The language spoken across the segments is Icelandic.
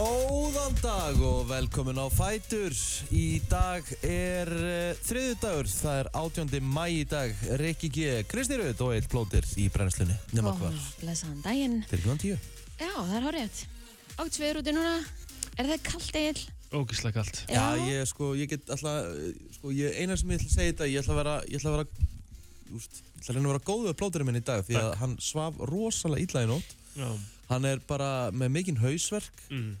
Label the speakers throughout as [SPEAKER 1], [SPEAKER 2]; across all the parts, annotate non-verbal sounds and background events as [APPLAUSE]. [SPEAKER 1] Góðan dag og velkomin á Fætur. Í dag er uh, þriðu dagur, það er 18. mæ í dag. Rikki G. Kristi Röð og Eitt Plóter í brennslunni. Nefna
[SPEAKER 2] Ó,
[SPEAKER 1] hvað?
[SPEAKER 2] Blessaðan daginn.
[SPEAKER 1] Til klukkan tíu.
[SPEAKER 2] Já, það er horrið. Átt sveður úti núna. Er það kallt eil?
[SPEAKER 3] Ógislega kallt.
[SPEAKER 1] Já, ég sko, ég get alltaf, eh, sko, ég einar sem ég ætla að segja þetta, ég ætla að vera, ég ætla að vera, úst, ég ætla að reyna að vera góð við Plóterinn minn í dag því að hann svaf rosalega illa í nótt.
[SPEAKER 3] Já.
[SPEAKER 1] Hann er bara með mikinn hausverk
[SPEAKER 3] Mm.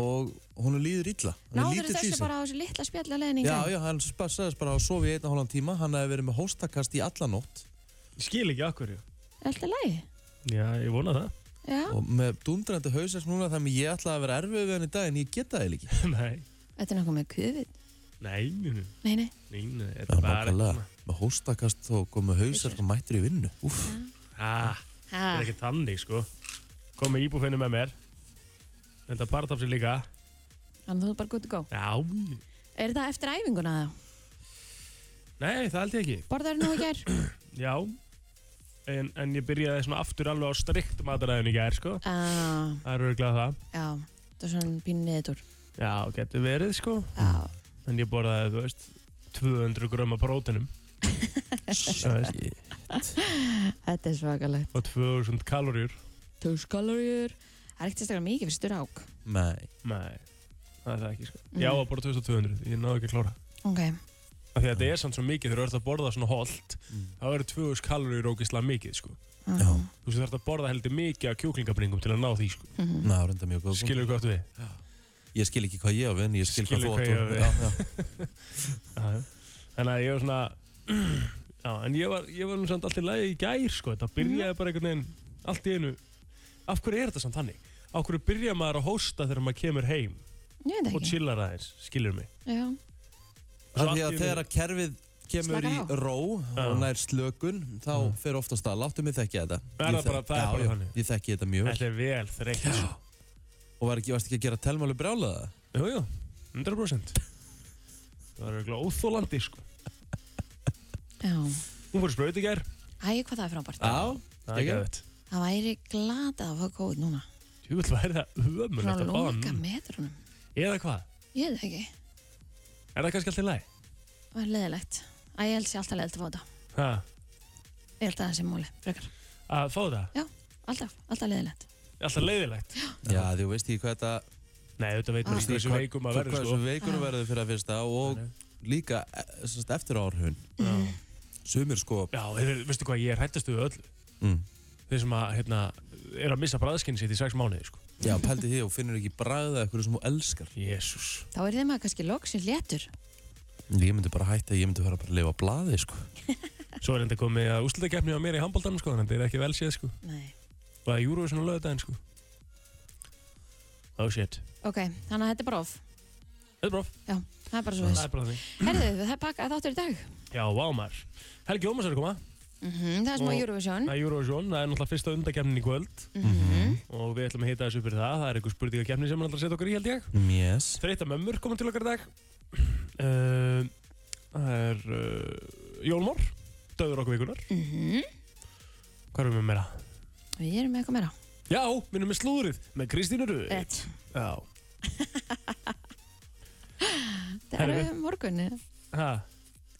[SPEAKER 1] og hún líður illa. Honum er
[SPEAKER 2] Náður
[SPEAKER 1] lítið í
[SPEAKER 2] þessu
[SPEAKER 1] sig.
[SPEAKER 2] bara á þessu litla spjallaleðningu?
[SPEAKER 1] Já, já, hann spa- sagðist bara að sofa í einna hálfan tíma Hann hefði verið með hóstakast í alla nótt
[SPEAKER 3] Ég skil ekki akkur, já.
[SPEAKER 2] Er alltaf lægi?
[SPEAKER 3] Já, ég vona það.
[SPEAKER 2] Já.
[SPEAKER 1] Og með dundrandi hausast núna Þannig ég ætlaði að vera erfið við hann í dag En ég geta það ekki
[SPEAKER 3] [LAUGHS] nei.
[SPEAKER 2] Þetta er náttúrulega með COVID.
[SPEAKER 3] Nei, nei,
[SPEAKER 2] Nei, nei.
[SPEAKER 3] nei, nei, þetta
[SPEAKER 1] Já,
[SPEAKER 3] er bara
[SPEAKER 1] nákvæmlega.
[SPEAKER 3] svona.
[SPEAKER 1] Með hóstakast og kom með hausast og mættir í vinnu Úff,
[SPEAKER 3] Ha,
[SPEAKER 2] Ha,
[SPEAKER 3] þetta er ekki þannig, sko. Kom með íbúfinu með mér. Þetta partafsi líka.
[SPEAKER 2] þannig þú er bara good to go.
[SPEAKER 3] Já,
[SPEAKER 2] Er það eftir æfinguna það?
[SPEAKER 3] nei, það held ég ekki.
[SPEAKER 2] Borðar nú í gær?
[SPEAKER 3] Já, en, en ég byrjaði svona aftur alveg á strikt mataræðinu í gær, sko.
[SPEAKER 2] Já,
[SPEAKER 3] Það er örgulega það.
[SPEAKER 2] Ah, já. Það er svona pínu niðurtúr. [LAUGHS]
[SPEAKER 3] Já, getur verið, sko.
[SPEAKER 2] Já.
[SPEAKER 3] En ég borðaði, þú veist, 200 gröma
[SPEAKER 2] [LAUGHS]
[SPEAKER 3] prótenum. Þú veist,
[SPEAKER 2] Þetta er svakalegt.
[SPEAKER 3] og 2000 kaloríur.
[SPEAKER 2] Tós kaloríur. Það er ekkert sérstaklega mikið fyrir sturrák.
[SPEAKER 1] nei
[SPEAKER 3] Nei, það er það ekki sko.
[SPEAKER 2] Mm.
[SPEAKER 3] Ég á að borða 2200, ég náðu ekki að klára
[SPEAKER 2] Ok.
[SPEAKER 3] Af því að þetta er samt svo mikið þegar þú ert að borða svona holt
[SPEAKER 1] Mm.
[SPEAKER 3] þá eru 2000 kalorir ógislega mikið sko.
[SPEAKER 1] Já,
[SPEAKER 3] Þú veist, þú ert að borða heldur mikið af kjúklingabringum til að ná því sko.
[SPEAKER 2] Mhm.
[SPEAKER 1] ná, reynda mjög góð punktur.
[SPEAKER 3] Skilur hvað áttu við?
[SPEAKER 1] Ég skil ekki hvað ég á við En ég skil hvað
[SPEAKER 3] Skilur
[SPEAKER 1] þú
[SPEAKER 3] hvað
[SPEAKER 1] átt
[SPEAKER 3] ég á
[SPEAKER 1] og-
[SPEAKER 3] við.
[SPEAKER 1] Já, já.
[SPEAKER 3] [LAUGHS] Já, já. Þannig að ég var svona [CLEARS THROAT] Já, en ég var, ég var nú samt alltaf lægi í gær sko. Það byrjaði bara einhvern veginn allt í einu Af hverju er þetta samt þannig? Af hverju byrja maður að hósta þegar maður kemur heim
[SPEAKER 2] Ég veit
[SPEAKER 3] og
[SPEAKER 2] ekki.
[SPEAKER 3] chillar aðeins, skilur mig?
[SPEAKER 2] Já.
[SPEAKER 3] Svo
[SPEAKER 1] Af
[SPEAKER 3] allt
[SPEAKER 1] því að
[SPEAKER 3] í einu-
[SPEAKER 1] þegar að kerfið kemur í
[SPEAKER 2] Slakar á.
[SPEAKER 1] ró og nær slökun þá fer oftast að láttu mig þekki þetta
[SPEAKER 3] Það er
[SPEAKER 1] Ég þek-
[SPEAKER 3] Mm. bara- það er
[SPEAKER 1] Já,
[SPEAKER 3] bara
[SPEAKER 1] já,
[SPEAKER 3] þannig.
[SPEAKER 1] Ég þekki þetta mjög vel.
[SPEAKER 3] Þetta er vel þreytt sko.
[SPEAKER 1] og var ekki, varst ekki að gera telmálu brjálaða
[SPEAKER 3] Jú, jú, 100% Það var eiginlega óþólandi sko
[SPEAKER 2] Já.
[SPEAKER 3] Hún fór í spraut í gær
[SPEAKER 2] Æ, hvað það er frábært.
[SPEAKER 1] Já,
[SPEAKER 3] Það er ekki að þetta
[SPEAKER 2] Það væri glatað að fá góð núna.
[SPEAKER 3] Jú, það væri það
[SPEAKER 2] Frá
[SPEAKER 3] ömulegt að fá
[SPEAKER 2] loka
[SPEAKER 3] hann
[SPEAKER 2] metrunum.
[SPEAKER 3] Eða hvað?
[SPEAKER 2] Ég veit það ekki.
[SPEAKER 3] Er það kannski alltaf læg?
[SPEAKER 2] Það var leðilegt. Æ, ég held sér alltaf leðilegt að fá þetta.
[SPEAKER 3] Ha,
[SPEAKER 2] Ég held að það sé múli, frekar.
[SPEAKER 3] að fá það?
[SPEAKER 2] Já, alltaf, alltaf leðilegt.
[SPEAKER 3] Alltaf leiðilegt
[SPEAKER 1] Já, þú veist ekki hvað þetta
[SPEAKER 3] Nei, þetta veit
[SPEAKER 2] Ah.
[SPEAKER 3] maður ekki hversu veikum að verður sko
[SPEAKER 1] Hversu veikunum
[SPEAKER 2] Já.
[SPEAKER 1] verður fyrir að fyrsta og líka e- sem sagt, eftir áhrifun
[SPEAKER 3] Já,
[SPEAKER 1] Sumir sko
[SPEAKER 3] Já, þeir- veistu hvað, ég er hættast við öll
[SPEAKER 1] mm.
[SPEAKER 3] Þeir sem að, hérna, er að missa bræðskinn sitt í sex mánuði sko
[SPEAKER 1] Já, pældi því og finnur ekki bragða eitthvað sem þú elskar
[SPEAKER 3] Jésús
[SPEAKER 2] Þá er þeim að kannski loksins léttur.
[SPEAKER 1] Ég myndi bara hætta, ég myndi fara bara að lifa á blaði sko
[SPEAKER 3] Svo er enda komið að úslutakefni á mér í handbóltanum sko Þannig að þetta er ekki vel séð sko
[SPEAKER 2] Nei.
[SPEAKER 3] Það er Eurovision á lögudaginn sko Oh shit
[SPEAKER 2] Ok, þannig að þetta er bara of.
[SPEAKER 3] Þetta er bróf
[SPEAKER 2] Já, það er bara svo
[SPEAKER 3] Það
[SPEAKER 2] þess.
[SPEAKER 3] er bara því
[SPEAKER 2] Herðu, það er pakkað þáttur í dag.
[SPEAKER 3] Já, vámar. Helgi Ómars er að koma.
[SPEAKER 2] Mm Það er smá
[SPEAKER 3] Og-
[SPEAKER 2] Eurovision.
[SPEAKER 3] Það er Eurovision, það er náttúrulega fyrsta undakefnin í kvöld
[SPEAKER 2] Mm
[SPEAKER 3] og við ætlum að hita þessu upp fyrir það. Það er einhver spurningakefni sem hann ætlar að setja okkur í held ég.
[SPEAKER 1] Yes
[SPEAKER 3] Þreytta mömmur koma til okkar í dag. Uh, Það er uh, Jólmór, döður okkur vikunar.
[SPEAKER 2] Mhm.
[SPEAKER 3] Hvað erum við með meira?
[SPEAKER 2] Við erum með eitthvað meira.
[SPEAKER 3] Já, við erum með slúðrið með Kristínu Röð.
[SPEAKER 2] Rétt.
[SPEAKER 3] Já.
[SPEAKER 2] [LAUGHS] Það
[SPEAKER 3] Herðu.
[SPEAKER 2] er morgun. eða?
[SPEAKER 3] Ha,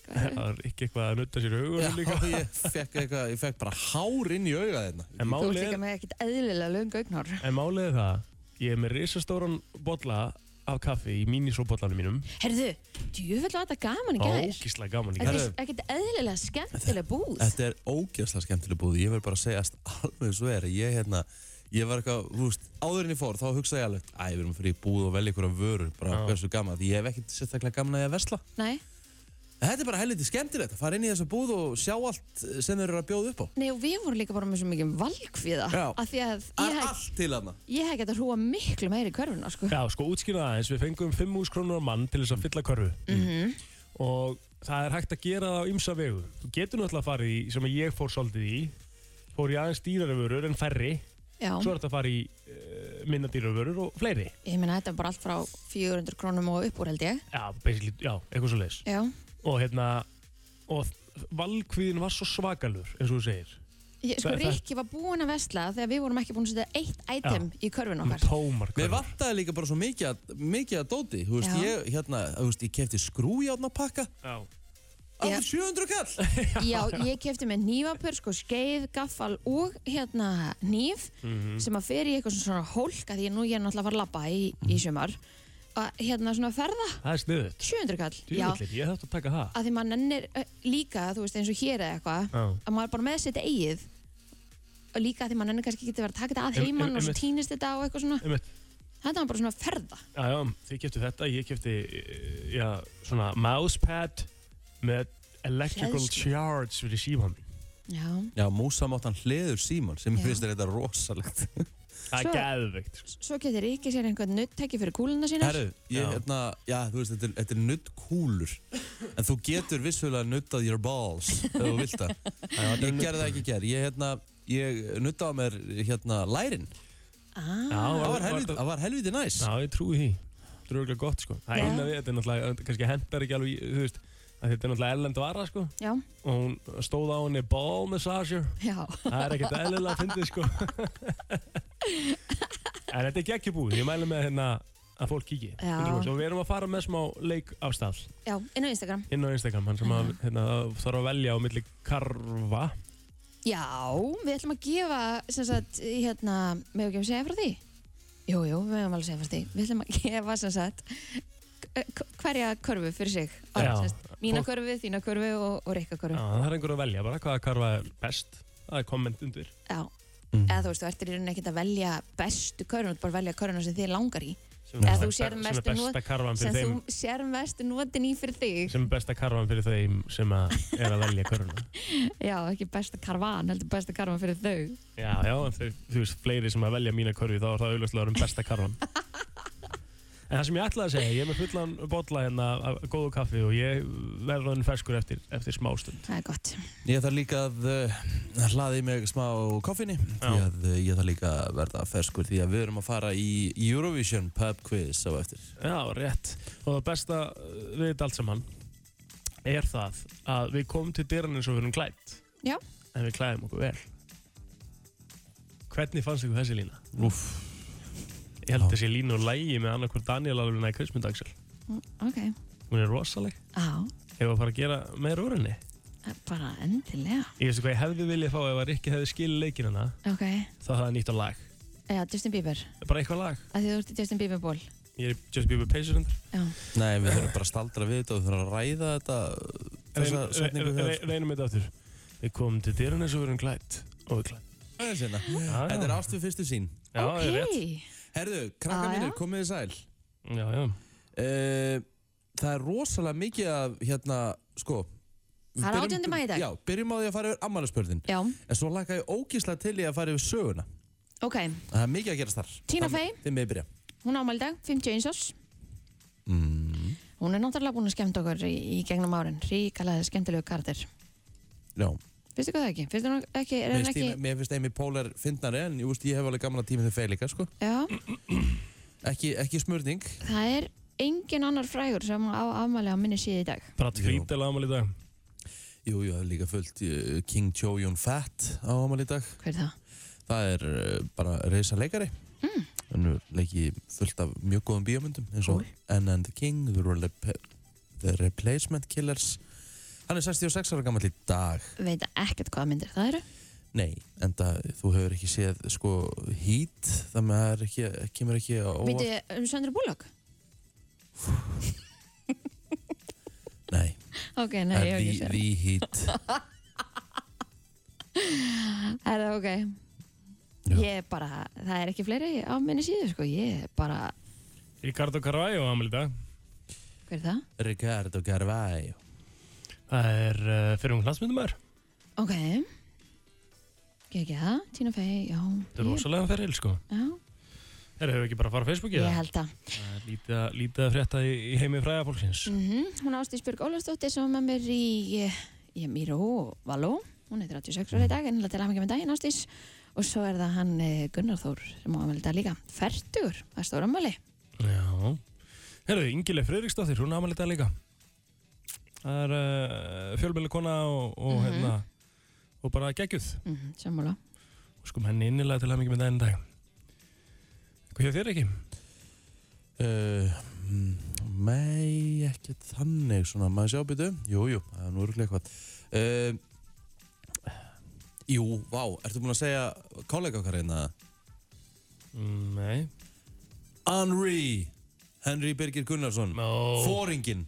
[SPEAKER 2] Hvað er-
[SPEAKER 3] það er ekki eitthvað að nutta sér
[SPEAKER 1] Já,
[SPEAKER 3] augur líka.
[SPEAKER 1] ég fekk, eitthvað, ég fekk bara hár inn í auga þeirna
[SPEAKER 3] En
[SPEAKER 2] Þú ert
[SPEAKER 3] málið
[SPEAKER 2] líka
[SPEAKER 3] er,
[SPEAKER 2] með ekkert eðlilega löng augnár.
[SPEAKER 3] en málið er það, ég er með risastóran bolla af kaffi í mínisóbollanum mínum.
[SPEAKER 2] Herðu, djúfell var þetta gaman í gær.
[SPEAKER 3] Ógíslega gaman í
[SPEAKER 2] Þetta
[SPEAKER 3] gær.
[SPEAKER 2] er ekkert eðlilega skemmtileg búð.
[SPEAKER 1] Þetta er ógjastlega skemmtileg búð Ég verð bara að segja að alveg svo er Ég hérna Ég var eitthvað, þú veist, áður en ég fór, þá hugsaði ég alveg Æ, við erum að fyrir í búð og velja ykkur að vörur bara
[SPEAKER 3] Já.
[SPEAKER 1] hversu gaman, því ég hef ekkert sérstaklega gaman að ég að versla
[SPEAKER 2] Nei,
[SPEAKER 1] En Þetta er bara helviti skemmtilegt að fara inn í þessa búð og sjá allt sem þeir eru að bjóða upp á
[SPEAKER 2] nei og við vorum líka bara með svo mikið valgfíða
[SPEAKER 1] Já.
[SPEAKER 2] af því að
[SPEAKER 1] Það
[SPEAKER 2] ég
[SPEAKER 1] er
[SPEAKER 2] hef,
[SPEAKER 1] allt til hana
[SPEAKER 2] ég hef getað hrúa miklu meiri í körfuna sko.
[SPEAKER 3] Já, sko, útskýra það aðeins, við fengum 5.000 krónur á mann til þess að fylla körfu
[SPEAKER 2] Mhm.
[SPEAKER 3] Mm. og það er hægt að gera það á ymsa vegu. Þú getur náttúrulega farið í, sem að ég fór svolítið í, fór í aðeins dýrari vörur en færri,
[SPEAKER 2] Já,
[SPEAKER 3] svo er þetta að fara í uh, minna dýrari vörur og fleiri.
[SPEAKER 2] ég meina þetta er bara allt frá 400 krónum og upp úr held ég
[SPEAKER 3] Já, basically, já, eitthvað svo leiðis.
[SPEAKER 2] Já,
[SPEAKER 3] Og hérna, og valkvíðin var svo svakalur, eins og þú segir.
[SPEAKER 2] Ég, sko,
[SPEAKER 3] Það- það-
[SPEAKER 2] Rikki var búinn að vesla þegar við vorum ekki búin að setja eitt item í körfin okkar.
[SPEAKER 3] [LAUGHS] Tómar
[SPEAKER 1] Mér vantaði líka bara svo mikið, að- mikið að dóti Þú veist,
[SPEAKER 2] Já.
[SPEAKER 1] ég, hérna, þú veist, ég kefti skrújárnapakka
[SPEAKER 3] Já.
[SPEAKER 1] Af
[SPEAKER 2] Já.
[SPEAKER 1] 700 kall
[SPEAKER 2] Já, ég kefti með nývapör, sko, skeið, gaffal og hérna nýf
[SPEAKER 3] Mhm.
[SPEAKER 2] sem að fer í eitthvað svona hólk að því nú ég er náttúrulega að fara að labba í,
[SPEAKER 3] Mhm.
[SPEAKER 2] í sumar að hérna svona ferða
[SPEAKER 3] Það er sniðut
[SPEAKER 2] 700 kall, já
[SPEAKER 3] Djúvillir, ég þátt að taka það
[SPEAKER 2] að því maður nennir ö, líka, þú veist, eins og hér eða eitthvað
[SPEAKER 3] Já.
[SPEAKER 2] að maður er bara með sitt eigið og líka að því maður nennir kannski ekki að vera að taka þetta að
[SPEAKER 3] Em- em-
[SPEAKER 2] heiman og svo
[SPEAKER 3] einmitt.
[SPEAKER 2] týnist þetta og eitthvað svona
[SPEAKER 3] Einmitt.
[SPEAKER 2] þetta var bara svona ferða
[SPEAKER 3] Já, já, þið keftu þetta, ég kefti já, svona mousepad með electrical
[SPEAKER 2] Hleðslu.
[SPEAKER 3] charge fyrir síman
[SPEAKER 2] já,
[SPEAKER 1] Já, músamáttan hliður síman sem mér
[SPEAKER 2] Já.
[SPEAKER 1] finnst er þetta rosalegt
[SPEAKER 3] [LAUGHS] Það
[SPEAKER 2] Svo-
[SPEAKER 3] er geðveikt sko.
[SPEAKER 2] S- svo getur ekki sér einhvern nuttæki fyrir kúluna sínar
[SPEAKER 1] Herru, ég,
[SPEAKER 3] Já.
[SPEAKER 1] hérna, já, þú veist, þetta er, þetta er nudd kúlur En þú getur vissulega nuddað your balls Ef þú vilt
[SPEAKER 3] [LAUGHS]
[SPEAKER 1] það Ég gerði það ekki gerð Ég, hérna, ég nuddaði á mér, hérna, lærin
[SPEAKER 2] ah,
[SPEAKER 1] Það var helviti, það var helviti næs
[SPEAKER 3] Já, ég trúi því Það er örgulega gott sko
[SPEAKER 2] Já.
[SPEAKER 3] Það er eina við, þetta er náttúrulega, kannski hendar ekki alveg, í- þú veist að Þetta er náttúrulega erlend vara sko
[SPEAKER 2] já,
[SPEAKER 3] og hún stóð á henni ball massager
[SPEAKER 2] já,
[SPEAKER 3] Það er ekkert eðlilega að fyndi sko En þetta er geggjubúð, ég mælu með hérna að fólk kíki
[SPEAKER 2] Já.
[SPEAKER 3] 100%. og við erum að fara með smá leik af stað
[SPEAKER 2] já, inn á Instagram
[SPEAKER 3] inn á Instagram, hann sem að, hérna, þarf að velja á milli karfa
[SPEAKER 2] já, við ætlum að gefa sem sagt, í, hérna, með ekki að segja frá því jú, jú, við höfum alveg að segja frá því við ætlum að gefa sem sagt k- k- hverja körfu fyrir sig Á,
[SPEAKER 3] Já.
[SPEAKER 2] sem sagt, mína körfu, þína körfu og, og reyka
[SPEAKER 3] Já,
[SPEAKER 2] körfu
[SPEAKER 3] það er einhver að velja bara hvaða karfa er best það er komment undir
[SPEAKER 2] Já,
[SPEAKER 1] Mhm.
[SPEAKER 2] eða þú veist, þú ert í rauninni ekkert að velja bestu körun, þú ert bara að velja köruna sem þið langar í
[SPEAKER 3] sem
[SPEAKER 2] Eða
[SPEAKER 3] er
[SPEAKER 2] þú
[SPEAKER 3] besta-
[SPEAKER 2] sérð
[SPEAKER 3] sem er
[SPEAKER 2] mestu
[SPEAKER 3] besta karfan
[SPEAKER 2] sem
[SPEAKER 3] fyrir þeim
[SPEAKER 2] þú sér mestu notin í fyrir þig
[SPEAKER 3] sem er besta karfan fyrir þeim sem að er að velja karfuna
[SPEAKER 2] Já, ekki besta karvan, heldur besta karvan fyrir þau
[SPEAKER 3] Já, já, en þau, þú veist, fleiri sem að velja mína körfi þá er það auðvitað um besta karfan En það sem ég ætlaði að segja, ég er með fullan bolla hérna af góðu kaffi og ég verður hann ferskur eftir, eftir smástund
[SPEAKER 2] Það er gott
[SPEAKER 1] Ég þarf líka að uh, hlaði í mig smá koffinni því
[SPEAKER 3] Já.
[SPEAKER 1] að uh, ég þarf líka að verða ferskur því að við erum að fara í Eurovision pub quiz á eftir.
[SPEAKER 3] Já, rétt Og það besta eh, við þetta allt saman er það að við komum til dyrann eins og við erum klætt
[SPEAKER 2] Já.
[SPEAKER 3] En við klæðum okkur vel Hvernig fannst ykkur þessi lína?
[SPEAKER 1] Úff.
[SPEAKER 3] Ég held þessi lína og lægi með annarkur Daniel alveg í Kristmyndagsel
[SPEAKER 2] Mm, Ok,
[SPEAKER 3] Hún er rosaleg
[SPEAKER 2] á,
[SPEAKER 3] Hefur að fara að gera meira úr henni
[SPEAKER 2] bara endilega
[SPEAKER 3] Ég veistu hvað ég hefði viljað fá ef að Rikki hefði skilið leikinn hana
[SPEAKER 2] Ok,
[SPEAKER 3] þá hefði hann nýtt á lag
[SPEAKER 2] já, Justin Bieber
[SPEAKER 3] bara eitthvað lag
[SPEAKER 2] að því þú ert í Justin Bieber ból
[SPEAKER 3] Ég er í Just Bieber Pacer undir
[SPEAKER 2] Já,
[SPEAKER 1] Nei, við þurfum bara að staldra við þetta og við þurfum að ræða þetta uh, þessa
[SPEAKER 3] Reynum-
[SPEAKER 1] setningu
[SPEAKER 3] re- re-
[SPEAKER 1] þegar.
[SPEAKER 3] Reynum þetta aftur Við komum til dyrun eins og við erum klætt og við klætt Já,
[SPEAKER 1] hérna. Þetta er ástu fyrstu sín.
[SPEAKER 3] Já,
[SPEAKER 2] ok
[SPEAKER 3] ég er rétt
[SPEAKER 1] Herðu, krakka
[SPEAKER 2] Já, já.
[SPEAKER 1] mínir, komið þið sæl.
[SPEAKER 3] Já, já
[SPEAKER 1] Uh, það er rosalega mikið af, hérna, sko... við
[SPEAKER 2] Það er
[SPEAKER 1] byrjum-
[SPEAKER 2] 18. maí í dag.
[SPEAKER 1] Já, byrjum á því að fara yfir ammálaspörðin.
[SPEAKER 2] Já,
[SPEAKER 1] En svo laka ég ógíslega til í að fara yfir söguna.
[SPEAKER 2] ok,
[SPEAKER 1] Það er mikið að gerast þar.
[SPEAKER 2] Tina
[SPEAKER 1] Það-
[SPEAKER 2] Fey.
[SPEAKER 1] Þið með byrja.
[SPEAKER 2] hún ámæli dag, 51 árs
[SPEAKER 3] Mhm.
[SPEAKER 1] Mm,
[SPEAKER 2] Hún er náttúrulega búin að skemmta okkur í, í gegnum árin Ríkalega skemmtilegu kardir
[SPEAKER 1] já.
[SPEAKER 2] Fyrstu hvað það ekki? Fyrstu hún ekki, er
[SPEAKER 1] Mér
[SPEAKER 2] hann
[SPEAKER 1] finnst
[SPEAKER 2] ekki
[SPEAKER 1] Amy- Mér finnst Amy Poehler fyndnari en ég, veist, ég hef alveg gaman að tíma þau feil líka sko.
[SPEAKER 2] Já,
[SPEAKER 1] ekki, ekki smörning
[SPEAKER 2] Það er engin annar frægur sem á afmæli á minni síði í dag.
[SPEAKER 3] Bara tvítilega ámali í dag
[SPEAKER 1] Jú, jú, það er líka fullt uh, King Cho Yun Fat á ámali í dag
[SPEAKER 2] Hver er það?
[SPEAKER 1] Það er uh, bara reysa leikari Hann mm. leiki fullt af mjög góðum bíómyndum eins og Anna and the King The, Rele- the Replacement Killers Hann er 66 ára gammal í dag
[SPEAKER 2] Veit ekkert hvaða myndir það eru.
[SPEAKER 1] Nei, enda þú hefur ekki séð sko hít þannig að það er ekki, kemur ekki á óvart
[SPEAKER 2] Veitu um Söndra Bullock?
[SPEAKER 1] Nei,
[SPEAKER 2] [LAUGHS] Ok, nei,
[SPEAKER 1] það
[SPEAKER 2] ég hef
[SPEAKER 1] er
[SPEAKER 2] ekki
[SPEAKER 1] því-
[SPEAKER 2] séð.
[SPEAKER 1] því hít
[SPEAKER 2] [LAUGHS] Er það ok?
[SPEAKER 1] Já.
[SPEAKER 2] Ég bara, það er ekki fleiri á minni síðu, sko. Ég bara,
[SPEAKER 3] Ricardo Carvalho ámali í dag
[SPEAKER 2] hver er það?
[SPEAKER 1] Ricardo Carvalho
[SPEAKER 3] Það er uh, fyrir um knastmyndumar
[SPEAKER 2] Ok. Gekk ég það? Tina Fey, já.
[SPEAKER 3] Þetta
[SPEAKER 1] Mm.
[SPEAKER 3] er
[SPEAKER 2] Ég-
[SPEAKER 3] rosalega feril sko
[SPEAKER 2] Já,
[SPEAKER 3] Þeir hefur ekki bara að fara á Facebooki
[SPEAKER 2] ég
[SPEAKER 3] yeah.
[SPEAKER 2] held það.
[SPEAKER 3] Það er lítið, að- lítið að frétta í, í heimi fræða fólksins
[SPEAKER 2] Mm Hún Ástísbjörg Ólafsdóttir sem var með mér í, eh, í Míró Való. Hún er 36 ára í dag, en til að með daginn Ástís. Og svo er það hann eh, Gunnar Þór sem á afmæli í dag líka. Fertugur, það er stóra afmæli.
[SPEAKER 3] Já Herðu, Ingileg Friðriksdóttir, hún ámæli þetta líka Það er uh, fjölmjölu kona eh, og, og
[SPEAKER 2] Mhm.
[SPEAKER 3] hérna og bara geggjuð
[SPEAKER 2] Mhm, Sammála
[SPEAKER 3] og skum henni innilega til hamingi með daginn í dag Hvað hjá þér ekki?
[SPEAKER 1] Uh, Nei, ekki þannig svona, maður sjá býtu Jú, jú, það er nú örgulega eitthvað uh, Jú, vá, ertu búin að segja kollega okkar hérna?
[SPEAKER 3] Mm, Nei
[SPEAKER 1] Henry Henry Birgir Gunnarsson
[SPEAKER 3] no.
[SPEAKER 1] Fóringin,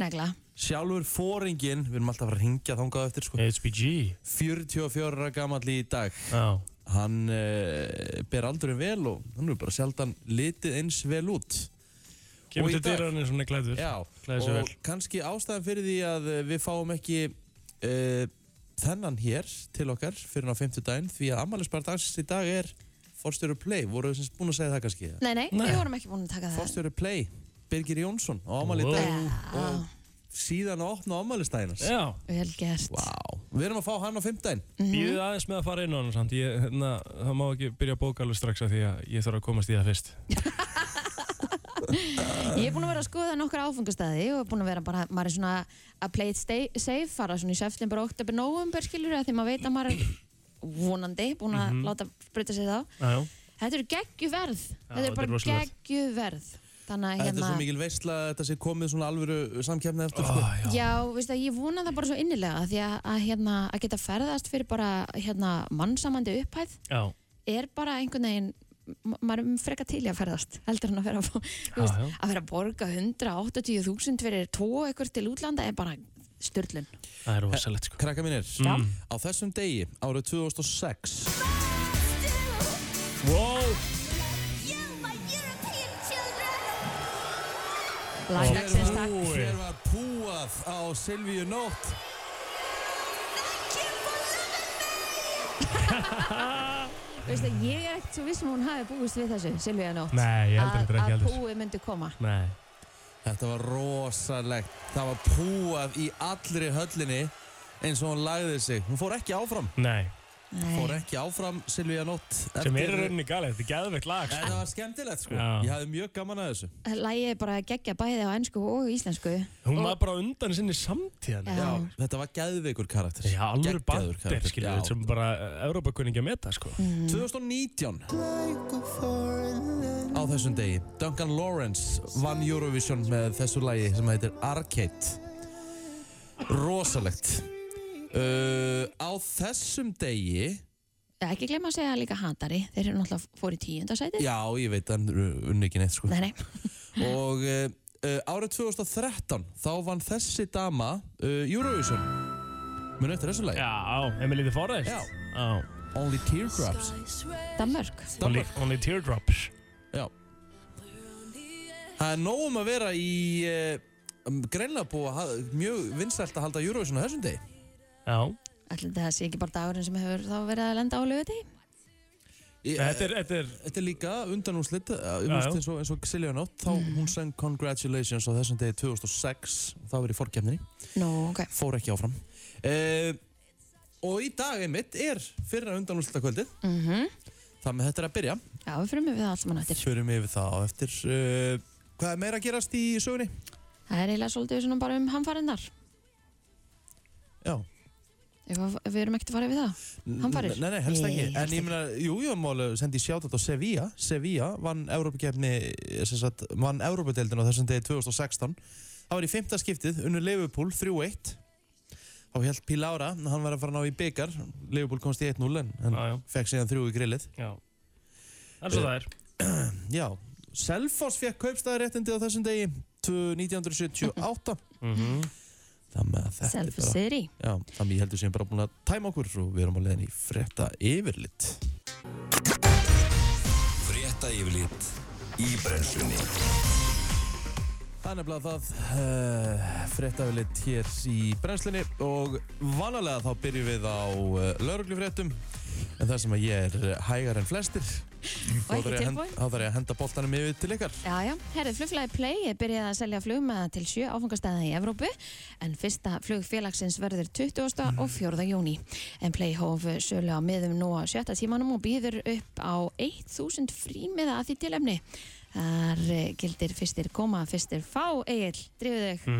[SPEAKER 2] Negla
[SPEAKER 1] sjálfur fóringin Við erum alltaf að fara að ringja þangað eftir sko.
[SPEAKER 3] HBG
[SPEAKER 1] 44 ára gamall í dag
[SPEAKER 3] Já
[SPEAKER 1] Hann uh, ber aldurinn vel og hann er bara sjaldan litið eins vel út Og
[SPEAKER 3] Kemur
[SPEAKER 1] í
[SPEAKER 3] til
[SPEAKER 1] dag-
[SPEAKER 3] dyrarinn svona glæður
[SPEAKER 1] Já,
[SPEAKER 3] Klæði sig
[SPEAKER 1] og kannski ástæðan fyrir því að eh, við fáum ekki uh, þennan hér til okkar fyrir á 50 daginn því að ammælisbar dagsins í dag er Forstjóru Play, voru við semst búin að segja það kannski eða?
[SPEAKER 2] Nei, nei,
[SPEAKER 3] Nei.
[SPEAKER 2] við vorum ekki búin að taka það
[SPEAKER 1] Forstjóru Play, Birgir Jónsson á ammæli í
[SPEAKER 3] Wow.
[SPEAKER 1] dag
[SPEAKER 2] Já,
[SPEAKER 1] og síðan að opna ammælistæðinans
[SPEAKER 3] Já
[SPEAKER 2] vel gert
[SPEAKER 1] Vá, við erum að fá hann á 5 daginn
[SPEAKER 3] Býðið aðeins með að fara inn á hann samt ég, hérna, Það má ekki byrja að bóka alveg strax af Því að ég þarf að komast í það fyrst
[SPEAKER 2] Ég er búin að vera að skoða nokkra áfengastæði og er búin að vera bara, maður er svona að play it stay, safe, fara svona í september, oktober, november skilur því maður veit að maður er vonandi búin að
[SPEAKER 3] Mhm.
[SPEAKER 2] láta breyta sig þá.
[SPEAKER 3] Já, já
[SPEAKER 2] Þetta eru geggjuverð, þetta
[SPEAKER 3] þetta
[SPEAKER 2] eru
[SPEAKER 3] er
[SPEAKER 2] bara
[SPEAKER 3] rosalegt.
[SPEAKER 2] geggjuverð. Þannig að
[SPEAKER 1] Þetta er
[SPEAKER 2] hérna,
[SPEAKER 1] svo mikil veistla að þetta sé komið svona alvöru samkefni eftir sko.
[SPEAKER 3] Ah, já.
[SPEAKER 2] já, veistu að ég vona það bara svo innilega af því að, að hérna, að geta ferðast fyrir bara hérna mannsamandi upphæð
[SPEAKER 3] já.
[SPEAKER 2] er bara einhvern veginn ma- maður er freka til í að ferðast heldur hann að vera, að- þú veist,
[SPEAKER 3] já.
[SPEAKER 2] að vera að borga 180.000 fyrir tvo ekkur til útlanda er bara
[SPEAKER 1] [LAUGHS]
[SPEAKER 2] styrlun
[SPEAKER 3] Það er rosalegt sko
[SPEAKER 1] Krakka mínir,
[SPEAKER 2] Já.
[SPEAKER 1] á þessum degi árið 2006
[SPEAKER 3] Wow
[SPEAKER 2] lagdagsins
[SPEAKER 3] Ó.
[SPEAKER 2] takk
[SPEAKER 3] Búi.
[SPEAKER 1] Hér var púað á Silvíu Nótt
[SPEAKER 2] Veistu, ég er ekkert svo vissum hún hafi búist við þessu Silvíða Nótt
[SPEAKER 3] Nei, ég
[SPEAKER 2] að,
[SPEAKER 3] heldur þetta ekki
[SPEAKER 2] að
[SPEAKER 3] heldur
[SPEAKER 2] púi myndi koma
[SPEAKER 3] Nei
[SPEAKER 1] Þetta var rosalegt. Það var púað í allri höllinni eins og hún lagði sig. Hún fór ekki áfram.
[SPEAKER 3] Nei
[SPEAKER 1] Fór
[SPEAKER 2] Nei.
[SPEAKER 1] ekki áfram, Silvíja Nótt.
[SPEAKER 3] Sem er í rauninni galið Þetta er gæðveikt lag
[SPEAKER 1] En það var skemmtilegt sko.
[SPEAKER 3] Já.
[SPEAKER 1] Ég hafði mjög gaman að þessu.
[SPEAKER 2] Lægið er bara að gegja bæði á ennsku og íslensku
[SPEAKER 3] Hún var bara á undan sinni samtíðan
[SPEAKER 2] Já.
[SPEAKER 1] Þetta var gæðveikur karakter.
[SPEAKER 3] Já, alveg
[SPEAKER 1] Geggjaður
[SPEAKER 3] bandir, skiljum við,
[SPEAKER 1] Já.
[SPEAKER 3] sem bara Európa-kunningi að meta, sko.
[SPEAKER 2] Mm.
[SPEAKER 1] 2019 Á þessum degi Duncan Lawrence vann Eurovision með þessu lagi sem heitir Arcade Rosalegt uh, Á þessum degi
[SPEAKER 2] Eh, Ekki glem að segja líka hatari Þeir eru náttúrulega fór í tíundasæti
[SPEAKER 1] Já, ég veit hann unni ekki neitt sko
[SPEAKER 2] Nei, nei,
[SPEAKER 1] Og uh, uh, árið 2013 þá vann þessi dama uh, Eurovision Munu eftir þessu lagi
[SPEAKER 3] Já, á, Emily the Forest.
[SPEAKER 1] Já.
[SPEAKER 3] Á,
[SPEAKER 1] Only Teardrops
[SPEAKER 2] Danmörk
[SPEAKER 3] only, only Teardrops.
[SPEAKER 1] Já Það er nóg um að vera í uh, greinlega búið að ha- mjög vinsælt að halda Eurovision á þessum degi
[SPEAKER 3] Já.
[SPEAKER 2] Ætli það sé ekki bara dagurinn sem hefur þá verið að lenda á lögati
[SPEAKER 1] Ég-
[SPEAKER 3] Þetta er, þetta er,
[SPEAKER 1] Þetta er líka eh, undan úrslit
[SPEAKER 3] Já, já. Mm.
[SPEAKER 1] eins og, eins og Silja Nótt þá hún sang Congratulations á þessum degi 2006 þá verið í fórkefninni
[SPEAKER 2] Nú, ok
[SPEAKER 1] fór ekki áfram uh, og í dag einmitt er fyrra undan úrslita kvöldið
[SPEAKER 2] mm
[SPEAKER 1] það með þetta er að byrja
[SPEAKER 2] Já, við fyrir mig við það allt saman eftir
[SPEAKER 1] förum yfir það á eftir uh, hvað er meira að gerast í sögunni?
[SPEAKER 2] Það er eiginlega svolítið svona bara um hamfarinnar
[SPEAKER 1] Já,
[SPEAKER 2] Ef að- ef Við erum ekkert að fara yfir það Hann farir?
[SPEAKER 1] Nei, nei, helst ekki.
[SPEAKER 2] Nei, helst
[SPEAKER 1] en ég
[SPEAKER 2] ekki.
[SPEAKER 1] meina, jú, ég mál sendi sjátat á Sevilla. Sevilla vann Európa-kefni, sem sagt, vann Európa-deildin á þessum degi 2016. Það var í fymta skiptið, unnu Liverpool 3-1. Þá held Píl Ára, hann var að fara að ná í byggar. Liverpool komst í 1-0 en, en
[SPEAKER 3] já, já,
[SPEAKER 1] fekk síðan 3 í grillið.
[SPEAKER 3] já. Það er svo það er.
[SPEAKER 1] [CLEARS THROAT] Já, Selfoss fekk kaupstæðaréttindi á þessum degi 1978.
[SPEAKER 3] Mhm.
[SPEAKER 1] Það með að þetta
[SPEAKER 2] Self
[SPEAKER 1] er bara...
[SPEAKER 2] City
[SPEAKER 1] Já, þannig ég heldur sem bara búin að tæma okkur og við erum á leiðin í frétta yfirlitt.
[SPEAKER 4] Frétta yfirlit í brennslunni
[SPEAKER 1] Það er nefnilega það uh, fréttafilitt hér í brennslunni og vanalega þá byrjum við á uh, lauruglufréttum en það sem að ég er eh, hægar en flestir þá
[SPEAKER 2] Og ekki
[SPEAKER 1] þarf ég að hen-
[SPEAKER 2] tilbúin.
[SPEAKER 1] þá þarf ég að henda boltanum yfir til ykkar
[SPEAKER 2] Já, já, herrið flugfélagi Play er byrjað að selja flug með til sjö áfangastæða í Evrópu en fyrsta flugfélagsins verður 20. og 4. júni. En Play hóf sölu á miðum nú á sjötta tímanum og býður upp á 1000 frímiða að því tilefni. Þar eh, gildir fyrstir koma, fyrstir fá, Egil, drífuðu þau.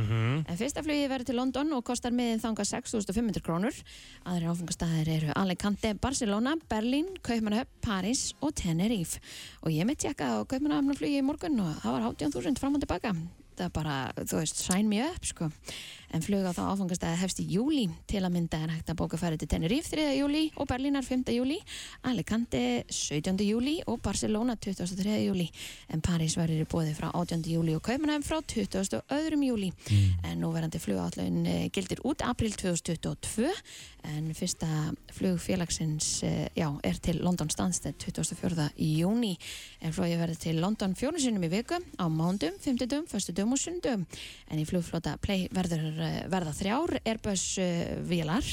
[SPEAKER 2] En fyrsta flugi verður til London og kostar miðin þanga 6.500 krónur. Aðrir áfengastæðir eru Alicante, Barcelona, Berlín, Kaupmannahöfn, París og Tenerife. Og ég mitt tjekka á Kaupmannahöfnaflugi í morgun og það var 18.000 fram og tilbaka. Það er bara, þú veist, sæn mjög upp, sko. En flug á þá áfangastæði hefst í júli. Til að mynda er hægt að bóka færi til Tenerife 3. júli og Berlínar 5. júli, Alicante 17. júli og Barcelona 23. júli. En París verður í bóði frá 18. júli og Kaupmannahöfn frá 22. júli. En núverandi flugállun gildir út april 2022 en fyrsta flugfélagsins eh, já, er til London Stansted 24. júni en flugið verður til London fjórum sinnum í viku á mándum, fymtudum, föstudum og sundum en í flugflota Play verður eh, verða þrjár Airbus eh, vélar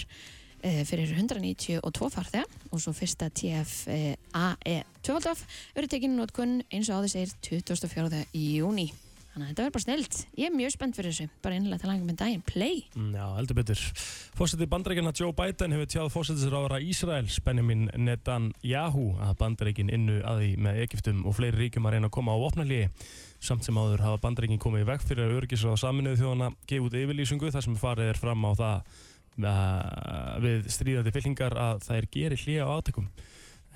[SPEAKER 2] eh, fyrir 192 farþega og svo fyrsta TF eh, AE 12 verður tekinn í notkun eins og áður segir 24. júni Þannig að þetta verður bara snilt. Ég er mjög spennt fyrir þessu. Bara innlega til langar með daginn. Play.
[SPEAKER 3] Mm, Já, heldur betur. Fósetti bandaríkjana Joe Biden hefur tjáð fósettisráðara Ísraels Benjamin Netanyahu að bandaríkin innu að því með Egiptum og fleiri ríkjum að reyna að koma á opnalíi. Samt sem áður hafa bandaríkin komið í veg fyrir að örgisráð saminuðu þjóðana gefa út yfirlýsingu þar sem farið er fram á það uh, við stríðandi fylkingar að þær gerir hlýja á átökum.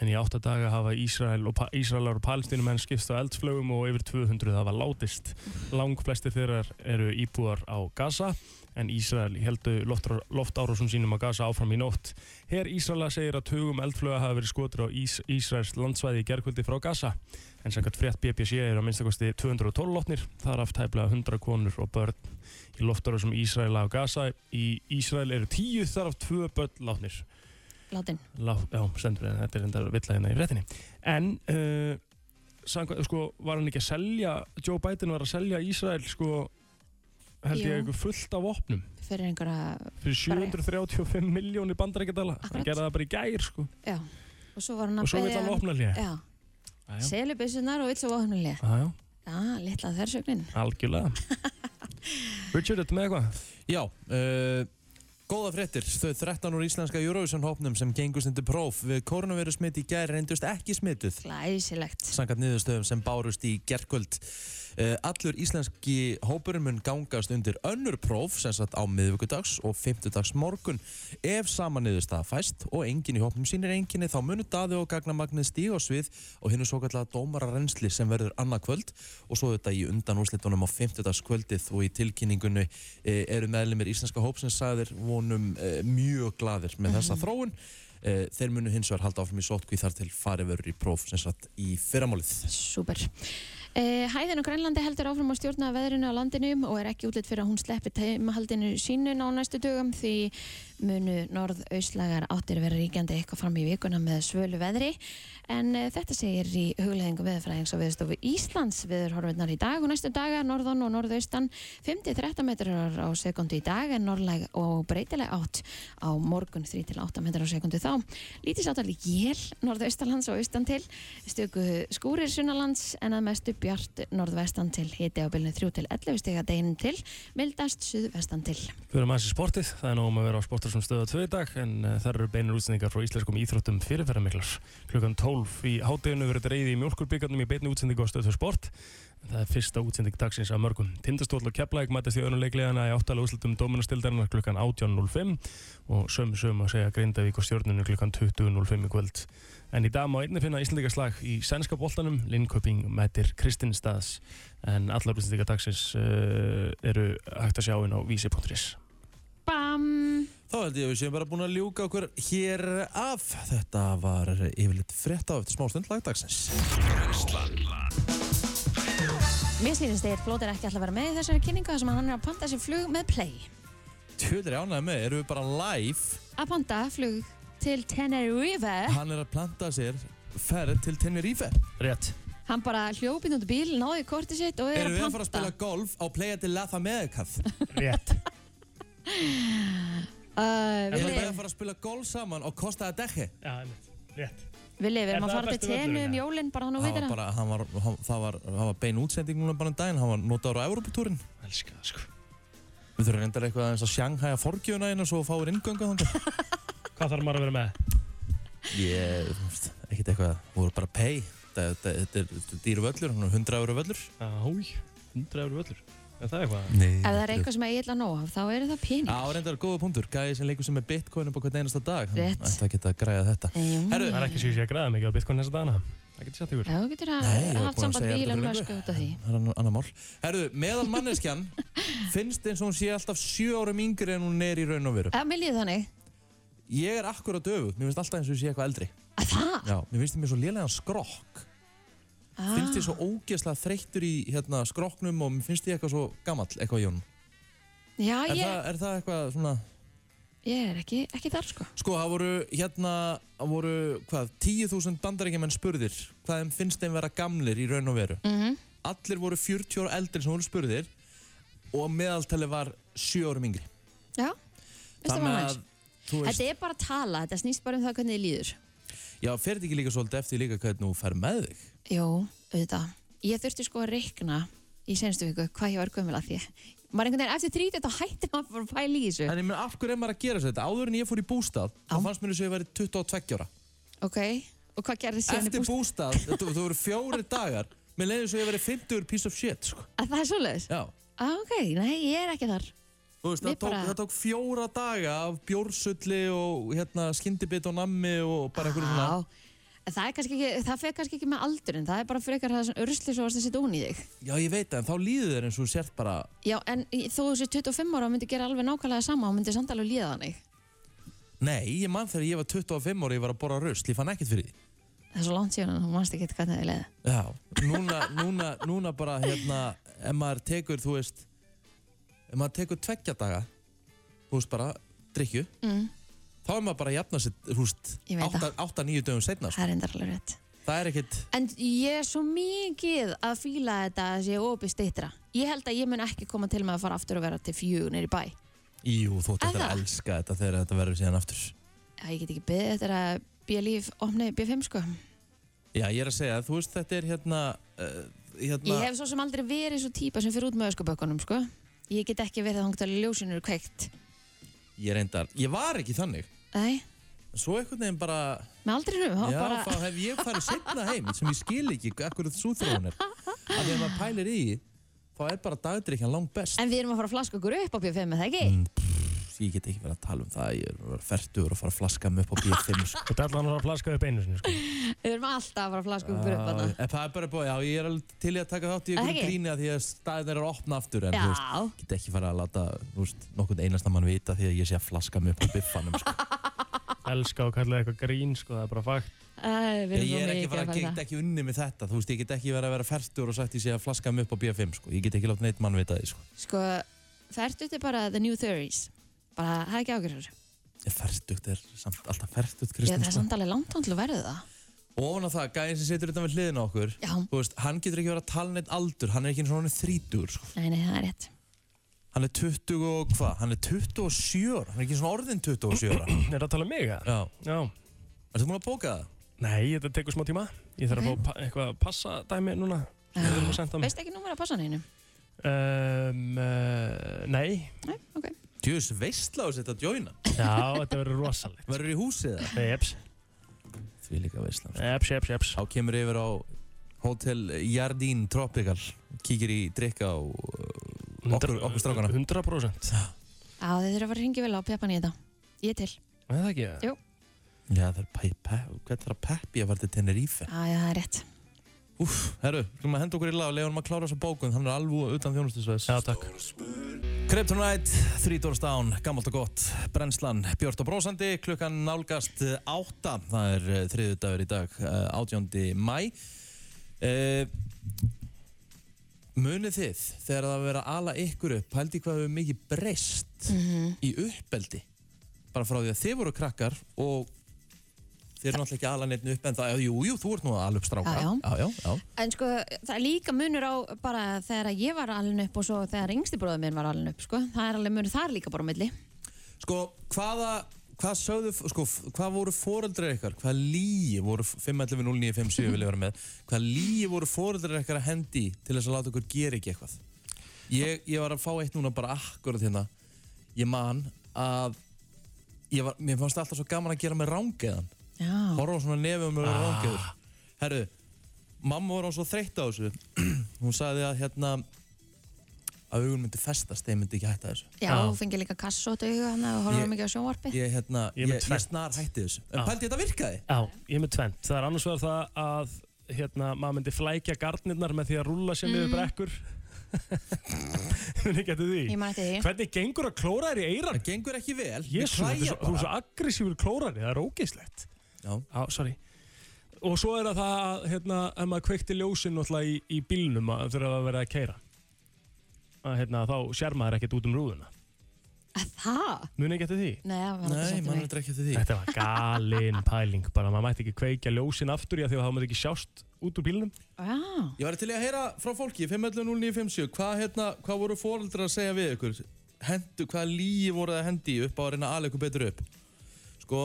[SPEAKER 3] En í átta daga hafa Ísrael og pa Ísraelar og Palestínumenn skipst á eldflögum og yfir 200 hafa látist. Langflestir þeirra eru íbúar á Gaza en Ísrael heldu loftárósum sínum á Gaza áfram í nótt. Her Ísraela segir að tugum eldflöga hafa verið skotir á Ís Ísraels landsvæði í gerkvöldi frá Gaza. En samkvæmt frétt BBC eru að minnstakosti 212 lotnir, þar af tæplega 100 konur og börn. Í loftárósum Ísraela á Gaza í Ísrael eru 10 þar af 2 börn látnir.
[SPEAKER 2] Látin.
[SPEAKER 3] Lá, já, sendur við, þetta er enda villa hérna í fréttinni. En, uh, sangvað, sko, var hann ekki að selja, Joe Biden var að selja Ísrael, sko, held
[SPEAKER 2] Jú.
[SPEAKER 3] ég eitthvað fullt af opnum
[SPEAKER 2] Fyrir einhverja...
[SPEAKER 3] fyrir 735 miljónir bandarækjadala.
[SPEAKER 2] Akkurat.
[SPEAKER 3] Hann gerði það bara í gær, sko,
[SPEAKER 2] Já. Og svo var hann að
[SPEAKER 3] og svo vill
[SPEAKER 2] biðja
[SPEAKER 3] hann opna hlýja.
[SPEAKER 2] Já. Selubissunar og vill svo ofnulega.
[SPEAKER 3] Já, já,
[SPEAKER 2] Já, litla þversögnin. [LAUGHS]
[SPEAKER 3] algjörlega. Richard, ertu með eitthvað?
[SPEAKER 1] Já, uh, góða fréttir. Þau 13 úr íslenska Eurovision-hópnum sem gengust undir próf við koronavirusmit í gær reyndust ekki smituð.
[SPEAKER 2] Glæsilegt.
[SPEAKER 1] Sankat niðurstöðum sem bárust í gerkvöld. Uh, allur íslenski hópurinn mun gangast undir önnur próf sem sagt á miðvikudags og fymtudags morgun ef sama niðurstaða fæst og enginn í hópnum sínir enginni þá munu daði og gagnamagnið stíg á svið og hinn er svo kallega dómararensli sem verður annað kvöld og svo þetta í undanúslitunum á fymtudagskvöldið og í tilkynningunni uh, eru meðlumir íslenska hópsins sagðir vonum uh, mjög gladir með þessa þróun. Uh, þeir munu hins vegar halda áfram í sótkví þar til farið verður í próf sem sagt í fyrramálið.
[SPEAKER 2] Súper. Eh, Hæðin og Grænlandi heldur áfram að stjórna veðrinu á landinu og er ekki útlitt fyrir að hún sleppi teimahaldinu sínun á næstu dögum því munu norðauðslagar áttir vera ríkjandi eitthvað fram í vikuna með svölu veðri en eh, þetta segir í hugleðingu veðurfræðings og viðstofu Íslands viðurhorfurnar í dag og næstu daga norðan og norðaustan 5-13 metrar á sekundu í dag en norðleg og breytileg átt á morgun 3-8 metrar á sekundu þá lítið sátt alveg jél norðaustalands og austan til stöku skúrir sunnalands en að mestu bjart norðvestan til hiti á bylnu 3-11 stiga deginum til mildast suðvestan til
[SPEAKER 3] Við erum aðeins í sportið, það er nógum að vera á sportar sem stöða tvö í dag en uh, þar eru beinir útsendingar frá íslenskum íþróttum fyrirferðarmiklar. Klukkan 12 í hátteginu verður reyði í mjölkurbyggarnum í beinni útsendingu á stöð fyrir sport. En Það er fyrsta útsending dagsins af mörgum. Tindastóll og Keflæk mætast í önuleikleðana í áttalega úslutum Dóminastildarinnar klukkan 18.05 og sömu sömu að segja Grindavík og stjórnunum klukkan 20.05 í kvöld. En í dag má einnig finna Íslandingaslag í sænska boltanum, Linköping mætir Kristinstads en allar útsendingar dagsins uh, eru hægt að sjá inn á vísi.is.
[SPEAKER 2] Bam!
[SPEAKER 1] Þá held ég að við séum bara búin að ljúka okkur hér af. Þetta var yfirleitt frétt á eftir smástund lagdagsins.
[SPEAKER 2] Mér sýnist þegar Flóter ekki alltaf að vera með í þessari kynningu þar sem hann er að panta sér flug með play
[SPEAKER 1] Tjóðir ánægði með, erum við bara live.
[SPEAKER 2] að panta flug til Tenerife
[SPEAKER 1] Hann er að planta sér ferð til Tenerife.
[SPEAKER 3] Rétt.
[SPEAKER 2] hann bara hljópið út í bíl, náði í kortið sitt og er að
[SPEAKER 1] Erum við
[SPEAKER 2] panta
[SPEAKER 1] að fara að spila golf á Playa de Laza Medicaf?
[SPEAKER 3] Rétt.
[SPEAKER 2] Uh,
[SPEAKER 1] Erum
[SPEAKER 2] Vili,
[SPEAKER 1] við að fara að spila golf saman á Costa de Deje?
[SPEAKER 3] Já, einmitt. rétt.
[SPEAKER 2] Vili, við erum
[SPEAKER 3] Er
[SPEAKER 2] að
[SPEAKER 3] það
[SPEAKER 2] fara til
[SPEAKER 3] besti
[SPEAKER 2] tenu
[SPEAKER 3] völlurinn,
[SPEAKER 2] um
[SPEAKER 3] eða?
[SPEAKER 2] jólinn bara hann og
[SPEAKER 1] Það
[SPEAKER 2] veitir
[SPEAKER 1] var
[SPEAKER 2] það
[SPEAKER 1] hérna? bara, hann var, hann, það var, það var bein útsending núna bara um daginn, hann var notaður á Europatúrin.
[SPEAKER 3] Elskar það, sko.
[SPEAKER 1] Við þurfum reyndar eitthvað aðeins að Shanghai að forgjöfuna einu svo fáir ingöngu þangar.
[SPEAKER 3] [LAUGHS] Hvað þarf maður að vera með?
[SPEAKER 1] Ég, þú veist, ekkert eitthvað, þú voru bara pay. þetta, þetta, þetta er- þetta er dýr völlur, hann er 100 euro völlur.
[SPEAKER 3] Áj, 100 eurur völlur. Er það eitthvað?
[SPEAKER 1] Nei.
[SPEAKER 2] Ef það er eitthvað sem ég ætla nóg af, þá eru það pening.
[SPEAKER 1] Á, reyndar góða punktur, gæði sem leikur sem er bitcoin upp á hvern einasta dag.
[SPEAKER 2] Rétt.
[SPEAKER 1] Hann ætti að geta að græða þetta. Herru,
[SPEAKER 3] Það er ekki svo ég sé að græða mikið á Bitcoin þessa dagana. Það getur satt ykkur.
[SPEAKER 2] Já, þú getur að
[SPEAKER 1] Nei, ég
[SPEAKER 2] haft
[SPEAKER 1] var búinn að
[SPEAKER 2] samband
[SPEAKER 1] segja
[SPEAKER 2] við Elon
[SPEAKER 1] þetta fyrir
[SPEAKER 2] Musk út af því.
[SPEAKER 1] Það er annar- annar mál. Herru, meðal manneskjan finnst eins og hún sé alltaf 7 árum yngri en hún er í raun og veru.
[SPEAKER 2] Já, mér líður þannig.
[SPEAKER 1] Ég er akkur að döfu, mér finnst alltaf eins og ég sé eitthvað eldri.
[SPEAKER 2] Að það?
[SPEAKER 1] Já, mér finnst ég mér svo lélegan skrokk. Finnst
[SPEAKER 2] Ah.
[SPEAKER 1] ég svo ógeðslega þreyttur í hérna, skrokknum og mér finnst ég eitthvað svo gamall, eitthvað í honum.
[SPEAKER 2] Ah, Já,
[SPEAKER 1] Er,
[SPEAKER 2] ég,
[SPEAKER 1] það, er það eitthvað svona...
[SPEAKER 2] ég er ekki, ekki þar sko.
[SPEAKER 1] Sko, það voru hérna, það voru, hvað, 10.000 bandarækjumenn spurðir hvað þeim finnst þeim vera gamlir í raun og veru.
[SPEAKER 2] Mm
[SPEAKER 1] Allir voru 40 ára eldri sem voru spurðir og meðaltali var 7 árum yngri.
[SPEAKER 2] Já, veist það var næst.
[SPEAKER 1] þú veist,
[SPEAKER 2] Þetta er bara að tala, þetta snýst bara um það hvernig þið líður.
[SPEAKER 1] já, fer þetta ekki líka svolítið eftir líka hvernig þú fer með þig?
[SPEAKER 2] Jó, auðvitað. Ég þurfti sko að reikna í senstu viku hvað ég var gömul að því. Maður einhvern veginn eftir þrítið þá hætti maður bara að pæla í þessu.
[SPEAKER 1] En ég menn, af hverju er maður að gera þetta? Áður en ég fór í bústað, þá
[SPEAKER 2] Já.
[SPEAKER 1] fannst mér þess að ég væri 22 ára.
[SPEAKER 2] Ok, og hvað gerði síðan í
[SPEAKER 1] Eftir
[SPEAKER 2] búst?
[SPEAKER 1] bústað, þetta þú voru fjóri dagar, mér leiði þess að ég væri 50 piece of shit, sko.
[SPEAKER 2] Að það er svoleiðis?
[SPEAKER 1] Já.
[SPEAKER 2] Á, ok, nei, ég er ekki þar.
[SPEAKER 1] Þú veist,
[SPEAKER 2] Mér
[SPEAKER 1] það tók,
[SPEAKER 2] bara-
[SPEAKER 1] það tók fjóra daga af bjórsulli og hérna, skyndibit og nammi og bara einhverju svona.
[SPEAKER 2] Já, en það er kannski ekki, það fer kannski ekki með aldur en það er bara frekar það sem ursli svo varst að setja ón í þig.
[SPEAKER 1] Já, ég veit það, en þá líður þér eins og þú sért bara...
[SPEAKER 2] Já, en í- þó þú sér 25 ára og myndi gera alveg nákvæmlega sama og myndi samt alveg líða þannig.
[SPEAKER 1] Nei, ég mann þegar ég var 25 ára, ég var að borra rusl, ég fann ekkert fyrir því.
[SPEAKER 2] Það er svo langt síðan að þú manst ekki hvað það er leið.
[SPEAKER 1] Já, núna, núna, núna bara, hérna, ef maður tekur, þú veist, ef maður tekur tveggja daga, þú veist bara, drikju,
[SPEAKER 2] Mm,
[SPEAKER 1] þá er maður bara að jafna sér, þú veist,
[SPEAKER 2] Ég veit það.
[SPEAKER 1] 8-9 dögum setna, sko.
[SPEAKER 2] það er endar alveg rétt.
[SPEAKER 1] Það er ekkert...
[SPEAKER 2] En ég er svo mikið að fíla þetta að sé opið steytra. Ég held að ég mun ekki koma til með að fara aftur og vera til fjögur nýri bæ.
[SPEAKER 1] Jú, þú ætti
[SPEAKER 2] Er
[SPEAKER 1] eftir að
[SPEAKER 2] það?
[SPEAKER 1] elska þetta þegar þetta verður síðan aftur.
[SPEAKER 2] Já, ég get ekki beðið eftir að B-líf opni B5 sko.
[SPEAKER 1] Já, ég er að segja, þú veist, þetta er hérna, uh, hérna...
[SPEAKER 2] Ég hef svo sem aldrei verið svo típa sem fyrir út með öskubökkunum sko. Ég get ekki verið þangt að ljósinu eru kveikt.
[SPEAKER 1] Ég reyndar, ég var ekki þannig
[SPEAKER 2] Nei,
[SPEAKER 1] En Svo einhvern veginn bara,
[SPEAKER 2] með aldrei nú.
[SPEAKER 1] já,
[SPEAKER 2] Bara...
[SPEAKER 1] þá hef ég farið setna heim sem ég skil ekki akkur þessu þróun er Af því að maður pælir í, því, þá er bara dagdrykjan langt best
[SPEAKER 2] En við erum að fara að flaska okkur upp á B5, er það ekki?
[SPEAKER 1] Mm, pff, Ég get ekki verið að tala um það, ég er að vera fertur og fara að flaska mig upp á B5 sko.
[SPEAKER 3] Þú dætla hann að flaska upp einu sinni, sko.
[SPEAKER 2] [LAUGHS] Við erum alltaf að fara að flaska okkur upp á
[SPEAKER 1] Já,
[SPEAKER 2] það.
[SPEAKER 1] En það er bara búið, já, ég er alveg til í að taka þátt
[SPEAKER 2] Er
[SPEAKER 1] í
[SPEAKER 2] það
[SPEAKER 1] einhverjum
[SPEAKER 2] ekki?
[SPEAKER 1] gríni að því að staðin er að opna aftur en þú veist,
[SPEAKER 2] Já,
[SPEAKER 1] ég get ekki farið að láta, þú veist, nokkurn einasta mann vita því að ég sé að flaska mig upp á biffanum sko.
[SPEAKER 3] Elska og kalla eitthvað grín, sko. Það er bara fakt.
[SPEAKER 2] Æ, við erum svo
[SPEAKER 1] Ég er ekki
[SPEAKER 2] mikið að
[SPEAKER 1] fara að
[SPEAKER 2] fara
[SPEAKER 1] get
[SPEAKER 2] það.
[SPEAKER 1] ekki unni með þetta Þú veist, ég get ekki verið að vera færtur og sagt ég sé að flaska mig upp á B5 sko. Ég get ekki látt neitt mann vita því sko.
[SPEAKER 2] Sko, fært út er bara the new theories. Bara, það er ekki ágjörður.
[SPEAKER 1] Færtugt er samt, alltaf færtugt
[SPEAKER 2] Já,
[SPEAKER 1] Kristinn
[SPEAKER 2] það er
[SPEAKER 1] sko.
[SPEAKER 2] samt alveg langt án til að verða það.
[SPEAKER 1] Og ofan á það, gæðin sem situr utan við hliðin á okkur
[SPEAKER 2] Já,
[SPEAKER 1] Þú veist, hann getur ekki verið að tala neitt aldur Hann er ekki eins og hann er þrítur sko.
[SPEAKER 2] nei, nei, það er rétt.
[SPEAKER 1] Hann er 20 og hvað? Hann er 27 ára Hann er ekki svona orðin 27 ára
[SPEAKER 3] [CLEARS THROAT] Er það að tala um mig, eða?
[SPEAKER 1] Já,
[SPEAKER 3] Já.
[SPEAKER 1] ertu múin að bóka það?
[SPEAKER 3] Nei, þetta tekur smá tíma. Ég þarf að fá pa- eitthvað að passa dæmi núna. Við
[SPEAKER 2] Já.
[SPEAKER 3] erum að senda mig.
[SPEAKER 2] Veist ekki númer að passa hann einu?
[SPEAKER 3] Um, uh, nei.
[SPEAKER 2] Nei, ok.
[SPEAKER 1] Djöðs veistla á þessi þetta að joina
[SPEAKER 3] [LAUGHS] Já, þetta verður rosalegt.
[SPEAKER 1] Verður í húsið það?
[SPEAKER 3] Eps,
[SPEAKER 1] Því líka veistla sko.
[SPEAKER 3] eps, eps, eps.
[SPEAKER 1] Þá kemur yfir á Hotel Jardín Tropical Kíkir í drikka og Okkur- okkur strákana.
[SPEAKER 3] 100%
[SPEAKER 2] Já, þið þurfa að fara að ringi vel á peppan í þetta. Ég til.
[SPEAKER 3] Er það ekki það?
[SPEAKER 2] Jú.
[SPEAKER 1] Já, það er pæ, pæ, hvernig þarf að peppi að fara til Tenerife?
[SPEAKER 2] Já, já, það er rétt.
[SPEAKER 1] Úf, herru, skulum að henda okkur í lag og leiðum að klára þessa bókun, hann er alveg utan þjónustisvæðis.
[SPEAKER 3] Já, takk.
[SPEAKER 1] Kryptonite, Þrítórs Dán, gammalt og gott, Brennslan, Björn og Brósandi, klukkan nálgast eh, átta, það er eh, þriðjudagur í dag, eh, 18. mæ. Eh, Munið þið, þegar það verið að ala ykkur upp, hældi hvað hefur mikið breyst í uppeldi, bara frá því að þið voru krakkar og þið eru náttúrulega ekki að ala neitt upp en það, jú, jú, þú ert nú að ala upp stráka.
[SPEAKER 2] Já, já.
[SPEAKER 1] já, já.
[SPEAKER 2] En sko, það er líka munur á bara þegar ég var alveg upp og svo þegar yngsti bróður minn var alveg upp, sko. Það er alveg munur þar líka bara á milli.
[SPEAKER 1] Sko, hvaða, hvað sögðu, sko, f- hvað voru foreldrar ykkar, hvað líi voru, 5.11.09.57 vil ég vera með, hvað líi voru foreldrar ykkar að hendi til þess að láta ykkur gera ekki eitthvað? Ég, ég var að fá eitt núna bara akkurat hérna, ég man að, ég var, mér fannst alltaf svo gaman að gera með rángeðan,
[SPEAKER 2] Já.
[SPEAKER 1] horfa á svona nefum með ah. rángeður. Herru, mamma var á svo þreytt á þessu hún sagði að hérna að augun myndi festast, þeim myndi ekki hætta þessu
[SPEAKER 2] Já, þú fengið líka kassót auðvitað hann og horfum
[SPEAKER 1] Ég-
[SPEAKER 2] mikið á sjónvarpið.
[SPEAKER 1] ég, hérna,
[SPEAKER 3] Ég er
[SPEAKER 1] ég,
[SPEAKER 3] með
[SPEAKER 1] ég,
[SPEAKER 3] tvennt.
[SPEAKER 1] snar hætti þessu
[SPEAKER 3] Já.
[SPEAKER 1] en pældi þetta virkaði
[SPEAKER 3] Já, ég er með tvent. Það er annars vegar það að hérna, maður myndi flækja gardnirnar með því að rúlla sér niður brekkur. [LAUGHS] Hvernig getur því?
[SPEAKER 2] Ég man eftir því.
[SPEAKER 3] Hvernig gengur að klóra þér í eiran?
[SPEAKER 1] það gengur ekki vel,
[SPEAKER 3] Jésu, þú
[SPEAKER 1] ég
[SPEAKER 3] ert svo-
[SPEAKER 1] klæja
[SPEAKER 3] þú ert
[SPEAKER 1] bara
[SPEAKER 3] svo aggressífur klórari, það er ógeislegt.
[SPEAKER 1] Já.
[SPEAKER 3] Já, sorry. Og svo er það það að, hérna, ef maður kveikti ljósin náttúrulega í, í bílnum að þegar það verið að keira. Að, hérna, þá sér maður ekkert út um rúðuna.
[SPEAKER 2] Að það?
[SPEAKER 3] Muni ekki eftir því?
[SPEAKER 2] Nei, það var
[SPEAKER 1] nei,
[SPEAKER 2] ekki
[SPEAKER 1] mann
[SPEAKER 2] svolítið mig.
[SPEAKER 1] er ekki eftir því
[SPEAKER 3] Þetta var galin [LAUGHS] pæling, bara maður mætti ekki kveikja ljósin aftur í að því að það maður ekki sjást út úr bílnum.
[SPEAKER 2] Já,
[SPEAKER 1] Ég var til í að heyra frá fólki 5.11.09.57 hvað, hérna, hvað voru fóreldrar að segja við ykkur? Hendu, hvaða líi voru það að hendi í upp á að reyna að ala ykkur betur upp? Sko,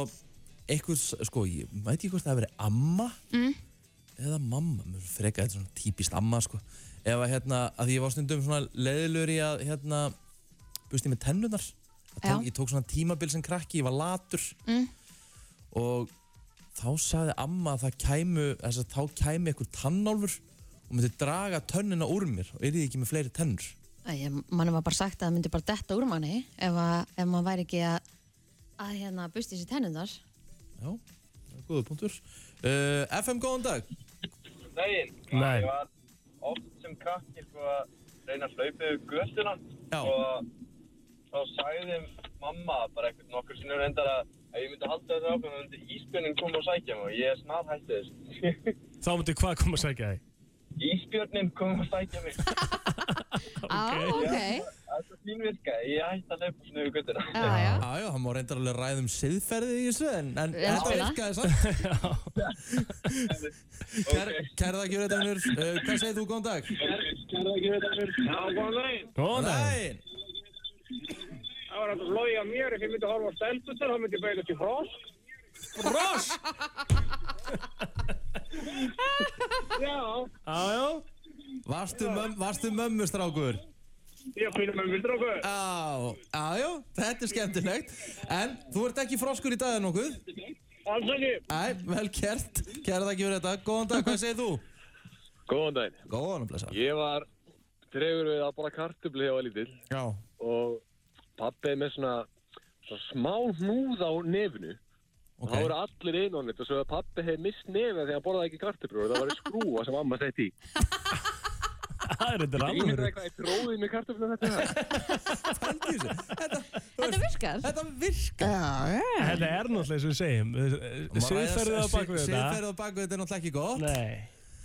[SPEAKER 1] eitthvað, sko, ég veit ekki hvort það hafi verið amma
[SPEAKER 2] Mm.
[SPEAKER 1] eða mamma, mér finnst freka, þetta er svona típist amma, sko ef að, hérna, að því ég var stundum svona leiðilur í að, hérna, busti með tennunar tók,
[SPEAKER 2] Já.
[SPEAKER 1] ég tók svona tímabil sem krakki, ég var latur
[SPEAKER 2] Mm.
[SPEAKER 1] og þá sagði amma að það kæmu þess að þá kæmi einhver tannálfur og myndi draga tönnina úr mér og yrði ekki með fleiri tennur
[SPEAKER 2] Æ, ég- manni var bara sagt að það myndi bara detta úr manni ef, að, ef maður væri ekki að, að hérna busti sér tennundar.
[SPEAKER 1] Já, það er góða punktur uh, FM, góðan dag
[SPEAKER 5] daginn
[SPEAKER 3] Nei.
[SPEAKER 5] ég var oft sem krakki sko að reyna að hlaupa yfir göttuna
[SPEAKER 1] Já.
[SPEAKER 5] og þá sagði mamma bara eitthvað nokkur sinnur endar að ef ég myndi halda þessu áfram þá myndi ísbjörnin koma og sækja mig og ég er snar hætti þessu
[SPEAKER 3] Þá myndi hvað koma að segja þig?
[SPEAKER 5] Ísbjörnin kom og sækja
[SPEAKER 1] [LAUGHS]
[SPEAKER 5] mig
[SPEAKER 2] Á, ok.
[SPEAKER 5] Þetta er fín virka, ég hætti að hlaupa svona yfir göttuna
[SPEAKER 2] Já, já.
[SPEAKER 1] Já, já, hann má reyndar alveg ræðum siðferði í þessu en, en
[SPEAKER 2] Já,
[SPEAKER 1] þetta
[SPEAKER 2] spila.
[SPEAKER 1] virkaði samt Kær,
[SPEAKER 5] Ok.
[SPEAKER 1] Kærða ekki verið tennur uh, Hvað segir þú, góðan dag?
[SPEAKER 6] Já, góðan daginn.
[SPEAKER 3] Góðan dag.
[SPEAKER 1] Nei.
[SPEAKER 6] Það var alltaf að loja mér ef ég myndi að horfa á stelpunar, þá myndi ég beina til frosk.
[SPEAKER 3] Frosk!
[SPEAKER 6] [LAUGHS] Já,
[SPEAKER 3] Já, já.
[SPEAKER 1] Varstu, möm, varstu mömmu strákur?
[SPEAKER 6] ég finn með myndir okkur.
[SPEAKER 1] Já, já, já, þetta er skemmtilegt En þú ert ekki froskur í dag en nokkuð?
[SPEAKER 6] Alls ekki.
[SPEAKER 1] Æ, vel kert, kæra það ekki fyrir þetta Góðan dag, hvað segir þú?
[SPEAKER 7] Góðan daginn.
[SPEAKER 1] Góðan að blessa
[SPEAKER 7] Ég var tregur við að bara kartubli hjá að lítill
[SPEAKER 1] Já,
[SPEAKER 7] og pappið með svona, svona smá hnúð á nefnu.
[SPEAKER 1] ok
[SPEAKER 7] Okay. Það voru allir einhvernveit og svo að pappi hefði mist nefið þegar hann borðaði ekki kartubli og það var skrúa sem amma setti
[SPEAKER 1] [LAUGHS]
[SPEAKER 7] í.
[SPEAKER 3] Það er þetta
[SPEAKER 7] Ég er
[SPEAKER 3] alveg.
[SPEAKER 7] eitthvað, ég tróði með kartubli þetta. er.
[SPEAKER 1] Pældu í þessu. Þetta, þú
[SPEAKER 2] Þetta
[SPEAKER 1] veist,
[SPEAKER 2] virkar.
[SPEAKER 1] þetta virkar
[SPEAKER 3] Þetta er náttúrulega eins og við segjum. Siðferðið á bakvið þetta.
[SPEAKER 1] Siðferðið á bakvið þetta er náttúrulega ekki gott
[SPEAKER 3] Nei.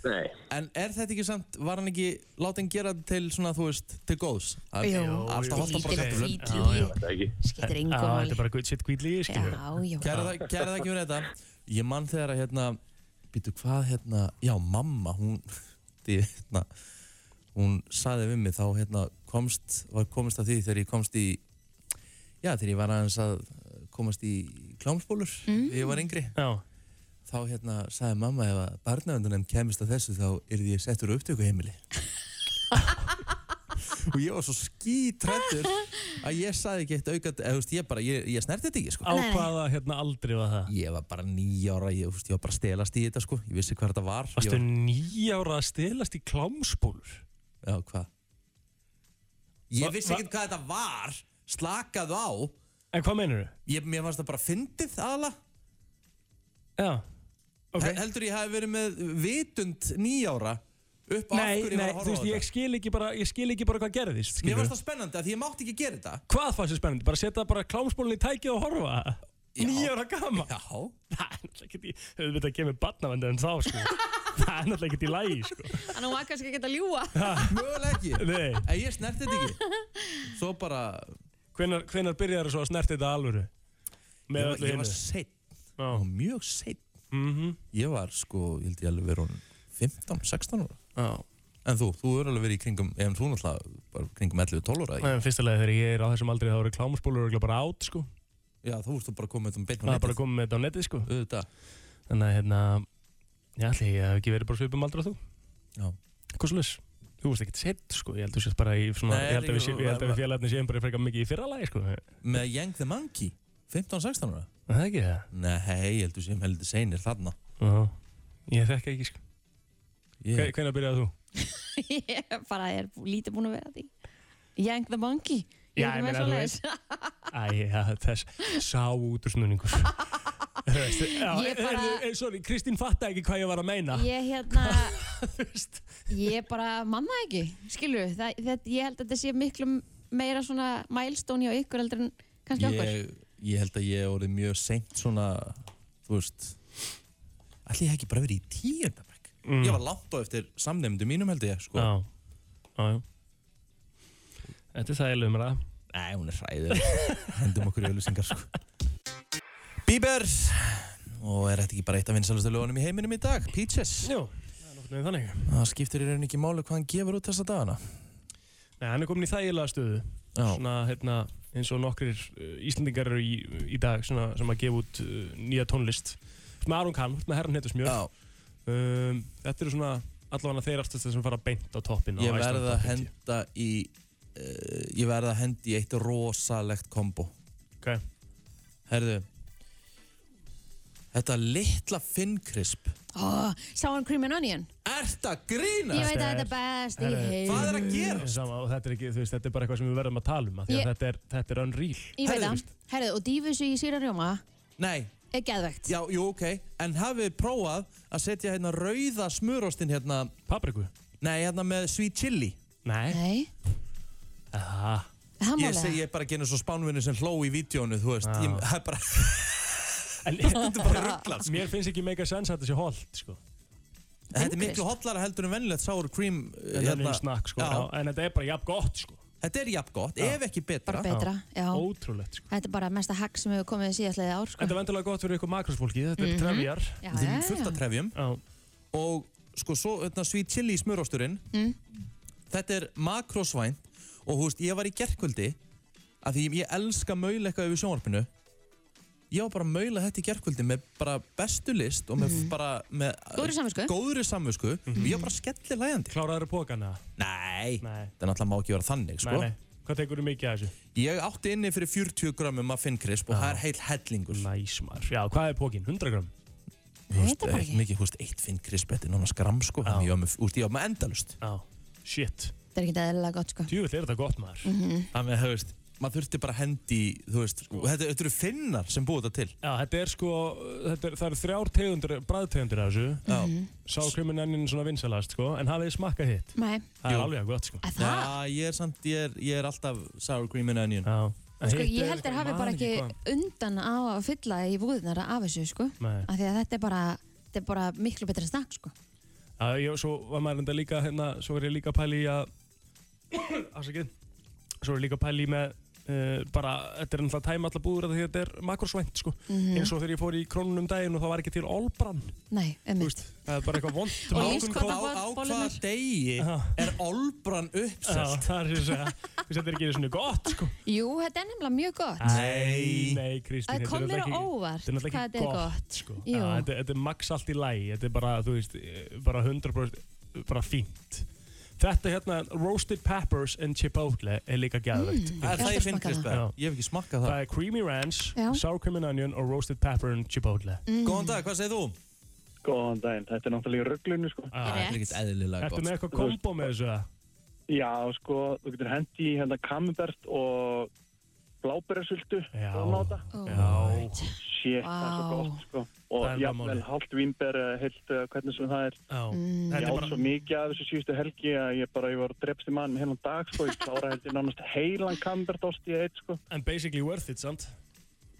[SPEAKER 7] Nei,
[SPEAKER 1] En er þetta ekki samt, var hann ekki Látt hann gera þetta til svona, þú veist, til góðs Að-
[SPEAKER 2] Jú,
[SPEAKER 1] Alltaf hollt á bara
[SPEAKER 2] Skítir
[SPEAKER 1] kartöflum.
[SPEAKER 2] hvítli,
[SPEAKER 7] það er ekki.
[SPEAKER 2] skítir
[SPEAKER 3] Já, þetta er
[SPEAKER 2] engum.
[SPEAKER 3] bara good shit kvíðlíði,
[SPEAKER 2] Já,
[SPEAKER 3] skilju.
[SPEAKER 2] já.
[SPEAKER 1] Kæra það
[SPEAKER 2] [LAUGHS]
[SPEAKER 1] kæra það ekki fyrir þetta Ég man þegar að hérna Býtu hvað hérna, já mamma Hún, [LAUGHS] því, hérna, hún saði við mig þá hérna komst, var komist að því þegar ég komst í Já, þegar ég var aðeins að komast í klámsbólur mm. ég var yngri,
[SPEAKER 3] Já.
[SPEAKER 1] þá hérna saði mamma ef að barnavendunum kemist að þessu þá yrði ég settur á upptöku heimili [LAUGHS] og ég var svo skítrættur að ég saði ekki eitt aukat eða þú veist, ég bara, ég, ég snerti þetta ekki sko
[SPEAKER 3] Á
[SPEAKER 2] Nei, nei.
[SPEAKER 3] hvaða hérna aldrei var það?
[SPEAKER 1] Ég var bara nýja ára, ég, þú veist, ég var bara að stelast í þetta sko, ég vissi hvað þetta var. Ég
[SPEAKER 3] Varstu
[SPEAKER 1] Var,
[SPEAKER 3] nýjára að stelast í klámsbólur?
[SPEAKER 1] já, hvað? Ég
[SPEAKER 3] Va-
[SPEAKER 1] vissi
[SPEAKER 3] va-
[SPEAKER 1] ekkert hvað þetta var, slakaðu á.
[SPEAKER 3] En hvað meinur þú?
[SPEAKER 1] Ég, mér fannst það bara fyndið aðla.
[SPEAKER 3] Já. Ok.
[SPEAKER 1] Okay. Heldur ég hafi verið með vitund nýja ára upp á af
[SPEAKER 3] Nei,
[SPEAKER 1] hverju ég
[SPEAKER 3] nei,
[SPEAKER 1] var
[SPEAKER 3] þú
[SPEAKER 1] að horfa á
[SPEAKER 3] veist, ég
[SPEAKER 1] þetta.
[SPEAKER 3] skil ekki bara, ég skil ekki bara hvað gerðist,
[SPEAKER 1] Mér
[SPEAKER 3] skilju.
[SPEAKER 1] fannst það spennandi að því ég mátti ekki gera þetta.
[SPEAKER 3] Hvað fannst þér spennandi? Bara setja bara klámsbólun í tækið og horfa?
[SPEAKER 1] Já.
[SPEAKER 3] Nýjára gama?
[SPEAKER 1] Já.
[SPEAKER 3] Það er náttúrulega ekki, auðvitað kemur barnavendu en þá, sko. Það er náttúrulega ekki í lægi, sko.
[SPEAKER 2] Þannig hún var kannski ekki að ljúa.
[SPEAKER 1] Mögulega ekki.
[SPEAKER 3] Nei,
[SPEAKER 1] En ég snerti þetta ekki. Svo bara,
[SPEAKER 3] hvenar, hvenar byrjar svo að snerti þetta alvöru? Með
[SPEAKER 1] ég,
[SPEAKER 3] öllu
[SPEAKER 1] ég
[SPEAKER 3] hinnu.
[SPEAKER 1] var seitt,
[SPEAKER 3] Já.
[SPEAKER 1] mjög seitt.
[SPEAKER 3] Mhm.
[SPEAKER 1] Ég var sko, ég held ég alveg verið 15, 16 ára.
[SPEAKER 3] Já.
[SPEAKER 1] En þú, þú er alveg verið í kringum, ef þú náttúrulega bara kringum 11-12 ára.
[SPEAKER 3] En fyrsta lega þegar ég er á þessum aldrei þá eru klámsbólur örugglega bara átt, sko.
[SPEAKER 1] Já, þú ert þú bara komið um beinu
[SPEAKER 3] Það er bara komið með þetta á netið, sko.
[SPEAKER 1] Auðvitað.
[SPEAKER 3] Þannig að, hérna, já, ætli ég hef ekki verið bara svipum aldra þú.
[SPEAKER 1] Já.
[SPEAKER 3] Hvað svo Þú veist ekki sett, sko. Ég held að þú sést bara í svona,
[SPEAKER 1] Nei,
[SPEAKER 3] ég held að við,
[SPEAKER 1] líka-
[SPEAKER 3] sé- ég held að við félagarnir séum bara frekar mikið í fyrra lagi, sko. Er
[SPEAKER 1] Með Young the Monkey, 15-16 ára.
[SPEAKER 3] Það ekki það?
[SPEAKER 1] Nei, ég heldur sem heldur seinir þarna.
[SPEAKER 3] Já. Ég þekka ekki, sko.
[SPEAKER 1] Ég,
[SPEAKER 3] Hvenær byrjaði þú?
[SPEAKER 2] [LAUGHS] ég bara er lítið búin að vera að því Yank the Monkey Ég
[SPEAKER 3] Já,
[SPEAKER 2] er með
[SPEAKER 3] ég meina,
[SPEAKER 2] [LAUGHS]
[SPEAKER 3] þú
[SPEAKER 2] svoleiðis.
[SPEAKER 3] Æ, ja, þess sá útursnúningur
[SPEAKER 2] [LAUGHS] Ég bara-
[SPEAKER 3] Sorry, Kristín fatta ekki hvað ég var að meina
[SPEAKER 2] Ég hérna,
[SPEAKER 3] [LAUGHS] Þú veist.
[SPEAKER 2] ég bara manna ekki, skilju það, það, Ég held að þetta sé miklu meira svona milestone hjá ykkur heldur en kannski okkur
[SPEAKER 1] ég, ég held að ég hef orðið mjög seint svona, þú veist, allir ég ekki bara verið í tíundabæk.
[SPEAKER 3] Mm.
[SPEAKER 1] Ég var langt á eftir samnefndu mínum held ég, sko.
[SPEAKER 3] Já, já, já Þetta er þægileg umræða
[SPEAKER 1] Nei, hún er
[SPEAKER 3] [LAUGHS]
[SPEAKER 1] hræðileg. Hendum okkur í öllusingar, sko. Bieber! Og er þetta ekki bara eitt af vinsalustu lögunum í heiminum í dag? Peaches.
[SPEAKER 3] Jú, það er nokkuð með þannig
[SPEAKER 1] Það skiptir í rauninni ekki máli hvað hann gefur út þessa dagana.
[SPEAKER 3] Nei, hann er komin í þægilega stöðu
[SPEAKER 1] Já.
[SPEAKER 3] Svona, hérna, eins og nokkrir uh, Íslendingar eru í, í dag svona, sem að gefa út uh, nýja tónlist Þú ert með Aron Kahn, þú ert með Herran Hetusmjör
[SPEAKER 1] Já,
[SPEAKER 3] um, Þetta eru svona allavega þeir aftast sem fara beint á toppin
[SPEAKER 1] ég verð að henda í, uh, ég verð að henda í eitt rosalegt kombo.
[SPEAKER 3] okay.
[SPEAKER 1] Herðu, þetta litla finnkrisp.
[SPEAKER 2] oh, Sour Cream and Onion
[SPEAKER 1] Ert að grínast?
[SPEAKER 2] Ég veit að þetta er best í
[SPEAKER 3] Herre,
[SPEAKER 2] heim
[SPEAKER 1] Hvað er að gera?
[SPEAKER 3] Mm, Sama, og þetta er ekki, þú veist, þetta er bara eitthvað sem við verðum að tala um af því að
[SPEAKER 2] Ég-
[SPEAKER 3] þetta, er, þetta er unreal
[SPEAKER 2] Ég veit
[SPEAKER 1] Herðu,
[SPEAKER 2] það, herðu, og dífusu í síra rjóma
[SPEAKER 1] Nei,
[SPEAKER 2] er geðvegt
[SPEAKER 1] já, jú, ok. En hafið þið prófað að setja hérna rauða smurostin hérna,
[SPEAKER 3] Papriku?
[SPEAKER 1] nei, hérna með sweet chili.
[SPEAKER 3] Nei
[SPEAKER 2] Nei,
[SPEAKER 3] Aha.
[SPEAKER 2] er það
[SPEAKER 1] Ég
[SPEAKER 2] málega
[SPEAKER 1] segi, ég er bara að gera svo spánvinni sem hló í vídjónu, þú veist. Ég, það er bara,
[SPEAKER 3] En,
[SPEAKER 1] þetta er bara rugglað, sko.
[SPEAKER 3] mér finnst ekki mega sens að þetta sé holdt sko.
[SPEAKER 1] Þetta er miklu hotlara heldur en venjulegt sour cream. uh,
[SPEAKER 3] Þetta er einn snakk sko.
[SPEAKER 1] Já,
[SPEAKER 3] já, En þetta er bara jafn gott sko.
[SPEAKER 1] þetta er jafn gott, ef ekki betra.
[SPEAKER 2] Bara betra, já
[SPEAKER 3] Ótrúlegt sko.
[SPEAKER 2] Þetta er bara mesta hack sem hefur komið síðastlega ár sko. Mhm.
[SPEAKER 3] Þetta er vendilega gott fyrir ykkur makrosfólki Þetta er mm -hmm. trefjar
[SPEAKER 2] Já,
[SPEAKER 1] Þetta
[SPEAKER 2] já,
[SPEAKER 1] er fullt af
[SPEAKER 2] já.
[SPEAKER 1] trefjum.
[SPEAKER 3] já.
[SPEAKER 1] og sko svo öðna, sweet chili í smurosturinn
[SPEAKER 8] Mm.
[SPEAKER 1] þetta er makrosvæn og hú veist, ég var í gerkvöldi að því ég elska maul eitthvað yfir sjónvarpinu ég var bara að maula þetta í gerkvöldi með bara bestu list og með bara með
[SPEAKER 2] Mhm. Góðri samvisku.
[SPEAKER 1] góðri samvisku
[SPEAKER 3] Mhm.
[SPEAKER 1] og ég var bara skellir lægandi
[SPEAKER 3] Kláraður pókana
[SPEAKER 1] nei,
[SPEAKER 3] Nei.
[SPEAKER 1] það náttúrulega má ekki vera þannig sko.
[SPEAKER 3] nei, nei. Hvað tekur þú mikið af þessu?
[SPEAKER 1] ég átti inni fyrir 40 grömmum af finnkrisp og það er heil hellingur
[SPEAKER 3] Næs maður Já, hvað er pókin? 100 gram?
[SPEAKER 1] Þú veist,
[SPEAKER 2] Þetta bara
[SPEAKER 1] ekki
[SPEAKER 2] ekki.
[SPEAKER 1] mikið, hú veist, eitt finnkrisp þetta er náttúrulega skram sko,
[SPEAKER 3] Já.
[SPEAKER 1] ég var með, úst, ég var með endalust
[SPEAKER 3] Já Shit
[SPEAKER 2] Þetta er ekki eðlilega gott sko.
[SPEAKER 3] Djúvill er þetta gott maður
[SPEAKER 2] Mhm.
[SPEAKER 1] Þannig að, þú veist, maður þurfti bara hendi, í, þú veist, og þetta, þetta eru finnar sem búið þetta til.
[SPEAKER 3] Já, þetta er sko þetta er, Það eru þrjár tegundur, bræðtegundur af þessu
[SPEAKER 1] Já.
[SPEAKER 2] Mhm.
[SPEAKER 3] Sá kriminennin svona vinsalast sko En hafið þið smakkað hitt
[SPEAKER 2] Nei,
[SPEAKER 3] Það er
[SPEAKER 1] Jú.
[SPEAKER 3] alveg gott sko
[SPEAKER 2] að
[SPEAKER 1] Já,
[SPEAKER 2] það
[SPEAKER 1] ég er samt, ég er, ég er alltaf sour cream and onion.
[SPEAKER 3] Já En
[SPEAKER 2] sko,
[SPEAKER 3] hitt
[SPEAKER 2] Ég
[SPEAKER 3] er
[SPEAKER 2] held þér
[SPEAKER 3] eitthvað-
[SPEAKER 2] hafi
[SPEAKER 3] man
[SPEAKER 2] bara ekki
[SPEAKER 3] hvað-
[SPEAKER 2] undan á að fylla í búðunar af þessu sko.
[SPEAKER 3] Nei.
[SPEAKER 2] Af því að þetta er bara, þetta er bara miklu betra snakk sko.
[SPEAKER 3] Já, ég, svo var maður enda líka hérna, svo var ég líka að pæli í að afsakið, svo var ég líka að pæli í með uh, bara, þetta er náttúrulega að tæma allar búður af því að þetta er makrosvænt sko eins og þegar ég fór í krónunum um daginn og það var ekki til olbrann,
[SPEAKER 2] Nei, um
[SPEAKER 3] þú veist, það er bara eitthvað
[SPEAKER 2] Og
[SPEAKER 3] vond
[SPEAKER 1] Á,
[SPEAKER 2] lífs-
[SPEAKER 1] á,
[SPEAKER 2] lífskvota-
[SPEAKER 1] á hvaða
[SPEAKER 2] bollurnar.
[SPEAKER 1] degi
[SPEAKER 3] Já.
[SPEAKER 1] er olbran
[SPEAKER 3] Já,
[SPEAKER 1] uppselt?
[SPEAKER 3] það er sem að segja, þú veist, þetta er ekki svona gott sko
[SPEAKER 2] Jú, þetta er nefnilega mjög gott
[SPEAKER 1] Nei.
[SPEAKER 3] Nei, Kristín,
[SPEAKER 2] Það
[SPEAKER 3] þetta er
[SPEAKER 2] kom mér
[SPEAKER 3] náttúrulega
[SPEAKER 2] á
[SPEAKER 3] ekki-
[SPEAKER 2] óvart
[SPEAKER 3] Þetta er náttúrulega
[SPEAKER 2] hvað
[SPEAKER 3] ekki
[SPEAKER 2] þetta er gott.
[SPEAKER 3] sko.
[SPEAKER 2] Jú.
[SPEAKER 3] Já, þetta, þetta er max allt í lægi, þetta er bara, þú veist, eh, bara 100% bara fínt. Þetta hérna, Roasted Peppers and Chipotle er líka gæðvegt.
[SPEAKER 1] Það er
[SPEAKER 2] Ég ætla
[SPEAKER 1] það
[SPEAKER 2] að
[SPEAKER 1] í
[SPEAKER 2] smakka
[SPEAKER 1] finnkrisp,
[SPEAKER 3] það.
[SPEAKER 1] eða? ég hef ekki smakkað það.
[SPEAKER 3] Það er Creamy Ranch,
[SPEAKER 2] Já.
[SPEAKER 3] Sour Cream and Onion og Roasted Pepper and Chipotle.
[SPEAKER 2] Mm.
[SPEAKER 1] Góðan dag, hvað segir þú?
[SPEAKER 9] Góðan daginn, þetta er náttúrulega í rugglunni sko.
[SPEAKER 3] Ah,
[SPEAKER 1] Það er ekkert eðlilega
[SPEAKER 3] Ertu
[SPEAKER 1] gott.
[SPEAKER 3] með eitthvað kombo með þessu? eða?
[SPEAKER 9] Já, sko, þú getur hendi í hérna kamibert og blábærasultu
[SPEAKER 3] Já.
[SPEAKER 9] og láta.
[SPEAKER 2] Oh
[SPEAKER 3] Já,
[SPEAKER 9] Shit, það er svo
[SPEAKER 2] Vá.
[SPEAKER 9] gott sko.
[SPEAKER 3] Það er
[SPEAKER 9] Og
[SPEAKER 3] það
[SPEAKER 9] jafnvel
[SPEAKER 3] málið.
[SPEAKER 9] hálft vínber eða heilt uh, hvernig sem það er.
[SPEAKER 3] já.
[SPEAKER 2] Mm.
[SPEAKER 3] Þetta
[SPEAKER 9] Ég
[SPEAKER 3] er
[SPEAKER 9] átt svo
[SPEAKER 3] bara,
[SPEAKER 9] mikið af þessu síðustu helgi að ég bara, ég var drefst í mann með hennan dag sko. Ég klára heldur nánast heilan kamibert ást í eitt sko.
[SPEAKER 3] en basically worth it, sant?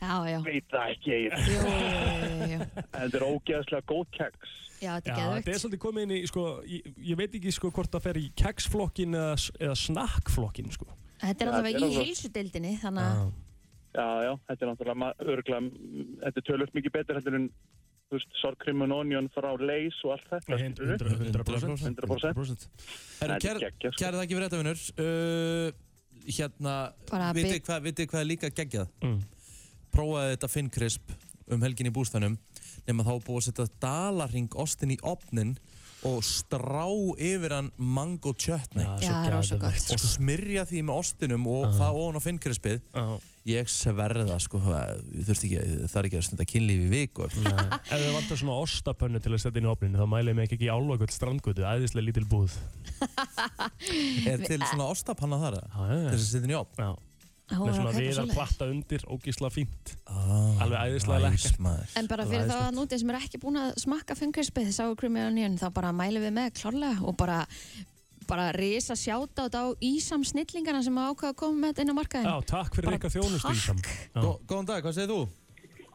[SPEAKER 2] Já, já, jú,
[SPEAKER 9] Veit það ekki, ég,
[SPEAKER 2] jú, jú, jú.
[SPEAKER 9] þetta er ógeðslega góð keks.
[SPEAKER 2] Já, þetta
[SPEAKER 3] Já,
[SPEAKER 2] er
[SPEAKER 3] þetta er
[SPEAKER 2] geðvegt
[SPEAKER 3] svolítið komið inn í, sko, ég, ég veit ekki sko hvort það fer í keksflokkin eða, s- eða snakkflokkin, sko.
[SPEAKER 2] Þetta er
[SPEAKER 9] Já, þetta er
[SPEAKER 2] allavega í
[SPEAKER 9] alveg-
[SPEAKER 2] heilsudeildinni Þannig að
[SPEAKER 9] Já, já, þetta er náttúrulega ma- örugglega, mm, þetta er tölvöld mikið betur heldur en, þú veist, sorgkrim og onion frá leys og allt þetta.
[SPEAKER 3] Hund- 100%.
[SPEAKER 9] skilurðu?
[SPEAKER 1] 100%.
[SPEAKER 9] 100%.
[SPEAKER 1] Herru,
[SPEAKER 9] Nei, þetta er
[SPEAKER 1] kæra-
[SPEAKER 9] geggjað, sko.
[SPEAKER 1] Kæra þakki fyrir þetta, vinnur. Uh, hérna,
[SPEAKER 2] Bara
[SPEAKER 1] vitið
[SPEAKER 2] bit-
[SPEAKER 1] hvað, vitið hvað er líka geggjað?
[SPEAKER 3] Mm.
[SPEAKER 1] Prófaði þetta finnkrisp um helgin í bústænum nema þá er búið að setja dalarring ostin í opnin og strá yfir hann mango chutney
[SPEAKER 3] Já,
[SPEAKER 2] Já, það er rosa gott.
[SPEAKER 1] og smyrja því með ostinum og það ofan á finnkrispið
[SPEAKER 3] Já.
[SPEAKER 1] ég sverða sko það þurfti ekki, það er ekki að stunda kynlífi í viku
[SPEAKER 3] Ef þið vantar svona ostapönnu til að setja inn í opninu þá mælið mig ekki í álokvöld strandgötu, æðislega lítil búð.
[SPEAKER 1] [LAUGHS] er til svona ostapanna þar eða?
[SPEAKER 3] Já, já, já.
[SPEAKER 1] þessi sittin í opn
[SPEAKER 3] Já,
[SPEAKER 2] Á,
[SPEAKER 3] með
[SPEAKER 2] að
[SPEAKER 3] svona
[SPEAKER 2] kaupa
[SPEAKER 3] viðar
[SPEAKER 2] svoleiðis.
[SPEAKER 3] platta undir, ógísla fínt.
[SPEAKER 1] Ah,
[SPEAKER 3] Alveg æðislega
[SPEAKER 1] nice,
[SPEAKER 3] lekkert.
[SPEAKER 1] maður.
[SPEAKER 2] En bara
[SPEAKER 3] Það
[SPEAKER 2] fyrir
[SPEAKER 3] er
[SPEAKER 2] þá að
[SPEAKER 3] æðislegt.
[SPEAKER 2] nútið sem er ekki búin að smakka fengarspið sour cream and onion þá bara mælum við með klárlega og bara bara risa sjáta á Ísam snillingana sem hafa ákvað að koma með þetta inn á markaðin
[SPEAKER 3] Já, takk fyrir
[SPEAKER 2] Bara
[SPEAKER 3] ykkar þjónustu
[SPEAKER 2] takk.
[SPEAKER 3] Ísam. Já.
[SPEAKER 1] Gó- Góðan dag, hvað segir þú?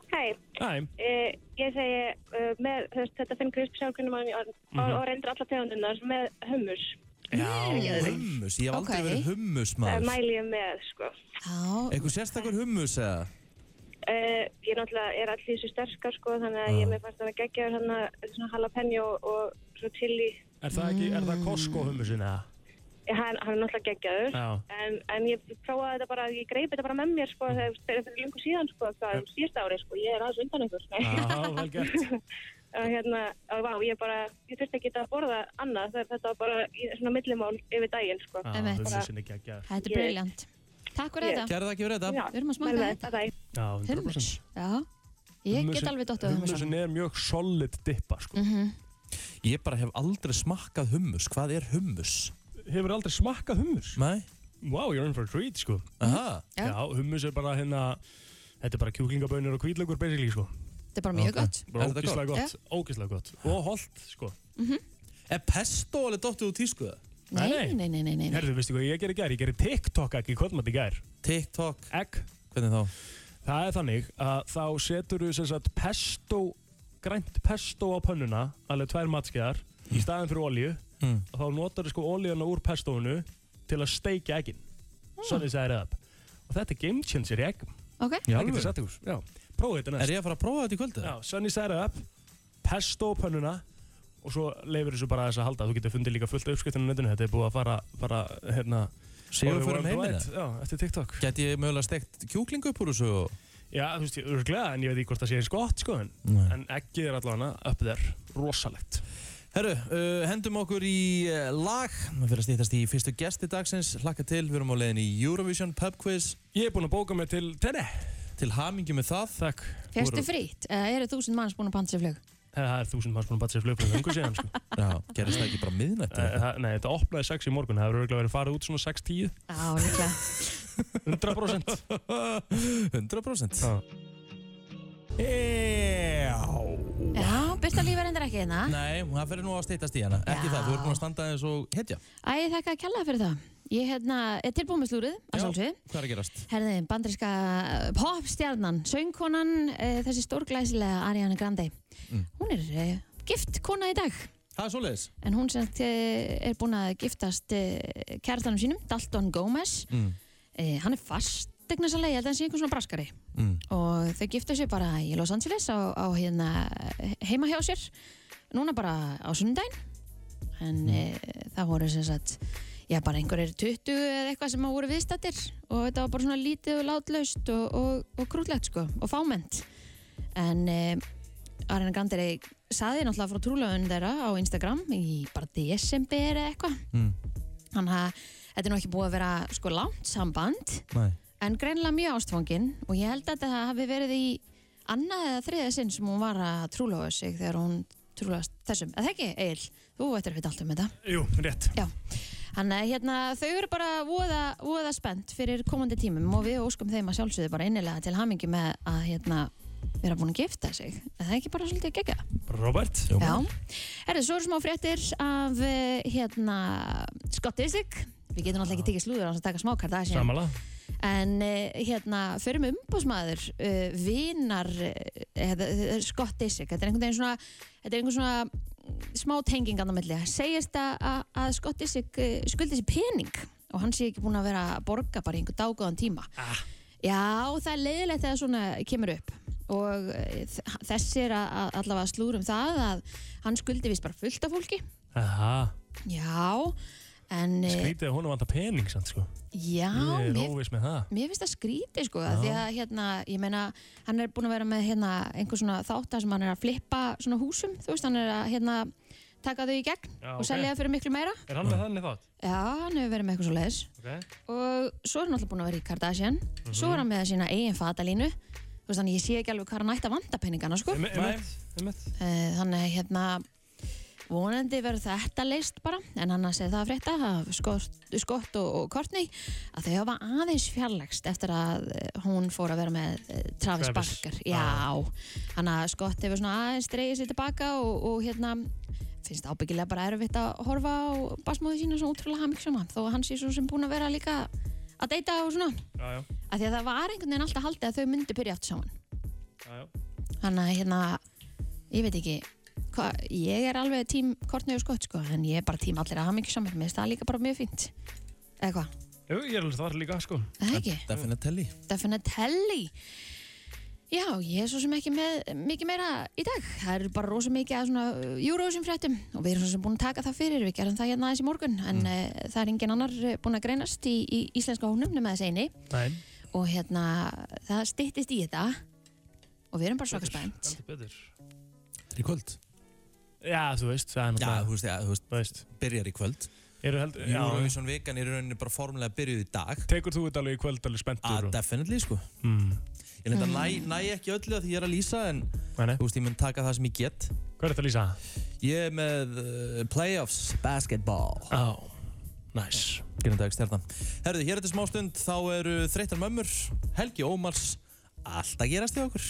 [SPEAKER 10] Hæ,
[SPEAKER 3] Æ,
[SPEAKER 10] uh, ég segi uh, með þú veist, þetta finn krisp sjálfgrunum og, og, og reyndir alla tegundunar með hummus.
[SPEAKER 1] Mhm. Já, hummus, ég hef aldrei
[SPEAKER 2] Ok.
[SPEAKER 1] verið hummus
[SPEAKER 10] Það
[SPEAKER 1] maður
[SPEAKER 10] mæli ég með, sko.
[SPEAKER 2] Já,
[SPEAKER 1] Eitthvað sérstakur hummus eða?
[SPEAKER 10] Uh, ég náttúrulega er allir þessu sterkar, sko, þannig
[SPEAKER 1] Ah.
[SPEAKER 10] að ég mér fannst þannig að gegja hann að svona jalapeno og svo chili.
[SPEAKER 3] er það ekki, er það Costco hummusin eða?
[SPEAKER 10] Ég- Hann, hann er náttúrulega geggjaður,
[SPEAKER 3] Já.
[SPEAKER 10] en, en ég prófaði þetta bara, ég greip þetta bara með mér, sko, þegar þegar þetta er lengur síðan, sko, það er síðast ári, sko, ég er aðeins undan ykkur. Nei.
[SPEAKER 3] Já, vel gert.
[SPEAKER 10] [LAUGHS] og hérna, og vá, ég bara, ég þurfti ekki að borða annað, þegar þetta var bara í- svona millimál yfir daginn, sko.
[SPEAKER 3] Já,
[SPEAKER 2] Einmitt.
[SPEAKER 3] hummusin er geggjaður.
[SPEAKER 2] þetta er
[SPEAKER 10] Ég-
[SPEAKER 2] briljant Takk fyrir þetta,
[SPEAKER 1] Gerðu það ekki verið þetta?
[SPEAKER 10] Já,
[SPEAKER 2] við erum að smakka
[SPEAKER 10] mæli með
[SPEAKER 2] þetta.
[SPEAKER 10] Bye, bye.
[SPEAKER 3] Já, 100%.
[SPEAKER 2] hummus Já, ég get
[SPEAKER 3] Hummusin-
[SPEAKER 2] alveg dottuð á Mhm.
[SPEAKER 3] Hummusin
[SPEAKER 2] hummusin
[SPEAKER 3] er mjög solid dippa, sko.
[SPEAKER 1] Ég bara hef aldrei smakkað hummus Hvað er hummus?
[SPEAKER 3] Hefur aldrei smakkað hummus?
[SPEAKER 1] Nei?
[SPEAKER 3] Wow, you're in for a treat, sko.
[SPEAKER 1] Aha,
[SPEAKER 2] Já.
[SPEAKER 3] Já, hummus er bara hérna, þetta er bara kjúklingabönir og kvítlaugur basically, sko.
[SPEAKER 2] Þetta er bara mjög gott
[SPEAKER 3] Bara
[SPEAKER 1] Er þetta
[SPEAKER 3] ógislega gott, ógislega gott. Og holdt, sko.
[SPEAKER 1] er pesto alveg dottið sko? úr tískuða?
[SPEAKER 3] Nei,
[SPEAKER 2] Mhm. Nei, nei, nei, nei, nei, nei.
[SPEAKER 3] Herðu, veistu hvað ég gerði í gær? Ég gerði TikTok ekki kvöldmatt í gær.
[SPEAKER 1] TikTok,
[SPEAKER 3] Egg.
[SPEAKER 1] hvernig þá?
[SPEAKER 3] Það er þannig að þá setur þú sem sagt pesto, grænt pesto á pönnuna, alveg tvær matskeiðar,
[SPEAKER 1] Hmm.
[SPEAKER 3] í staðin fyrir olíu.
[SPEAKER 1] Mm.
[SPEAKER 3] Þá notar þú sko olíuna úr pestóinu til að steikja eggin.
[SPEAKER 2] Hmm.
[SPEAKER 3] Svo þess að það er upp. Og þetta er game changer í eggum.
[SPEAKER 2] Ok,
[SPEAKER 3] Það getur sagt ykkur. Já. Prófið þetta næst.
[SPEAKER 1] Er ég að fara að prófa þetta í kvöldu?
[SPEAKER 3] Já, Sunny Side Up, pesto á pönnuna og svo leifir þessu bara þess að halda. Þú getur fundið líka fullt af uppskriftunum á netinu. Þetta er búið að fara, fara hérna...
[SPEAKER 1] Sigur fyrir um
[SPEAKER 3] orðið
[SPEAKER 1] heimina
[SPEAKER 3] worldwide. Já, eftir TikTok.
[SPEAKER 1] Gæti ég mögulega stekt kjúklingu upp úr þessu og...
[SPEAKER 3] Já, þú veist, ég er glæð en ég veit ekki hvort það sé eins gott, sko. En,
[SPEAKER 1] Nei.
[SPEAKER 3] en eggið er allavega upp þér. Rosalegt.
[SPEAKER 1] Herru, uh, hendum okkur í uh, lag Við fyrir að stýttast í fyrstu gesti dagsins Hlakka til, við erum á leiðin í Eurovision pub quiz
[SPEAKER 3] Ég er búinn að bóka mig til tenni.
[SPEAKER 1] Til hamingi með það
[SPEAKER 3] Takk.
[SPEAKER 2] fyrstu
[SPEAKER 3] Voru-
[SPEAKER 2] frýtt Eða eru þúsund manns búin að panta sér flug?
[SPEAKER 3] Það er þúsund manns búin að batta sér flugflug löngu síðan, sko.
[SPEAKER 1] [LAUGHS] Já, gerist það ekki bara miðnætt
[SPEAKER 3] Eh, það- Nei, þetta opnaði 6 í morgun. Það hefur örgulega verið farið út svona 6.10.
[SPEAKER 2] Já, líklega
[SPEAKER 3] 100%.
[SPEAKER 1] [LAUGHS] 100%
[SPEAKER 3] Já.
[SPEAKER 2] Já, Birta Líf er endur ekki hérna
[SPEAKER 1] Nei, það fyrir nú að stýttast í hana Ekki
[SPEAKER 2] Já.
[SPEAKER 1] það, þú ert búin að standa eins og hetja
[SPEAKER 2] Æ, þakka að kjalla fyrir það Ég hérna, er tilbúin með slúrið, að
[SPEAKER 1] Já.
[SPEAKER 2] sjálfsögðu
[SPEAKER 1] Hvað er að gerast?
[SPEAKER 2] Herði, bandriska eh, popstjarnan, söngkonan, e, þessi stórglæsilega Ariana Grande. Hún er e, gift kona í dag,
[SPEAKER 1] Það er svoleiðis
[SPEAKER 2] en hún sem sagt, eh, er búin að giftast e, kærtanum sínum, Dalton Gómez.
[SPEAKER 1] Mm.
[SPEAKER 2] Eh, hann er fastegnasalegi, ég held að hann sé einhvern svona braskari.
[SPEAKER 1] Mm.
[SPEAKER 2] Og þau giftu sig bara í Los Angeles á, á hérna, eh, heima hjá sér, núna bara á sunnudaginn.
[SPEAKER 1] Mm.
[SPEAKER 2] En e, það voru sem sagt já, bara einhverjir 20 eða eitthvað sem að voru viðstattir og þetta var bara svona lítið og látlaust og, og, og krútlegt sko og fámennt en eh, Arina Granderi saði náttúrulega frá trúlaun þeirra á Instagram í bara desember eða eitthvað
[SPEAKER 1] Mm.
[SPEAKER 2] þannig að þetta er nú ekki búið að vera sko langt samband
[SPEAKER 1] Nei
[SPEAKER 2] en greinlega mjög ástfangin og ég held að þetta hafi verið í annað eða þriðja sinn sem hún var að trúlóa sig þegar hún trúlóast þessum, eða ekki Egil, þú ættir að vita allt um þetta
[SPEAKER 3] Jú, rétt.
[SPEAKER 2] Já, hann að hérna, þau eru bara voða, voða spennt fyrir komandi tímum og við óskum þeim að sjálfsögðu bara innilega til hamingi með að hérna vera búin að gifta sig. Er það ekki bara svolítið að gegja?
[SPEAKER 3] Robert.
[SPEAKER 2] Já. Herðu, svo eru smá fréttir af eh, hérna skottistik. Við getum náttúrulega ekki tekið slúður á þess að taka smákart það sé.
[SPEAKER 3] Samanlega.
[SPEAKER 2] En eh, hérna, förum umbóðsmaður, uh, vinar, eh, uh, skottistik, þetta er einhvern veginn svona, þetta er einhvern svona smá tengingan á milli segist að, að- að Scott Disick eh, skuldi sér pening og hann sé ekki búin að vera að borga bara í einhver dágóðan tíma ah. já, það er leiðilegt þegar svona kemur upp og eh, þ- þessi er að, að allavega slúrum það að hann skuldi vist bara fullt af fólki
[SPEAKER 3] Aha.
[SPEAKER 2] já, en eh,
[SPEAKER 3] Skrítið að hún vantar pening samt sko
[SPEAKER 2] já,
[SPEAKER 3] Ég er
[SPEAKER 2] mér,
[SPEAKER 3] óviss með það
[SPEAKER 2] mér finnst það skrítið sko af því að hérna, ég meina hann er búin að vera með hérna einhver svona þáttar sem hann er að flippa svona húsum, þú veist, hann er að hérna taka þau í gegn
[SPEAKER 3] Já,
[SPEAKER 2] og
[SPEAKER 3] ok.
[SPEAKER 2] selja það fyrir miklu meira.
[SPEAKER 3] Er hann með þannig þátt?
[SPEAKER 2] Já, hann hefur verið með eitthvað svo leiðis.
[SPEAKER 3] Ok.
[SPEAKER 2] Og svo er hann alltaf búin að vera í Kardashian. Svo er hann með sína eigin fatalínu. Þú veist þannig, ég sé ekki alveg hvað hann ætti að vanda peningana, sko.
[SPEAKER 3] Emmett, Emmett, Emmett.
[SPEAKER 2] Eh, Þannig að hérna vonandi verður þetta leist bara en annars er það að frétta af Scott, Scott og, og Courtney að þau hafa aðeins fjarlægst eftir að eh, hún fór að vera með eh, Travis,
[SPEAKER 3] Travis.
[SPEAKER 2] Barker já, hann að Scott hefur svona aðeins dreigið sér tilbaka og, og hérna finnst það ábyggilega bara erfitt að horfa á basmóði sína svona útrúlega hamiksama þó að hann sé svo sem búin að vera líka að deyta og svona,
[SPEAKER 3] Já, já,
[SPEAKER 2] af því að það var einhvern veginn alltaf haldið að þau myndi byrja aftur saman
[SPEAKER 3] já, já.
[SPEAKER 2] Þannig að hérna, ég veit ekki hva, ég er alveg tím Kortnau og Skott sko, en ég er bara tím allir að hafa mikið saman mér finnst það líka bara mjög fínt eða hvað,
[SPEAKER 3] Jú, ég er alveg þar líka, sko.
[SPEAKER 2] Er það ekki?
[SPEAKER 1] Definitelli
[SPEAKER 2] Definitelli Já, ég er svo sem ekki með mikið meira í dag, það eru bara rosa mikið að svona uh, Eurovision fréttum og við erum svo sem búin að taka það fyrir, við gerum það hérna aðeins í morgun en mm. það er engin annar eh, búin að greinast í, í íslenska hónum nema þess eini
[SPEAKER 3] Nei.
[SPEAKER 2] og hérna, það styttist í þetta og við erum bara svaka spennt
[SPEAKER 3] Heldur betur.
[SPEAKER 1] Í kvöld
[SPEAKER 3] Já, þú veist, það er
[SPEAKER 11] Já,
[SPEAKER 3] náttúrulega,
[SPEAKER 11] þú veist, já, þú veist,
[SPEAKER 3] þú veist.
[SPEAKER 11] byrjar í kvöld
[SPEAKER 3] Eru heldur, já,
[SPEAKER 11] Eurovision vikan er í rauninni bara formulega byrjuð í dag
[SPEAKER 3] tekur þú þetta alveg í kvöld
[SPEAKER 11] Ah,
[SPEAKER 3] alveg spenntur? og-
[SPEAKER 11] definitely, sko
[SPEAKER 3] Mm.
[SPEAKER 11] Ég lenda næ, næ ekki öllu að því ég er að lýsa en
[SPEAKER 3] Nei, nei.
[SPEAKER 11] þú veist, ég mun taka það sem ég get
[SPEAKER 3] Hvað er þetta að lýsa?
[SPEAKER 11] Ég er með uh, playoffs basketball
[SPEAKER 3] Á, næs.
[SPEAKER 11] Gerðan dag, stjarnan Herðu, hér eftir smá stund þá eru þreytar mömmur Helgi Ómars Allt að gerast í okkur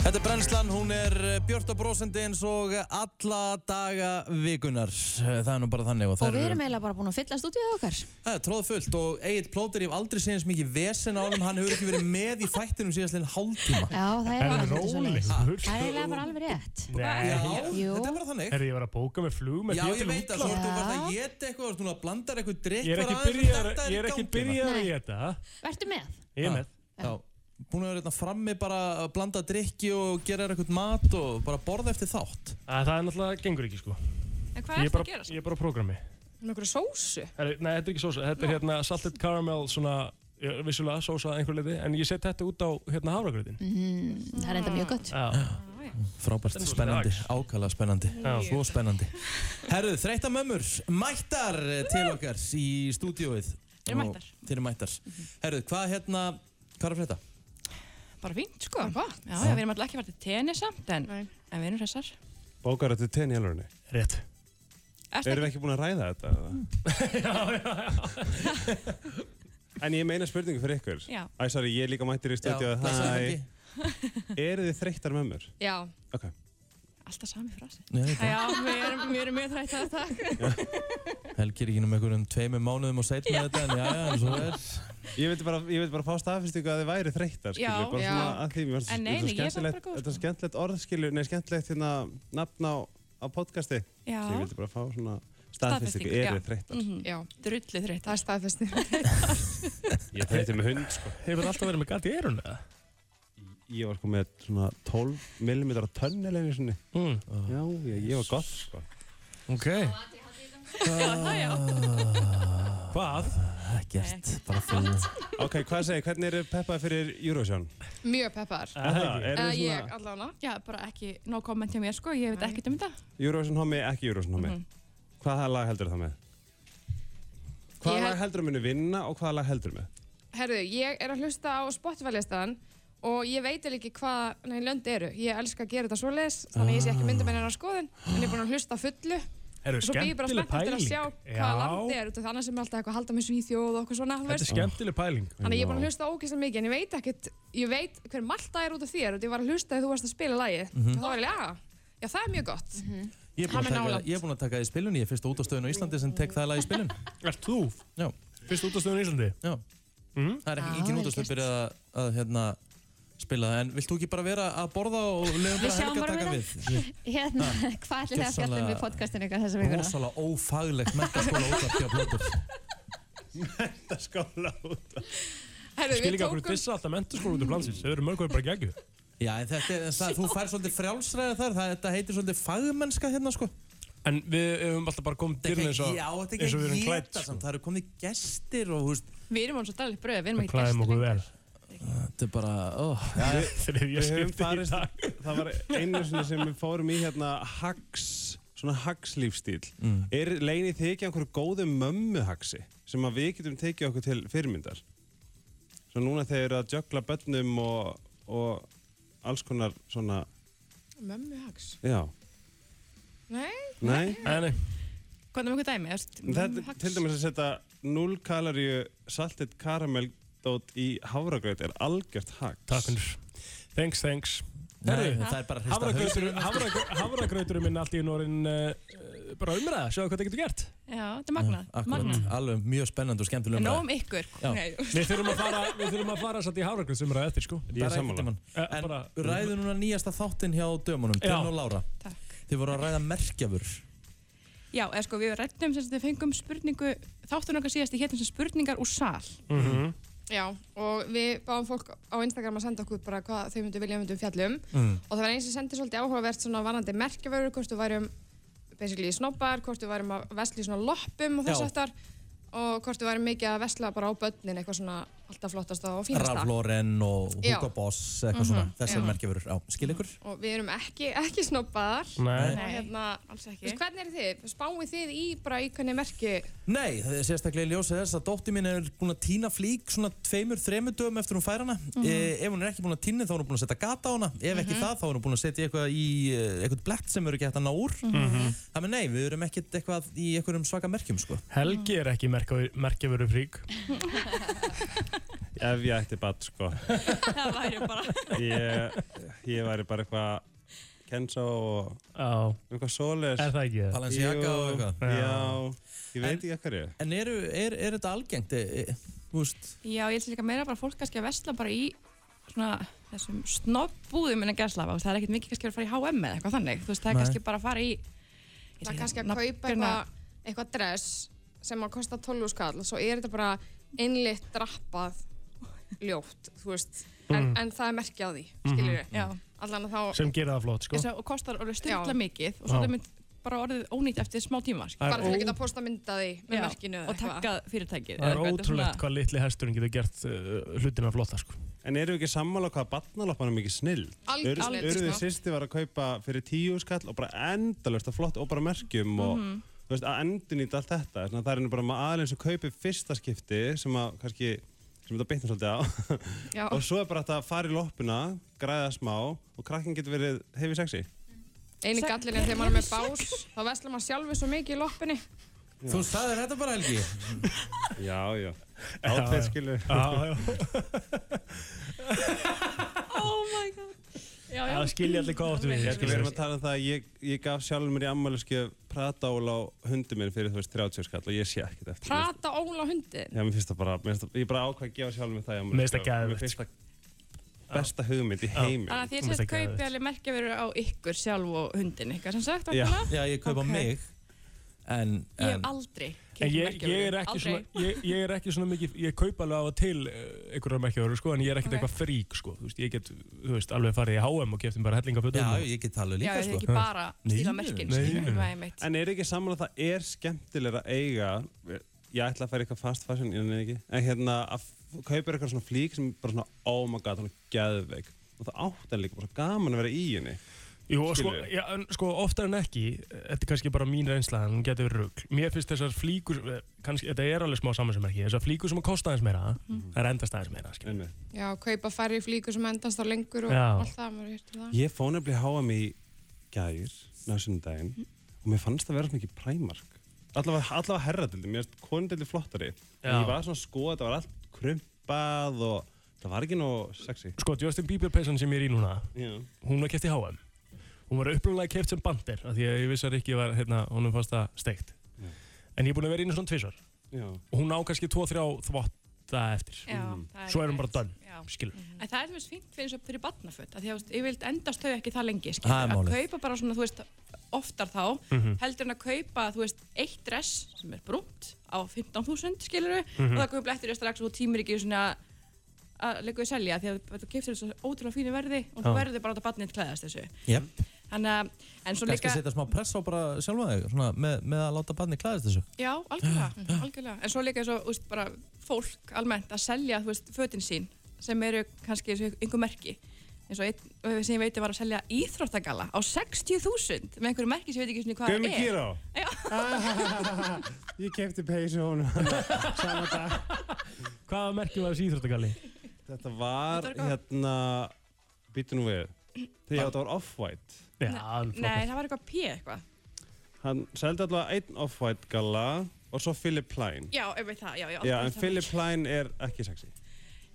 [SPEAKER 11] Þetta er brennslan, hún er eh, björt og brósandi eins og alla daga vikunar Eh, Það er nú bara þannig
[SPEAKER 2] Og við erum eiginlega bara búin að fylla stúdíuð okkar.
[SPEAKER 11] Það er tróða fullt og Egil Plóter, ég hef aldrei séð eins mikið vesen á hann, hann hefur ekki verið með í þættinum síðastlegin hálftíma.
[SPEAKER 2] Já, það er alveg svolítið
[SPEAKER 3] róleg.
[SPEAKER 2] svoleiðis.
[SPEAKER 3] Hugsa-
[SPEAKER 2] Það er eiginlega bara alveg rétt.
[SPEAKER 11] Já,
[SPEAKER 3] Nei.
[SPEAKER 2] Jú.
[SPEAKER 11] þetta er bara þannig.
[SPEAKER 3] Herri, ég var að bóka með flug með
[SPEAKER 11] Já,
[SPEAKER 3] því
[SPEAKER 11] ég
[SPEAKER 3] til
[SPEAKER 11] veit að svo
[SPEAKER 2] útlanda.
[SPEAKER 11] ertu bara að
[SPEAKER 2] Já.
[SPEAKER 11] geta eitthvað, þú ert núna að blanda þér eitthvað drikk
[SPEAKER 3] Ég er
[SPEAKER 11] bara
[SPEAKER 3] ekki
[SPEAKER 11] aðeins og
[SPEAKER 3] byrjaður
[SPEAKER 11] þetta
[SPEAKER 3] ég er
[SPEAKER 11] í
[SPEAKER 3] ekki
[SPEAKER 11] gangi,
[SPEAKER 3] byrjaður að
[SPEAKER 2] Nei.
[SPEAKER 3] geta.
[SPEAKER 2] Vertu með?
[SPEAKER 3] Ég er
[SPEAKER 11] Ah.
[SPEAKER 3] með.
[SPEAKER 11] Já, búin að vera hérna frammi bara að blanda drikki og gera þér eitthvað mat og bara borða eftir þátt.
[SPEAKER 3] Að Það er náttúrulega, gengur ekki, sko.
[SPEAKER 8] En hvað
[SPEAKER 3] Ég
[SPEAKER 8] er
[SPEAKER 3] er
[SPEAKER 8] það
[SPEAKER 3] bara,
[SPEAKER 8] að gera?
[SPEAKER 12] sko?
[SPEAKER 3] ég er bara á prógrami.
[SPEAKER 8] Með einhverju sósu?
[SPEAKER 3] Herri, nei, þetta er ekki sósa. Þetta er hérna salted caramel, svona, ég- vissulega sósa að einhver leiti, en ég set þetta út á hérna hafragröðin.
[SPEAKER 2] Mm, það er enda mjög gott.
[SPEAKER 3] Já,
[SPEAKER 1] Frábært
[SPEAKER 3] Þetta er
[SPEAKER 1] spennandi,
[SPEAKER 3] strax.
[SPEAKER 1] ákala spennandi
[SPEAKER 3] Já.
[SPEAKER 1] Svo spennandi
[SPEAKER 11] Herðu, þreytta mömmur, mættar eh, til okkar í stúdíóið.
[SPEAKER 8] Þeir eru mættar. Mhm.
[SPEAKER 11] Og Þeir eru mættar. Herðu, hvað hérna, hvað er að frétta?
[SPEAKER 8] Bara fínt, sko. Gott. Já, já, við erum alltaf ekki farið til tenni samt, en, en við erum hressar.
[SPEAKER 13] Bókar þetta tenni í alvörunni?
[SPEAKER 3] rétt.
[SPEAKER 8] Ertu
[SPEAKER 13] Erum
[SPEAKER 8] ekki?
[SPEAKER 13] við ekki búin að ræða þetta? eða? en ég meina spurningu fyrir ykkur.
[SPEAKER 8] Mm. Já.
[SPEAKER 13] Æ, sorry, ég er líka mættir í stúdíu.
[SPEAKER 11] blessaður Helgi.
[SPEAKER 13] Eru þið þreyttar mömmur?
[SPEAKER 8] Já,
[SPEAKER 13] Ok.
[SPEAKER 8] alltaf sami frasi.
[SPEAKER 1] Nei, þetta-
[SPEAKER 8] Já, við erum, við erum mjög þrætt að það.
[SPEAKER 1] Helgi er ekki um einhverjum tveimur mánuðum og seitt með þetta En já, já, en svo er
[SPEAKER 13] Ég vildi bara, ég vildi bara fá staðfyrstingu að þið væri þreyttar, skilju.
[SPEAKER 8] Já,
[SPEAKER 13] bara
[SPEAKER 8] já.
[SPEAKER 13] svona að því, mér fannst
[SPEAKER 8] En nei,
[SPEAKER 13] þetta
[SPEAKER 8] nei, ég er bara
[SPEAKER 13] skemmtilegt-
[SPEAKER 8] góð,
[SPEAKER 13] Þetta er
[SPEAKER 8] sko.
[SPEAKER 13] skemmtilegt orð, skilju, nei, skemmtilegt hérna nafn á, á podcasti.
[SPEAKER 8] Já.
[SPEAKER 13] Svo ég vildi bara fá svona
[SPEAKER 8] Staðfestingu,
[SPEAKER 13] staðfyrstingu,
[SPEAKER 8] já.
[SPEAKER 13] eru þið þreyttar?
[SPEAKER 8] Já, drullið þrætt.
[SPEAKER 12] Það er
[SPEAKER 8] [LAUGHS]
[SPEAKER 12] staðfestin.
[SPEAKER 13] Ég þreytti með hund, sko.
[SPEAKER 3] Hefur þetta alltaf verið með galt í eirun, eða?
[SPEAKER 13] Ég var sko með svona 12 mm tönnel einu sinni. Ah.
[SPEAKER 3] Mm.
[SPEAKER 13] Já, ég, ég var gott, sko.
[SPEAKER 1] Ok
[SPEAKER 3] Ah. Hvað?
[SPEAKER 1] Ekkert, bara þú
[SPEAKER 13] Ok, hvað segir, hvernig eru peppaði fyrir Eurovision?
[SPEAKER 12] Mjög peppar.
[SPEAKER 13] Aha, er
[SPEAKER 12] Uh,
[SPEAKER 8] Eh,
[SPEAKER 13] það
[SPEAKER 12] ég
[SPEAKER 13] svona
[SPEAKER 12] allavega. Já, bara ekki no comment hjá mér sko. Ég veit ekkert um þetta.
[SPEAKER 13] Eurovision homi, ekki Eurovision homi?
[SPEAKER 12] Mhm.
[SPEAKER 13] Hvaða lag heldur það með? Hvaða
[SPEAKER 12] Ég
[SPEAKER 13] lag
[SPEAKER 12] held-
[SPEAKER 13] heldur það muni vinna og hvaða lag heldur það með?
[SPEAKER 12] [LAUGHS] Herðu, ég er að hlusta á Spotify-listaðan og ég veit eiginlega ekki hvað nei, lönd eru. Ég elska að gera þetta svo les, þannig að ég sé
[SPEAKER 3] Ah.
[SPEAKER 12] ekki mynda með hennar skoðun, en ég er búin að hlusta á fullu.
[SPEAKER 3] Herru,
[SPEAKER 12] Og svo býð ég bara
[SPEAKER 3] skemmtileg
[SPEAKER 12] spennt til að
[SPEAKER 3] pæling.
[SPEAKER 12] sjá
[SPEAKER 3] Já.
[SPEAKER 12] hvaða landi er, út af þannig sem er alltaf eitthvað að halda með Svíþjóð og okkur svona,
[SPEAKER 3] Þetta
[SPEAKER 12] þú
[SPEAKER 3] er
[SPEAKER 12] veist.
[SPEAKER 3] skemmtileg pæling.
[SPEAKER 12] Þannig að ég er búin að hlusta ógeðslega mikið, en ég veit ekkert, ég veit hver Malta er út af þér, út af ég var að hlusta þegar þú varst að spila lagið.
[SPEAKER 3] Mhm.
[SPEAKER 12] Mm Þá var ég, já, já, það er mjög gott.
[SPEAKER 8] Mhm.
[SPEAKER 1] Ég er búin
[SPEAKER 12] Hann
[SPEAKER 1] að
[SPEAKER 12] er
[SPEAKER 1] taka,
[SPEAKER 12] nálægt.
[SPEAKER 1] ég er búin að taka það í spilun Ég er fyrst út á stöðun á Íslandi sem tek það lag í spilun
[SPEAKER 3] Ert þú?
[SPEAKER 1] Já.
[SPEAKER 3] Fyrst útastöðun í Íslandi?
[SPEAKER 1] Já
[SPEAKER 3] Mhm.
[SPEAKER 1] Það er ekki
[SPEAKER 2] Já,
[SPEAKER 1] engin
[SPEAKER 2] vel
[SPEAKER 1] út á stöðun byrjað að, að hérna spila það En vilt þú ekki bara vera að borða og leiðum bara
[SPEAKER 2] sjáum
[SPEAKER 1] Helgi að
[SPEAKER 2] bara
[SPEAKER 1] taka
[SPEAKER 2] við
[SPEAKER 1] við
[SPEAKER 2] [LAUGHS] Hérna, hvað ætlir þið að fjalla um í
[SPEAKER 1] Gjörsamlega-
[SPEAKER 2] podcastinu ykkar þessa vikuna?
[SPEAKER 1] Rósalega ófaglegt mentaskóla út af því að blóta
[SPEAKER 13] Þetta skála út.
[SPEAKER 12] Herðu,
[SPEAKER 3] Skil
[SPEAKER 12] við
[SPEAKER 3] ekki okkur
[SPEAKER 12] tókum,
[SPEAKER 3] dissa alltaf mentaskóla út af landsins. Þau eru mörg og bara geggju.
[SPEAKER 1] Já, en þetta, er- það, þú fær svolítið frjálsræði þar, það, þetta heitir svolítið fagmennska hérna, sko.
[SPEAKER 3] En við hefum alltaf bara komið til eins og
[SPEAKER 1] já, þetta er
[SPEAKER 3] eins og við erum
[SPEAKER 1] ekki að
[SPEAKER 3] klætt.
[SPEAKER 1] geta
[SPEAKER 3] sko.
[SPEAKER 1] samt, það eru komið gestir og, þú veist,
[SPEAKER 8] Við erum alveg svo daglega bröðið, við erum ekki
[SPEAKER 3] Klæðum okkur vel.
[SPEAKER 1] þetta er bara, óh,
[SPEAKER 3] Þegar
[SPEAKER 13] Við
[SPEAKER 3] ég
[SPEAKER 13] höfum
[SPEAKER 3] skipti í
[SPEAKER 13] farist,
[SPEAKER 3] dag.
[SPEAKER 13] það var einu sinni sem við fórum í hérna Hax svona hagslífstíl mm. er leginni þykja einhverju góðu mömmuhagsi sem að við getum tekið okkur til fyrirmyndar svo núna þegar þeir eru að jökla börnum og, og alls konar svona,
[SPEAKER 12] Mömmu hags.
[SPEAKER 13] já,
[SPEAKER 12] Nei,
[SPEAKER 13] nei, nei, nei.
[SPEAKER 8] Hvað er mjög dæmi? Erst,
[SPEAKER 13] Þetta,
[SPEAKER 8] hax?
[SPEAKER 13] til dæmis að setja 0 kaloríu saltit karamelldót í hafragraut er algjört hag
[SPEAKER 3] Takk fyrir Thanks, thanks
[SPEAKER 13] Nei, það er bara að hrista hausinn.
[SPEAKER 3] Hafragrauturum minn allt í norinn uh, bara umræða, sjáðu hvað það getur gert
[SPEAKER 8] Já, þetta er magnað.
[SPEAKER 11] Akkurat,
[SPEAKER 8] magnað.
[SPEAKER 11] alveg mjög spennandi og skemmtileg
[SPEAKER 8] En
[SPEAKER 11] umræða.
[SPEAKER 8] nóg um ykkur.
[SPEAKER 11] Já.
[SPEAKER 8] Nei.
[SPEAKER 3] Við þurfum að fara, við þurfum
[SPEAKER 8] [LAUGHS]
[SPEAKER 3] að fara satt í hafragrautsumræða eftir sko
[SPEAKER 11] Bara einhvern tímann. En ræðu núna nýjasta þáttinn hjá dömunum,
[SPEAKER 3] Já.
[SPEAKER 11] Tönn og Lára.
[SPEAKER 8] Takk.
[SPEAKER 11] Þið voru að ræða merkjafur.
[SPEAKER 8] Já, eða sko við rættum sem sagt við fengum spurningu, þáttunum okkar síðast í héttum sem spurningar úr sal.
[SPEAKER 14] Mm.
[SPEAKER 3] Mhm.
[SPEAKER 12] Já, og við báðum fólk á Instagram að senda okkur bara hvað þau myndu vilja að myndum fjallum
[SPEAKER 8] Mm.
[SPEAKER 12] og það var eins sem sendi svolítið áhugavert svona varandi merkjavöru, hvort við værum basically snobbar, hvort við værum að vesla í svona loppum og þess
[SPEAKER 11] Já.
[SPEAKER 12] aftar og hvort við værum mikið að vesla bara á börnin eitthvað svona alltaf flottasta og fínasta
[SPEAKER 11] Ralph Lauren og
[SPEAKER 12] Já.
[SPEAKER 11] Hugo Boss, eitthvað
[SPEAKER 12] Mhm,
[SPEAKER 11] svona. Þessar
[SPEAKER 12] já.
[SPEAKER 11] merkjafur, já, skil ykkur.
[SPEAKER 12] og við erum ekki, ekki snobbaðar
[SPEAKER 11] Nei.
[SPEAKER 12] og hérna, alls ekki Vist, hvernig eru þið? Spáið þið í bara í hvernig merki
[SPEAKER 11] Nei, það er sérstaklega í ljósið þess að dótti mín er búin að týna flík svona tveimur, þreimur dögum eftir hún fær hana.
[SPEAKER 12] Mhm.
[SPEAKER 11] e, ef hún er ekki búin að týna þá er hún búin að setja gata á hana. Ef ekki
[SPEAKER 12] Mhm.
[SPEAKER 11] það þá er hún búin að setja eitthvað í eh, eitthvað blekt sem eru ekki hægt að ná úr.
[SPEAKER 3] Mhm.
[SPEAKER 11] Þannig nei, við erum ekkert eitthvað í einhverjum svaka merkjum sko.
[SPEAKER 3] Helgi er ekki merkjavöru frík
[SPEAKER 13] ef ég ætti bad sko
[SPEAKER 8] [LAUGHS] það væri bara...
[SPEAKER 13] ég, ég væri bara eitthvað Kenzo og
[SPEAKER 3] Já.
[SPEAKER 13] eitthvað svoleiðis
[SPEAKER 3] Er það ekki það?
[SPEAKER 11] Balenciaga og eitthvað.
[SPEAKER 13] Já, ég veit ekki eitthvað ég
[SPEAKER 11] En eru, er, er þetta algengt? E, e, þú veist,
[SPEAKER 8] Já, ég held líka meira bara fólk kannski að vesla bara í svona þessum snobbúðum innan gerðslafa og það er ekkert mikið kannski að fara í H&M eða eitthvað þannig þú veist, það er
[SPEAKER 12] Nei.
[SPEAKER 8] kannski bara að fara í
[SPEAKER 12] það er kannski að kaupa eitthvað eitthvað dress sem að kosta 12 skall svo er þetta bara innlitt drappað ljótt, þú veist en,
[SPEAKER 3] Mm.
[SPEAKER 12] en það er merki á því, skilur við
[SPEAKER 3] Mhm. Já.
[SPEAKER 12] allan að þá
[SPEAKER 3] sem gerir það flott sko
[SPEAKER 8] og kostar alveg styrla
[SPEAKER 12] Já.
[SPEAKER 8] mikið og svo
[SPEAKER 3] Já.
[SPEAKER 8] er það mynd bara orðið ónýtt eftir smá tíma sko. skilur.
[SPEAKER 3] Það er
[SPEAKER 12] bara til að geta posta myndaði með
[SPEAKER 8] Já,
[SPEAKER 12] merkinu
[SPEAKER 8] og taggað fyrirtækið
[SPEAKER 3] Það er ótrúlegt hvað litli hesturinn getur gert uh, hlutina flotta sko
[SPEAKER 13] En eru við ekki sammála hvað barnaloppan er mikið snill?
[SPEAKER 3] Algjör snill,
[SPEAKER 13] Urðið
[SPEAKER 3] sko.
[SPEAKER 13] sýsti var að kaupa fyrir tíu skall og bara endalust að flott og bara merkjum og
[SPEAKER 3] Mhm.
[SPEAKER 13] þú veist, að endunýta allt þetta þannig að það er nú bara maður aðeins að kaupi fyrsta skipti sem að kannski sem þetta bitnar svolítið á
[SPEAKER 12] Já.
[SPEAKER 13] og svo er bara hægt að fara í loppuna græða smá og krakkin getur verið hefði sexy
[SPEAKER 12] eini gallin er þegar maður er með bás þá veslar maður sjálfur svo mikið í loppinni
[SPEAKER 11] Þú staðir þetta bara Helgi
[SPEAKER 13] [LAUGHS] Já, já Átveð skilu Já,
[SPEAKER 3] já
[SPEAKER 8] oh my god já, já.
[SPEAKER 13] Ég ætla við erum að tala um það að ég, ég gaf sjálfur mér í ammæluskjöf pratál á hundi minn fyrir þú veist 30 skall og ég sé ekkert eftir því.
[SPEAKER 12] prata óla hundin
[SPEAKER 13] Já, mér finnst það bara, mér finnst það, ég bara ákvað að gefa sjálfur mér það sko. í afmælisgjöf.
[SPEAKER 3] Mér finnst það geðveikt,
[SPEAKER 13] Mér finnst það besta hugmynd í heiminn.
[SPEAKER 8] þannig að því að sérst kaupi alveg merkjavöru á ykkur sjálf og hundin ykkar sem sagt
[SPEAKER 11] Já,
[SPEAKER 8] nákvæmlega?
[SPEAKER 11] já ég kaupa
[SPEAKER 8] Ok.
[SPEAKER 11] mig. En,
[SPEAKER 8] ég
[SPEAKER 11] en
[SPEAKER 8] hef aldrei
[SPEAKER 3] En
[SPEAKER 8] keypt
[SPEAKER 3] ég, ég, er
[SPEAKER 8] merkjavöru,
[SPEAKER 3] ekki
[SPEAKER 8] aldrei.
[SPEAKER 3] svona, ég, ég er ekki svona mikið, ég kaup alveg af og til eh, einhverjar merkjavöru sko, en ég er ekkert
[SPEAKER 8] Ok.
[SPEAKER 3] eitthvað frík sko, þú veist, ég get, þú veist, alveg farið í H&M og keftum bara hellingafutum.
[SPEAKER 11] Já, ég get alveg
[SPEAKER 8] Já, ég er ekki bara að stíla merkin skilur, nei, einmitt.
[SPEAKER 13] En er ekki sammála að það er skemmtilega að eiga Ég ætla að færa eitthvað fast fashion innan ekki En hérna að f- kaupa eitthvað svona flík sem bara svona Oh my god, hún er geðveik Og það átt en líka bara svo gaman að vera í henni
[SPEAKER 3] Jú, og sko,
[SPEAKER 13] Skilurðu?
[SPEAKER 3] já, en, sko, oftar en ekki, eh, þetta er kannski bara mín reynsla, en hún getur verið rugl. Mér finnst þessar flíkur, eh, kannski, þetta er alveg smá samansumerki, þessar flíkur sem að kosta aðeins meira,
[SPEAKER 8] Mhm.
[SPEAKER 3] það er endast aðeins meira, skilur.
[SPEAKER 12] já, kaupa færri flíkur sem endast á lengur og
[SPEAKER 3] Já.
[SPEAKER 12] allt það, maður hýrt um það
[SPEAKER 13] Ég fór nefnilega HM í gær Násunnudaginn Og mér fannst það vera svona mikið præmark Allavega, allavega herradildi, mér finnst konundildi flottari En
[SPEAKER 3] Já.
[SPEAKER 13] ég var svona að skoða, það var allt krumpað Og það var ekki nóg sexy
[SPEAKER 3] Sko, Justin Bieber peysan sem ég er í núna,
[SPEAKER 13] Já.
[SPEAKER 3] hún var keft í H&M. Hún var upplunlega keft sem bandir, af því að ég vissi að Rikki var, hérna, honum fannst það steikt. En ég er búin að vera inn í svona tvisvar.
[SPEAKER 13] Já.
[SPEAKER 3] og hún á kannski 2-3 þvotta eftir
[SPEAKER 8] Já, Mhm. það er
[SPEAKER 3] svo er hún bara
[SPEAKER 8] rétt.
[SPEAKER 3] done
[SPEAKER 8] Já. Mhm.
[SPEAKER 3] skilur
[SPEAKER 8] En það er til dæmis fínt fyrir, svo- fyrir barnaföt að því að ég vild endast þau ekki það lengi skilur,
[SPEAKER 3] Það er
[SPEAKER 8] að
[SPEAKER 3] málið.
[SPEAKER 8] kaupa bara svona, þú veist, oftar þá
[SPEAKER 3] Mhm.
[SPEAKER 8] heldur en að kaupa, þú veist, eitt dress sem er brúnt á 15.000 skilur
[SPEAKER 3] Mhm.
[SPEAKER 8] og það komið blettur í strax og þú tímir ekki svona að leika við selja því að þú keftir þessu ótrúlega fínu verði og þú
[SPEAKER 11] Já.
[SPEAKER 8] verður bara að barnið klæðast þessu
[SPEAKER 11] Jep.
[SPEAKER 8] Þannig að, en svo
[SPEAKER 11] kannski
[SPEAKER 8] líka
[SPEAKER 11] setja smá press á bara sjálfa þig svona, með, með að láta barni klæðast þessu.
[SPEAKER 8] Já, algjörlega, algjörlega. En svo líka eins og, þú veist, bara fólk almennt að selja, þú veist, fötin sín sem eru kannski eins og einhver merki. eins og einn ö, sem ég veit að var að selja íþróttagalla á 60.000 með einhverju merki sem ég veit ekki einu sinni hvað
[SPEAKER 13] Gummi Giro.
[SPEAKER 8] Já.
[SPEAKER 3] [LAUGHS]
[SPEAKER 13] Ég kefti peysu honum sama dag.
[SPEAKER 3] Hvaða merkjum var þessi íþróttagalli?
[SPEAKER 13] [LAUGHS] Þetta var
[SPEAKER 8] Þetta var gott.
[SPEAKER 13] hérna, býtu nú við, þegar þetta var Off-White.
[SPEAKER 3] Já, hann
[SPEAKER 8] Nei, það var eitthvað P eitthvað.
[SPEAKER 13] Hann seldi allavega einn Off-White galla og svo Philip Plein.
[SPEAKER 8] Já, ef við það, já, já.
[SPEAKER 13] Já,
[SPEAKER 8] alltaf
[SPEAKER 13] en
[SPEAKER 8] það.
[SPEAKER 13] Philip Plein er ekki sexy.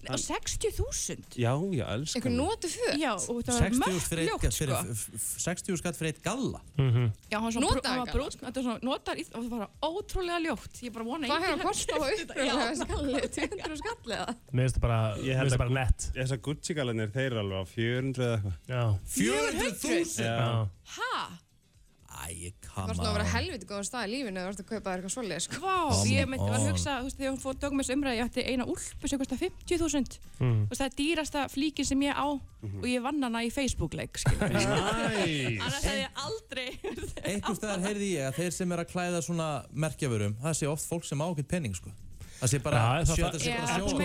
[SPEAKER 8] Nei, Og 60.000?
[SPEAKER 13] Já, já, elsku.
[SPEAKER 8] notu föt? Já, og þetta var
[SPEAKER 1] 60
[SPEAKER 8] mörg
[SPEAKER 1] skatt fyrir,
[SPEAKER 8] ljótt,
[SPEAKER 1] eitt- fyrir,
[SPEAKER 8] sko.
[SPEAKER 1] f- f- 60 skatt fyrir eitt galla
[SPEAKER 3] Mhm.
[SPEAKER 8] Já, hann var svona
[SPEAKER 12] Notaði
[SPEAKER 8] brú- hann
[SPEAKER 12] galla,
[SPEAKER 8] var brún, þetta var svona notar íþ- og það var ótrúlega ljótt. Ég bara vona
[SPEAKER 12] Hvað hefur hann
[SPEAKER 8] enginn
[SPEAKER 12] kostað á
[SPEAKER 8] keypti þetta. Já.
[SPEAKER 12] upprunalega skallið? 200 skallið eða?
[SPEAKER 3] Mér finnst það bara,
[SPEAKER 13] Ég
[SPEAKER 3] mér
[SPEAKER 13] held
[SPEAKER 3] finnst það
[SPEAKER 13] að-
[SPEAKER 3] bara nett.
[SPEAKER 13] Þessar Gucci-gallanir, þeir eru alveg á 400 eða eitthvað.
[SPEAKER 3] Já.
[SPEAKER 12] 400.000?
[SPEAKER 13] Já.
[SPEAKER 12] Hæ?
[SPEAKER 1] Æ,
[SPEAKER 12] Það var svona að vera helviti góðan stað í lífinu eða varst að kaupa þér eitthvað svoleið sko.
[SPEAKER 8] Vá, ég myndi var að
[SPEAKER 12] on.
[SPEAKER 8] hugsa, þú veist, þegar hún fór tók með þessu umræði, ég átti eina úlpu sem kostar 50.000.
[SPEAKER 12] Mm.
[SPEAKER 8] Þú veist, það er dýrasta flíkin sem ég á
[SPEAKER 3] Mhm.
[SPEAKER 8] og ég vann hana í Facebook-leik, skiljum við.
[SPEAKER 1] Nice.
[SPEAKER 8] Annars hefði ég aldrei... [LAUGHS]
[SPEAKER 1] einhvers staðar heyrði ég að þeir sem er að klæða svona merkjavörum, það sé oft fólk sem á ekkert penning sko. það sé bara,
[SPEAKER 3] Já,
[SPEAKER 1] sjö,
[SPEAKER 3] það,
[SPEAKER 1] það sé bara
[SPEAKER 3] það,
[SPEAKER 1] sjóða sko.
[SPEAKER 3] sko.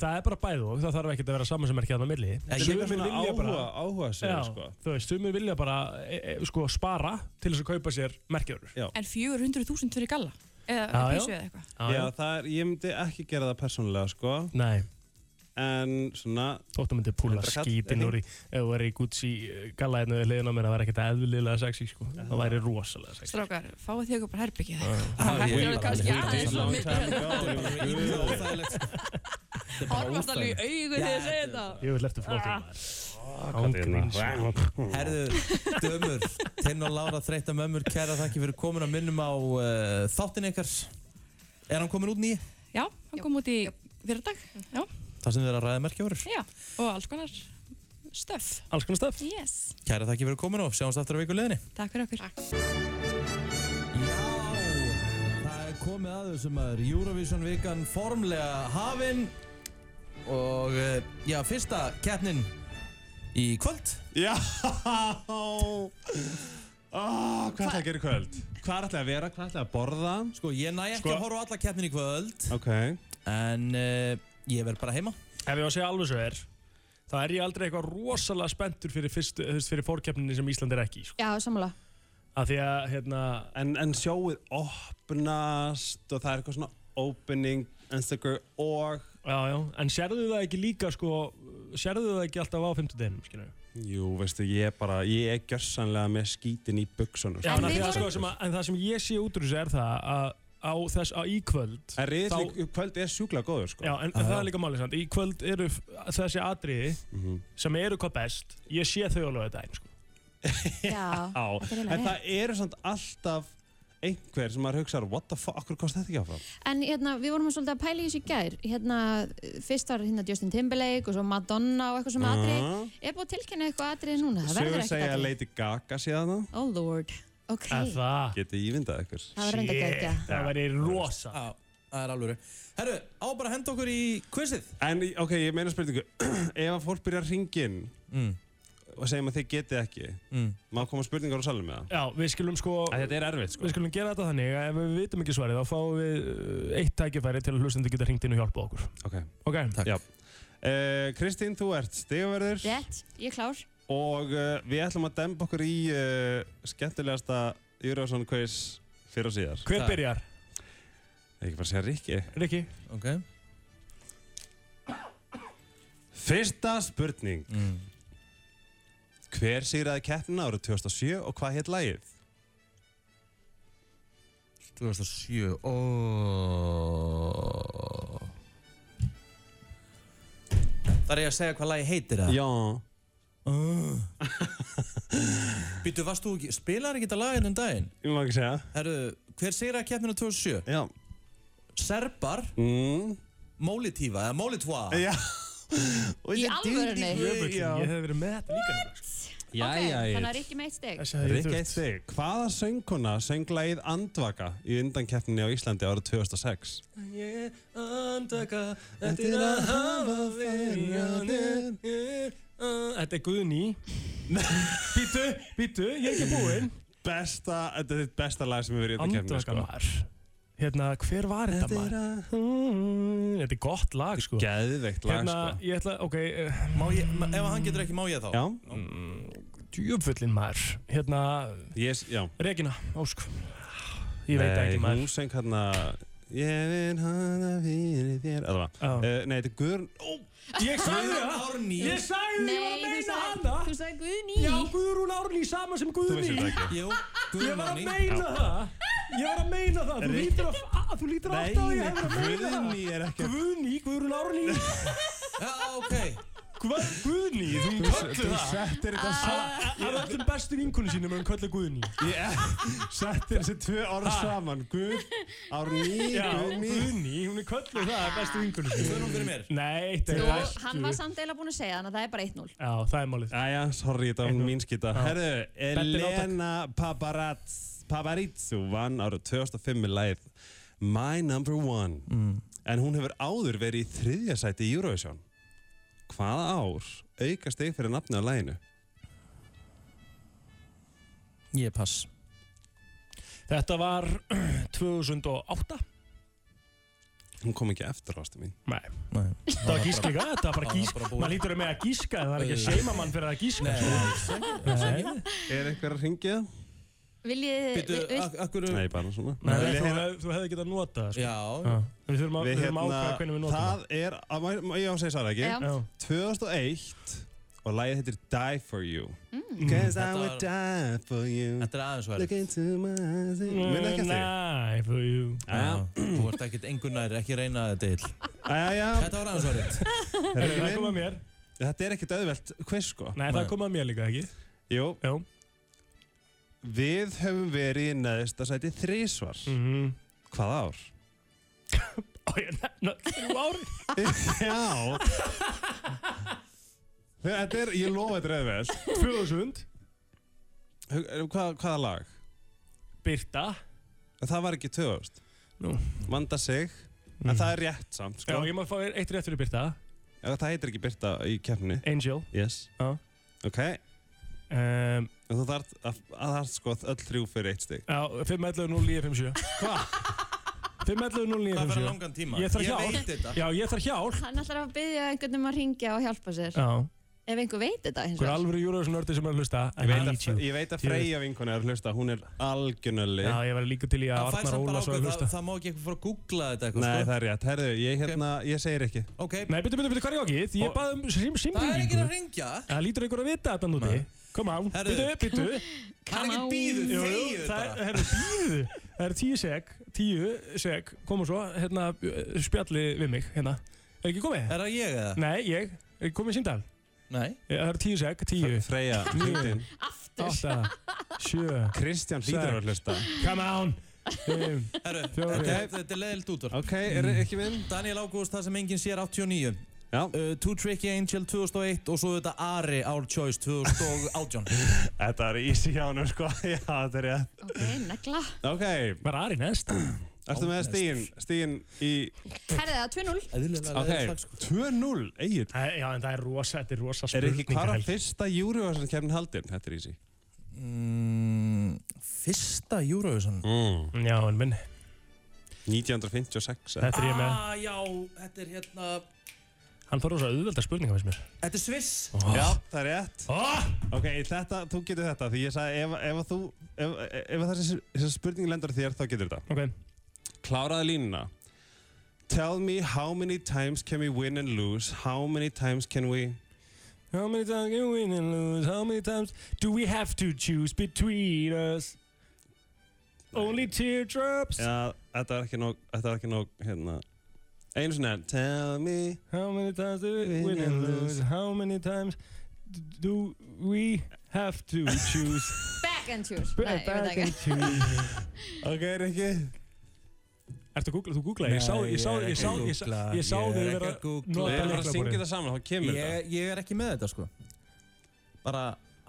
[SPEAKER 3] það, er bara bæð og það þarf ekkert að vera saman sem er ekki að það milli
[SPEAKER 1] ég er
[SPEAKER 3] Sumir
[SPEAKER 1] svona
[SPEAKER 3] vilja bara-
[SPEAKER 13] áhuga- áhugasögur,
[SPEAKER 3] Já,
[SPEAKER 13] sko.
[SPEAKER 3] þú veist, sumir vilja bara e, e, sko, spara til þess að kaupa sér merkjörur
[SPEAKER 13] Já,
[SPEAKER 8] En 400.000 fyrir galla? Eða
[SPEAKER 3] Já, já.
[SPEAKER 8] písu eða eitthvað?
[SPEAKER 13] já það er, ég myndi ekki gera það persónulega, sko.
[SPEAKER 3] Nei.
[SPEAKER 13] En svona...
[SPEAKER 3] Þóttu myndi púla skítin úr í ef þú er í Gucci galla hérna við hliðina á mér það væri ekkert eðlilega sexy sko. það væri rosalega sexy
[SPEAKER 8] Strákar, fáið þig upp á herbyggið.
[SPEAKER 3] Það
[SPEAKER 8] Þetta er alveg kannski aðeins á
[SPEAKER 3] er
[SPEAKER 8] mikið.
[SPEAKER 1] Horfast
[SPEAKER 8] alveg í augun þegar ég segi þetta. Ah.
[SPEAKER 3] Ég vil eftir flótið
[SPEAKER 1] Herðu, dömur, Tinn og Lára þreytta mömmur, kæra þakki fyrir komin að minnum á uh, þáttin ykkar. Er hann komin út nýji?
[SPEAKER 8] Já, hann kom út í fyrir dag. Já,
[SPEAKER 1] Það sem þið er að ræða merkjavörur.
[SPEAKER 8] já. Og alls konar stöf.
[SPEAKER 3] Alls konar stöf.
[SPEAKER 8] Yes.
[SPEAKER 1] Kæra þakki fyrir komin og sjáumst aftur á vikuleginni.
[SPEAKER 8] Takk fyrir okkur. Takk.
[SPEAKER 1] Það er komið að þessum maður, Eurovision vikan formlega hafin og uh, já, fyrsta keppnin í kvöld.
[SPEAKER 13] Já! Oh, hvað ætlaði að gera í kvöld? Hvað ætlaði að vera? Hvað ætlaði að borða?
[SPEAKER 1] Sko, ég næ ekki að horfa á alla keppnin í kvöld
[SPEAKER 13] Ok
[SPEAKER 1] En uh, ég verð bara heima
[SPEAKER 3] Ef ég var að segja alveg svo er þá er ég aldrei eitthvað rosalega spenntur fyrir, fyrstu, þú veist, fyrir fórkeppninni sem Ísland er ekki í, sko.
[SPEAKER 2] Já, sammála.
[SPEAKER 3] að því að hérna
[SPEAKER 13] en, en sjóið opnast og það er eitthvað svona opening Instagram og
[SPEAKER 3] Já, já, en sérðu það ekki líka sko, sérðu það ekki alltaf á 50 deginum, skilju?
[SPEAKER 13] Jú, veistu, ég er bara, ég er gjörsanlega með skítin í buksunum
[SPEAKER 3] Já, en, að, sko, sem að, en það sem ég sé út úr þessu er það að á þess að í kvöld
[SPEAKER 13] En riðill í kvöld er sjúklega góður sko
[SPEAKER 3] Já, en
[SPEAKER 13] Já,
[SPEAKER 3] það
[SPEAKER 13] já.
[SPEAKER 3] er líka málið samt, í kvöld eru f- þessi atriði sem eru hvað best, ég sé þau alveg þetta einn, sko.
[SPEAKER 2] Já,
[SPEAKER 13] Á,
[SPEAKER 2] þetta er eiginlega
[SPEAKER 13] en
[SPEAKER 2] rétt.
[SPEAKER 13] það eru samt alltaf einhver sem maður hugsar, what the fuck, okkur kosti þetta ekki áfram?
[SPEAKER 2] En hérna, við vorum svolítið að pæla í þessu í gær hérna, fyrst var hérna Justin Timberlake og svo Madonna og eitthvað sem
[SPEAKER 13] Mhm.
[SPEAKER 2] aðri er búið að tilkynna eitthvað aðri núna það verður
[SPEAKER 13] Sögur
[SPEAKER 2] ekkert
[SPEAKER 13] segja að
[SPEAKER 2] aðri
[SPEAKER 13] Lady Gaga sé það nú
[SPEAKER 2] Oh lord, ok
[SPEAKER 3] það?
[SPEAKER 13] Getið ímyndað ykkur
[SPEAKER 2] Það var reyndar Shit, geggjað.
[SPEAKER 3] það væri rosa
[SPEAKER 1] Já, það er alvöru Herru, á bara að henda okkur í quizið
[SPEAKER 13] En ok, ég meina spurningu [CLEARS THROAT] Ef að fólk byrja að ringin
[SPEAKER 1] mm.
[SPEAKER 13] og segjum að þið getið ekki
[SPEAKER 1] mm.
[SPEAKER 13] má koma spurningar á salum með það
[SPEAKER 3] Já, við skulum sko...
[SPEAKER 13] Að þetta er erfitt sko
[SPEAKER 3] Við skulum gera þetta þannig að ef við vitum ekki svarið þá fáum við uh, eitt tækifæri til að hlustandi geta hringt inn og hjálpa okkur.
[SPEAKER 13] Ok,
[SPEAKER 3] Ok.
[SPEAKER 13] já Eh, Kristín, þú ert stigverður
[SPEAKER 2] Rétt, ég er klár
[SPEAKER 13] og uh, við ætlum að demba okkur í uh, skemmtilegasta Júrásson quiz fyrir og síðar
[SPEAKER 3] Hver byrjar?
[SPEAKER 13] Ekki bara að segja Rikki
[SPEAKER 3] Rikki
[SPEAKER 1] Ok
[SPEAKER 13] Fyrsta spurning
[SPEAKER 3] Mm.
[SPEAKER 13] Hver sigraði keppnina árið 2007 og hvað hétt lagið?
[SPEAKER 1] 2007 oh. Það er ég að segja hvað lagi heitir það
[SPEAKER 13] Já
[SPEAKER 1] oh. Býtu, varst þú ekki, spilar ekki þetta lagin um daginn?
[SPEAKER 13] Ég má ekki segja
[SPEAKER 1] Herru, hver segir að keppninu 2007?
[SPEAKER 13] Já
[SPEAKER 1] Serbar
[SPEAKER 13] mm.
[SPEAKER 1] Mólitífa, eða Mólitva
[SPEAKER 13] Já
[SPEAKER 3] Og
[SPEAKER 2] Í alvörunni?
[SPEAKER 3] Ég hef verið með þetta líka.
[SPEAKER 13] Jæja,
[SPEAKER 2] Þannig að Rikki meitt steg
[SPEAKER 3] Þessi hefði ég
[SPEAKER 13] Rikki
[SPEAKER 3] þurft.
[SPEAKER 13] eitt þig Hvaða söngkona söng lagið Andvaka í undankeppninni á Íslandi árið 2006?
[SPEAKER 1] Ég andaka
[SPEAKER 3] eftir að hafa
[SPEAKER 1] verið hjá
[SPEAKER 3] þér. Uh, Þetta er Guðni. [LAUGHS] Býtu, býtu, ég er ekki búinn.
[SPEAKER 13] Besta, þetta er þitt sko. besta lag sem hefur verið í undankeppninni
[SPEAKER 3] Andvaka maður. Hérna, hver var þetta maður? Daginn, þetta er gott lag sko
[SPEAKER 13] Geðveikt lag,
[SPEAKER 3] hérna,
[SPEAKER 13] sko.
[SPEAKER 3] Ég ætla, ok eh, má ég, ma- Ef hann getur ekki, má ég þá?
[SPEAKER 13] Já.
[SPEAKER 3] Djúfullin Mm, maður Hérna,
[SPEAKER 13] yes, já.
[SPEAKER 3] Regina Ósk Ég veit það ekki maður
[SPEAKER 13] Hún seng hérna Ég vil hana fyrir þér Alla, uh, Nei, þetta er Guðrún Ó,
[SPEAKER 3] Ég sagði
[SPEAKER 13] Guðrún
[SPEAKER 3] það
[SPEAKER 13] Árný.
[SPEAKER 3] Ég sagði því að
[SPEAKER 2] Nei, þú
[SPEAKER 3] meina
[SPEAKER 2] sagði-
[SPEAKER 3] hana
[SPEAKER 2] þú sagði Guðný.
[SPEAKER 3] Já, Guðrún Árný, sama sem
[SPEAKER 13] Þú
[SPEAKER 3] Guðný
[SPEAKER 13] vissir þetta ekki. Jú,
[SPEAKER 3] Ég var að
[SPEAKER 13] Árný.
[SPEAKER 3] meina
[SPEAKER 13] Já.
[SPEAKER 3] það Ég var að meina það Þú
[SPEAKER 13] Rik-
[SPEAKER 3] lítur að- að Þú lítur
[SPEAKER 13] Nei,
[SPEAKER 3] átt á að ég hefur að meina það
[SPEAKER 13] Guðný er ekki
[SPEAKER 3] Guðný, Guðrún Árný Já, ok Hvað, Guðný, þú
[SPEAKER 13] Þú-
[SPEAKER 3] köllu
[SPEAKER 13] þú
[SPEAKER 3] það
[SPEAKER 13] settir þetta sa-
[SPEAKER 3] Af- Af öllum bestu vinkunum sínum er hún köllu Guðný
[SPEAKER 13] Settir þessi tvö orð
[SPEAKER 3] Ha.
[SPEAKER 13] saman Guð, Árný,
[SPEAKER 3] Já,
[SPEAKER 13] Guðný
[SPEAKER 3] Guðný, hún er köllu það af bestu vinkunum sínum Þú er hún fyrir mér Nei, þetta er
[SPEAKER 2] Jú,
[SPEAKER 3] bestu
[SPEAKER 2] hann var samt eiginlega búin að segja þannig að það er bara 1-0
[SPEAKER 3] Já, það er málið
[SPEAKER 13] Æja, sorry, þetta var mín skita
[SPEAKER 3] Já.
[SPEAKER 13] Herðu,
[SPEAKER 3] Bendir á takk.
[SPEAKER 13] Elena Paparazz Paparizzu vann árið 2005 með læð My Number One
[SPEAKER 3] Mm.
[SPEAKER 13] En hún hefur áður verið í þriðja sæti í Eurovision Hvaða ár auka steg fyrir nafni á læginu?
[SPEAKER 11] Ég pass
[SPEAKER 3] Þetta var [CLEARS THROAT] 2008
[SPEAKER 13] Hún kom ekki eftir ástu mín
[SPEAKER 3] Nei, Það var gísk líka, þetta var bara
[SPEAKER 13] Það var
[SPEAKER 3] gísk
[SPEAKER 13] bara búið.
[SPEAKER 3] Maður lítur um að með að gíska, það er ekki að seima mann fyrir að gíska sko. Nei.
[SPEAKER 13] Er einhver að ringja?
[SPEAKER 2] Viljið
[SPEAKER 13] Bíddu,
[SPEAKER 2] vil-
[SPEAKER 13] ak- akkur- Nei, bara svona
[SPEAKER 3] Nei, þú, hef, þú hefði getað notað það, sko. Já Við þurfum að,
[SPEAKER 13] Við
[SPEAKER 3] við þurfum að
[SPEAKER 13] hérna-
[SPEAKER 3] ákvæða hvernig við notum
[SPEAKER 13] Það er, að, má- má- ég á að segja það ekki
[SPEAKER 3] Já. Já.
[SPEAKER 13] 2001 og lagið heitir Die For You
[SPEAKER 3] Mm.
[SPEAKER 13] Cause I
[SPEAKER 3] Þetta
[SPEAKER 13] would
[SPEAKER 3] var-
[SPEAKER 13] die for you Þetta
[SPEAKER 11] er aðeins
[SPEAKER 13] Look into my eyes
[SPEAKER 11] Mm,
[SPEAKER 13] Minn ekki eftir
[SPEAKER 3] [LAUGHS]
[SPEAKER 13] því?
[SPEAKER 3] Nei, for you
[SPEAKER 11] Já, Þú ert ekkert engur nær, ekki reyna þetta til
[SPEAKER 13] Æja,
[SPEAKER 11] Þetta var aðeins
[SPEAKER 13] Þetta
[SPEAKER 3] Heyrðu,
[SPEAKER 13] er
[SPEAKER 3] það
[SPEAKER 13] ekki
[SPEAKER 3] kom að
[SPEAKER 13] minn.
[SPEAKER 3] mér.
[SPEAKER 13] Þetta er ekkert auðvelt quiz sko
[SPEAKER 3] Nei, það kom að mér líka, ekki?
[SPEAKER 13] Jú
[SPEAKER 3] Já
[SPEAKER 13] Við höfum verið í neðsta sæti þrísvar
[SPEAKER 3] Mhm.
[SPEAKER 13] Hvað
[SPEAKER 3] [LAUGHS]
[SPEAKER 13] ár?
[SPEAKER 3] Ná, Þrjú ári
[SPEAKER 13] [LAUGHS] Já Þetta er, ég lofa þetta er auðvelt eh,
[SPEAKER 3] 2000
[SPEAKER 13] Hva, Hvaða lag?
[SPEAKER 3] Birta
[SPEAKER 13] Það var ekki 2000
[SPEAKER 3] Nú. Mm.
[SPEAKER 13] Vanda sig En það er rétt samt
[SPEAKER 3] Já,
[SPEAKER 13] sko.
[SPEAKER 3] ég má fá þér eitt rétt fyrir Birta
[SPEAKER 13] Já, Það heitir ekki Birta í keppni
[SPEAKER 3] Angel
[SPEAKER 13] Yes
[SPEAKER 3] Já
[SPEAKER 13] Ok
[SPEAKER 3] um,
[SPEAKER 13] Þú þarft að, að þarft sko öll þrjú fyrir eitt stig
[SPEAKER 3] Já, 511-0957 Hva? 511-0957
[SPEAKER 11] Hvað fyrir langan tíma?
[SPEAKER 3] Ég þarf
[SPEAKER 11] Ég
[SPEAKER 3] hjálp
[SPEAKER 11] veit þetta.
[SPEAKER 3] Já, ég þarf hjálp
[SPEAKER 2] Hann ætlar að byggja einhvern um að ringja og hjálpa sér
[SPEAKER 3] Já
[SPEAKER 2] Ef einhver veit þetta hins
[SPEAKER 3] Hver
[SPEAKER 2] vegar
[SPEAKER 3] alvöru Eurovision nördi sem er að hlusta
[SPEAKER 13] Ég veit
[SPEAKER 3] I
[SPEAKER 13] að,
[SPEAKER 3] need you.
[SPEAKER 13] ég veit að Freyja vinkona er að hlusta Hún er algjörnulli
[SPEAKER 3] Já, ég var líka til í að
[SPEAKER 13] Það fær
[SPEAKER 3] Arnar
[SPEAKER 13] samt bara
[SPEAKER 3] Ólas var að
[SPEAKER 13] ákveð,
[SPEAKER 3] hlusta
[SPEAKER 11] Það má ekki eitthvað fara að googla þetta eitthvað
[SPEAKER 13] Nei,
[SPEAKER 11] sko.
[SPEAKER 13] það er rétt Herðu, ég, hérna, ég segir ekki
[SPEAKER 11] Ok
[SPEAKER 3] Nei, byrju, byrju, byrju, hvað er ég ákið? Ég
[SPEAKER 11] Og-
[SPEAKER 3] bað um sim, simringingu
[SPEAKER 11] Það er enginn að ringja.
[SPEAKER 3] Það lítur einhver að vita þetta núti Come on,
[SPEAKER 11] Herðu.
[SPEAKER 3] byrju, byrju
[SPEAKER 11] Það er ekki bíðu,
[SPEAKER 3] Jú, jú,
[SPEAKER 11] þegið
[SPEAKER 3] það er, herru, bíðu Það er tíu seg, tíu seg Koma svo, hérna, eh, spjallið við mig Hérna, er ekki komið?
[SPEAKER 11] Er það ég eða?
[SPEAKER 3] Nei, ég, er ekki komið síndal?
[SPEAKER 11] Nei
[SPEAKER 3] Það er tíu seg, tíu
[SPEAKER 13] Freyja, hlutin
[SPEAKER 3] Átta, sjö
[SPEAKER 13] Kristján hlýtur að vera að hlusta
[SPEAKER 3] Come on Fimm,
[SPEAKER 11] Herru,
[SPEAKER 3] fjórir.
[SPEAKER 11] þetta, þetta er leðilt útvarp Mm.
[SPEAKER 13] Ok, er ekki minn?
[SPEAKER 11] Daniel Ágúst, það sem enginn sér 89
[SPEAKER 13] Já
[SPEAKER 11] uh, Two Tricky Angel 2001 og svo þetta Ari Our Choice 2018
[SPEAKER 13] [LAUGHS] Þetta er easy hjá hann sko [LAUGHS] Já, þetta er rétt
[SPEAKER 2] Ok, negla
[SPEAKER 13] Ok
[SPEAKER 3] Var Ari næst?
[SPEAKER 13] Erstu með stíin? Stíin í
[SPEAKER 2] Herðið það, 2-0
[SPEAKER 13] Ok,
[SPEAKER 3] sko.
[SPEAKER 13] 2-0 Egil
[SPEAKER 3] Já, en það er rosa, þetta er rosa
[SPEAKER 13] Er ekki hvað var
[SPEAKER 3] spurningahelgi.
[SPEAKER 13] fyrsta Eurovision kemni haldin? Þetta er easy
[SPEAKER 11] mm, Fyrsta Eurovision
[SPEAKER 13] mm.
[SPEAKER 3] Já, en minn
[SPEAKER 13] 1956
[SPEAKER 3] Þetta er ég með.
[SPEAKER 11] Ah, já, þetta er hérna
[SPEAKER 3] Hann fór rosa auðvelda spurninga með mér
[SPEAKER 11] Þetta er Sviss
[SPEAKER 13] Já, það er rétt
[SPEAKER 3] oh.
[SPEAKER 13] Ok, þetta, þú getur þetta Því ég sagði, ef, ef, að þú, ef, ef að þessi, þessi spurning lendur þér, þá getur þetta
[SPEAKER 3] Ok
[SPEAKER 13] Kláraði línuna Tell me how many times can we win and lose How many times can we
[SPEAKER 3] How many times can we win and lose? How many times do we have to choose between us? Only teardrops.
[SPEAKER 13] Já, þetta er ekki nóg, þetta er ekki nóg, hérna Einu sinni enn Tell me
[SPEAKER 3] How many times do we win and lose? How many times d- do we have to choose?
[SPEAKER 2] Back and choose
[SPEAKER 3] Ba-
[SPEAKER 2] Nei, ég veit
[SPEAKER 3] back
[SPEAKER 2] það
[SPEAKER 3] and
[SPEAKER 2] ekki [LAUGHS]
[SPEAKER 3] choose.
[SPEAKER 13] Ok, er ekki
[SPEAKER 3] Ertu að googla? Þú googlaði? Ég sá, ég sá, ég sá, ég sá, ég sá þig vera
[SPEAKER 11] Ég er
[SPEAKER 3] nota
[SPEAKER 11] bara að syngja
[SPEAKER 3] lyklaborðið.
[SPEAKER 11] þetta saman, þá kemur
[SPEAKER 13] Ég-
[SPEAKER 11] þetta Ég er ekki með þetta sko Bara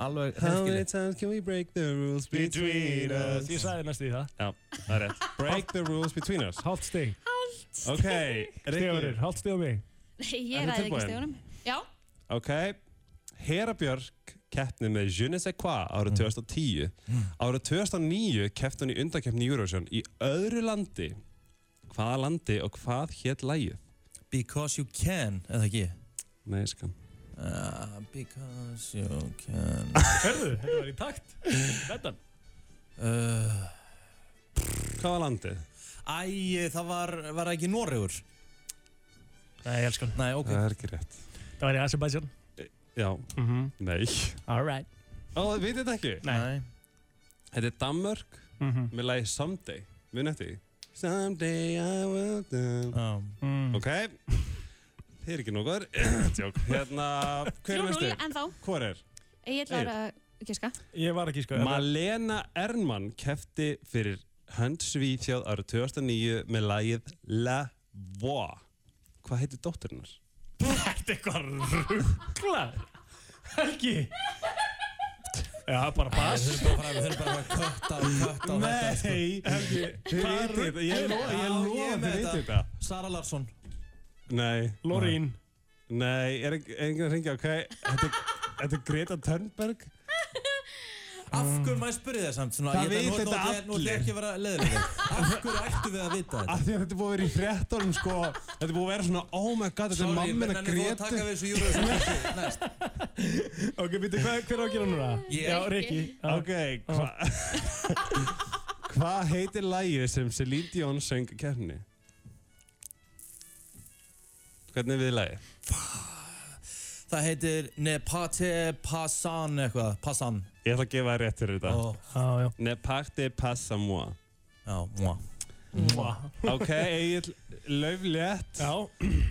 [SPEAKER 11] alveg
[SPEAKER 13] How many times can we break the rules between us
[SPEAKER 3] Ég sagði næstu í það.
[SPEAKER 13] Já, það er rétt Break the rules between us
[SPEAKER 3] Hálft stig.
[SPEAKER 13] Ok,
[SPEAKER 3] Stegurir,
[SPEAKER 13] Rikki
[SPEAKER 3] hálft stig á mig.
[SPEAKER 2] Nei, ég
[SPEAKER 13] Ertu
[SPEAKER 2] ræði ekki
[SPEAKER 13] tilbúin?
[SPEAKER 2] stegunum Já,
[SPEAKER 13] Ok, Hera Björk keppni með Je ne sais quoi árið 2010 Árið 2009 keppti hún í undarkeppni Eurovision í öðru landi Hvaða landi og hvað hétt lægið?
[SPEAKER 11] Because you can, eða ekki?
[SPEAKER 13] Nei, skam.
[SPEAKER 11] Uh, because you can...
[SPEAKER 3] Hörðu, þetta var í takt. Þetta.
[SPEAKER 11] Uh,
[SPEAKER 13] Hvað var landið?
[SPEAKER 11] Æ, það var, var það ekki Noregur?
[SPEAKER 3] Nei, ég elskan.
[SPEAKER 11] Nei, ok.
[SPEAKER 13] Það er ekki rétt.
[SPEAKER 3] Það var í Azerbaijan.
[SPEAKER 13] Já.
[SPEAKER 3] Mhm.
[SPEAKER 13] Nei.
[SPEAKER 3] All right.
[SPEAKER 13] Ó, þið vitið þetta ekki?
[SPEAKER 3] Nei. Mhm.
[SPEAKER 13] Þetta er Danmörk með lagi Someday. Minn eftir því. Someday I will do.
[SPEAKER 14] Mm.
[SPEAKER 3] Mhm.
[SPEAKER 13] Ok. Þið er ekki nokkuð.
[SPEAKER 3] [LAUGHS]
[SPEAKER 13] Tjók. Hérna, hver er
[SPEAKER 2] 3-0
[SPEAKER 13] mestu?
[SPEAKER 2] ennþá.
[SPEAKER 13] Hvor er?
[SPEAKER 2] Ég ætla að giska.
[SPEAKER 3] Ég var ekki sko.
[SPEAKER 13] Malena Ernmann kefti fyrir Hönd Svíþjóð árið 2009 með lagið La Voix. Hvað heitir dótturinnar?
[SPEAKER 3] Þetta er eitthvað ruggla. Helgi. Já, bara pass.
[SPEAKER 11] Við þurfum bara að- við þurfum bara að kötta og kötta og þetta, sko.
[SPEAKER 13] Nei, Helgi, þið
[SPEAKER 11] Hvað
[SPEAKER 13] vitið þetta. Ég
[SPEAKER 11] rugl?
[SPEAKER 13] lofa, ég
[SPEAKER 11] Já,
[SPEAKER 13] lofa,
[SPEAKER 11] ég er
[SPEAKER 13] þið
[SPEAKER 11] með
[SPEAKER 13] vitið
[SPEAKER 11] þetta.
[SPEAKER 13] þetta.
[SPEAKER 11] Sara Larsson.
[SPEAKER 13] Nei.
[SPEAKER 3] Lorín.
[SPEAKER 13] Nei, er ekki- er enginn að ringja, ok? Þetta er- þetta er Greta Thunberg.
[SPEAKER 11] Af hverju maður spurði það samt? Svona,
[SPEAKER 13] Það
[SPEAKER 11] ég ætla-
[SPEAKER 13] vita
[SPEAKER 11] nú- nú-
[SPEAKER 13] þetta
[SPEAKER 11] nú- Nú ætlum ég ekki að vera leiðilega. Af hverju ættu við að vita þetta?
[SPEAKER 13] Af því að þetta er búið að vera í fréttunum sko Þetta er búið að vera svona Oh my god, þetta er
[SPEAKER 11] Sorry,
[SPEAKER 13] mammin
[SPEAKER 11] menn
[SPEAKER 13] að
[SPEAKER 11] hann er búið að
[SPEAKER 13] Gretu
[SPEAKER 11] taka við þessu Eurovision þessu
[SPEAKER 13] [LAUGHS]
[SPEAKER 11] næst.
[SPEAKER 3] Ok, býttu, hvað, hver á að gera núna?
[SPEAKER 11] Ég.
[SPEAKER 3] Já, Rikki. Já.
[SPEAKER 13] Ok, hvað [LAUGHS] Hvað heitir lægið sem Celine Dion söng kérni? Hvernig er við lægið?
[SPEAKER 11] Það heitir Ne Pate Pasan eitthvað, Pasan.
[SPEAKER 13] Ég ætla að gefa þér rétt fyrir þetta
[SPEAKER 11] Ó.
[SPEAKER 3] Já, já.
[SPEAKER 13] Ne parte passa moi
[SPEAKER 11] Já, moi
[SPEAKER 3] Mwah.
[SPEAKER 13] Ok, Egil, lauflétt
[SPEAKER 3] Já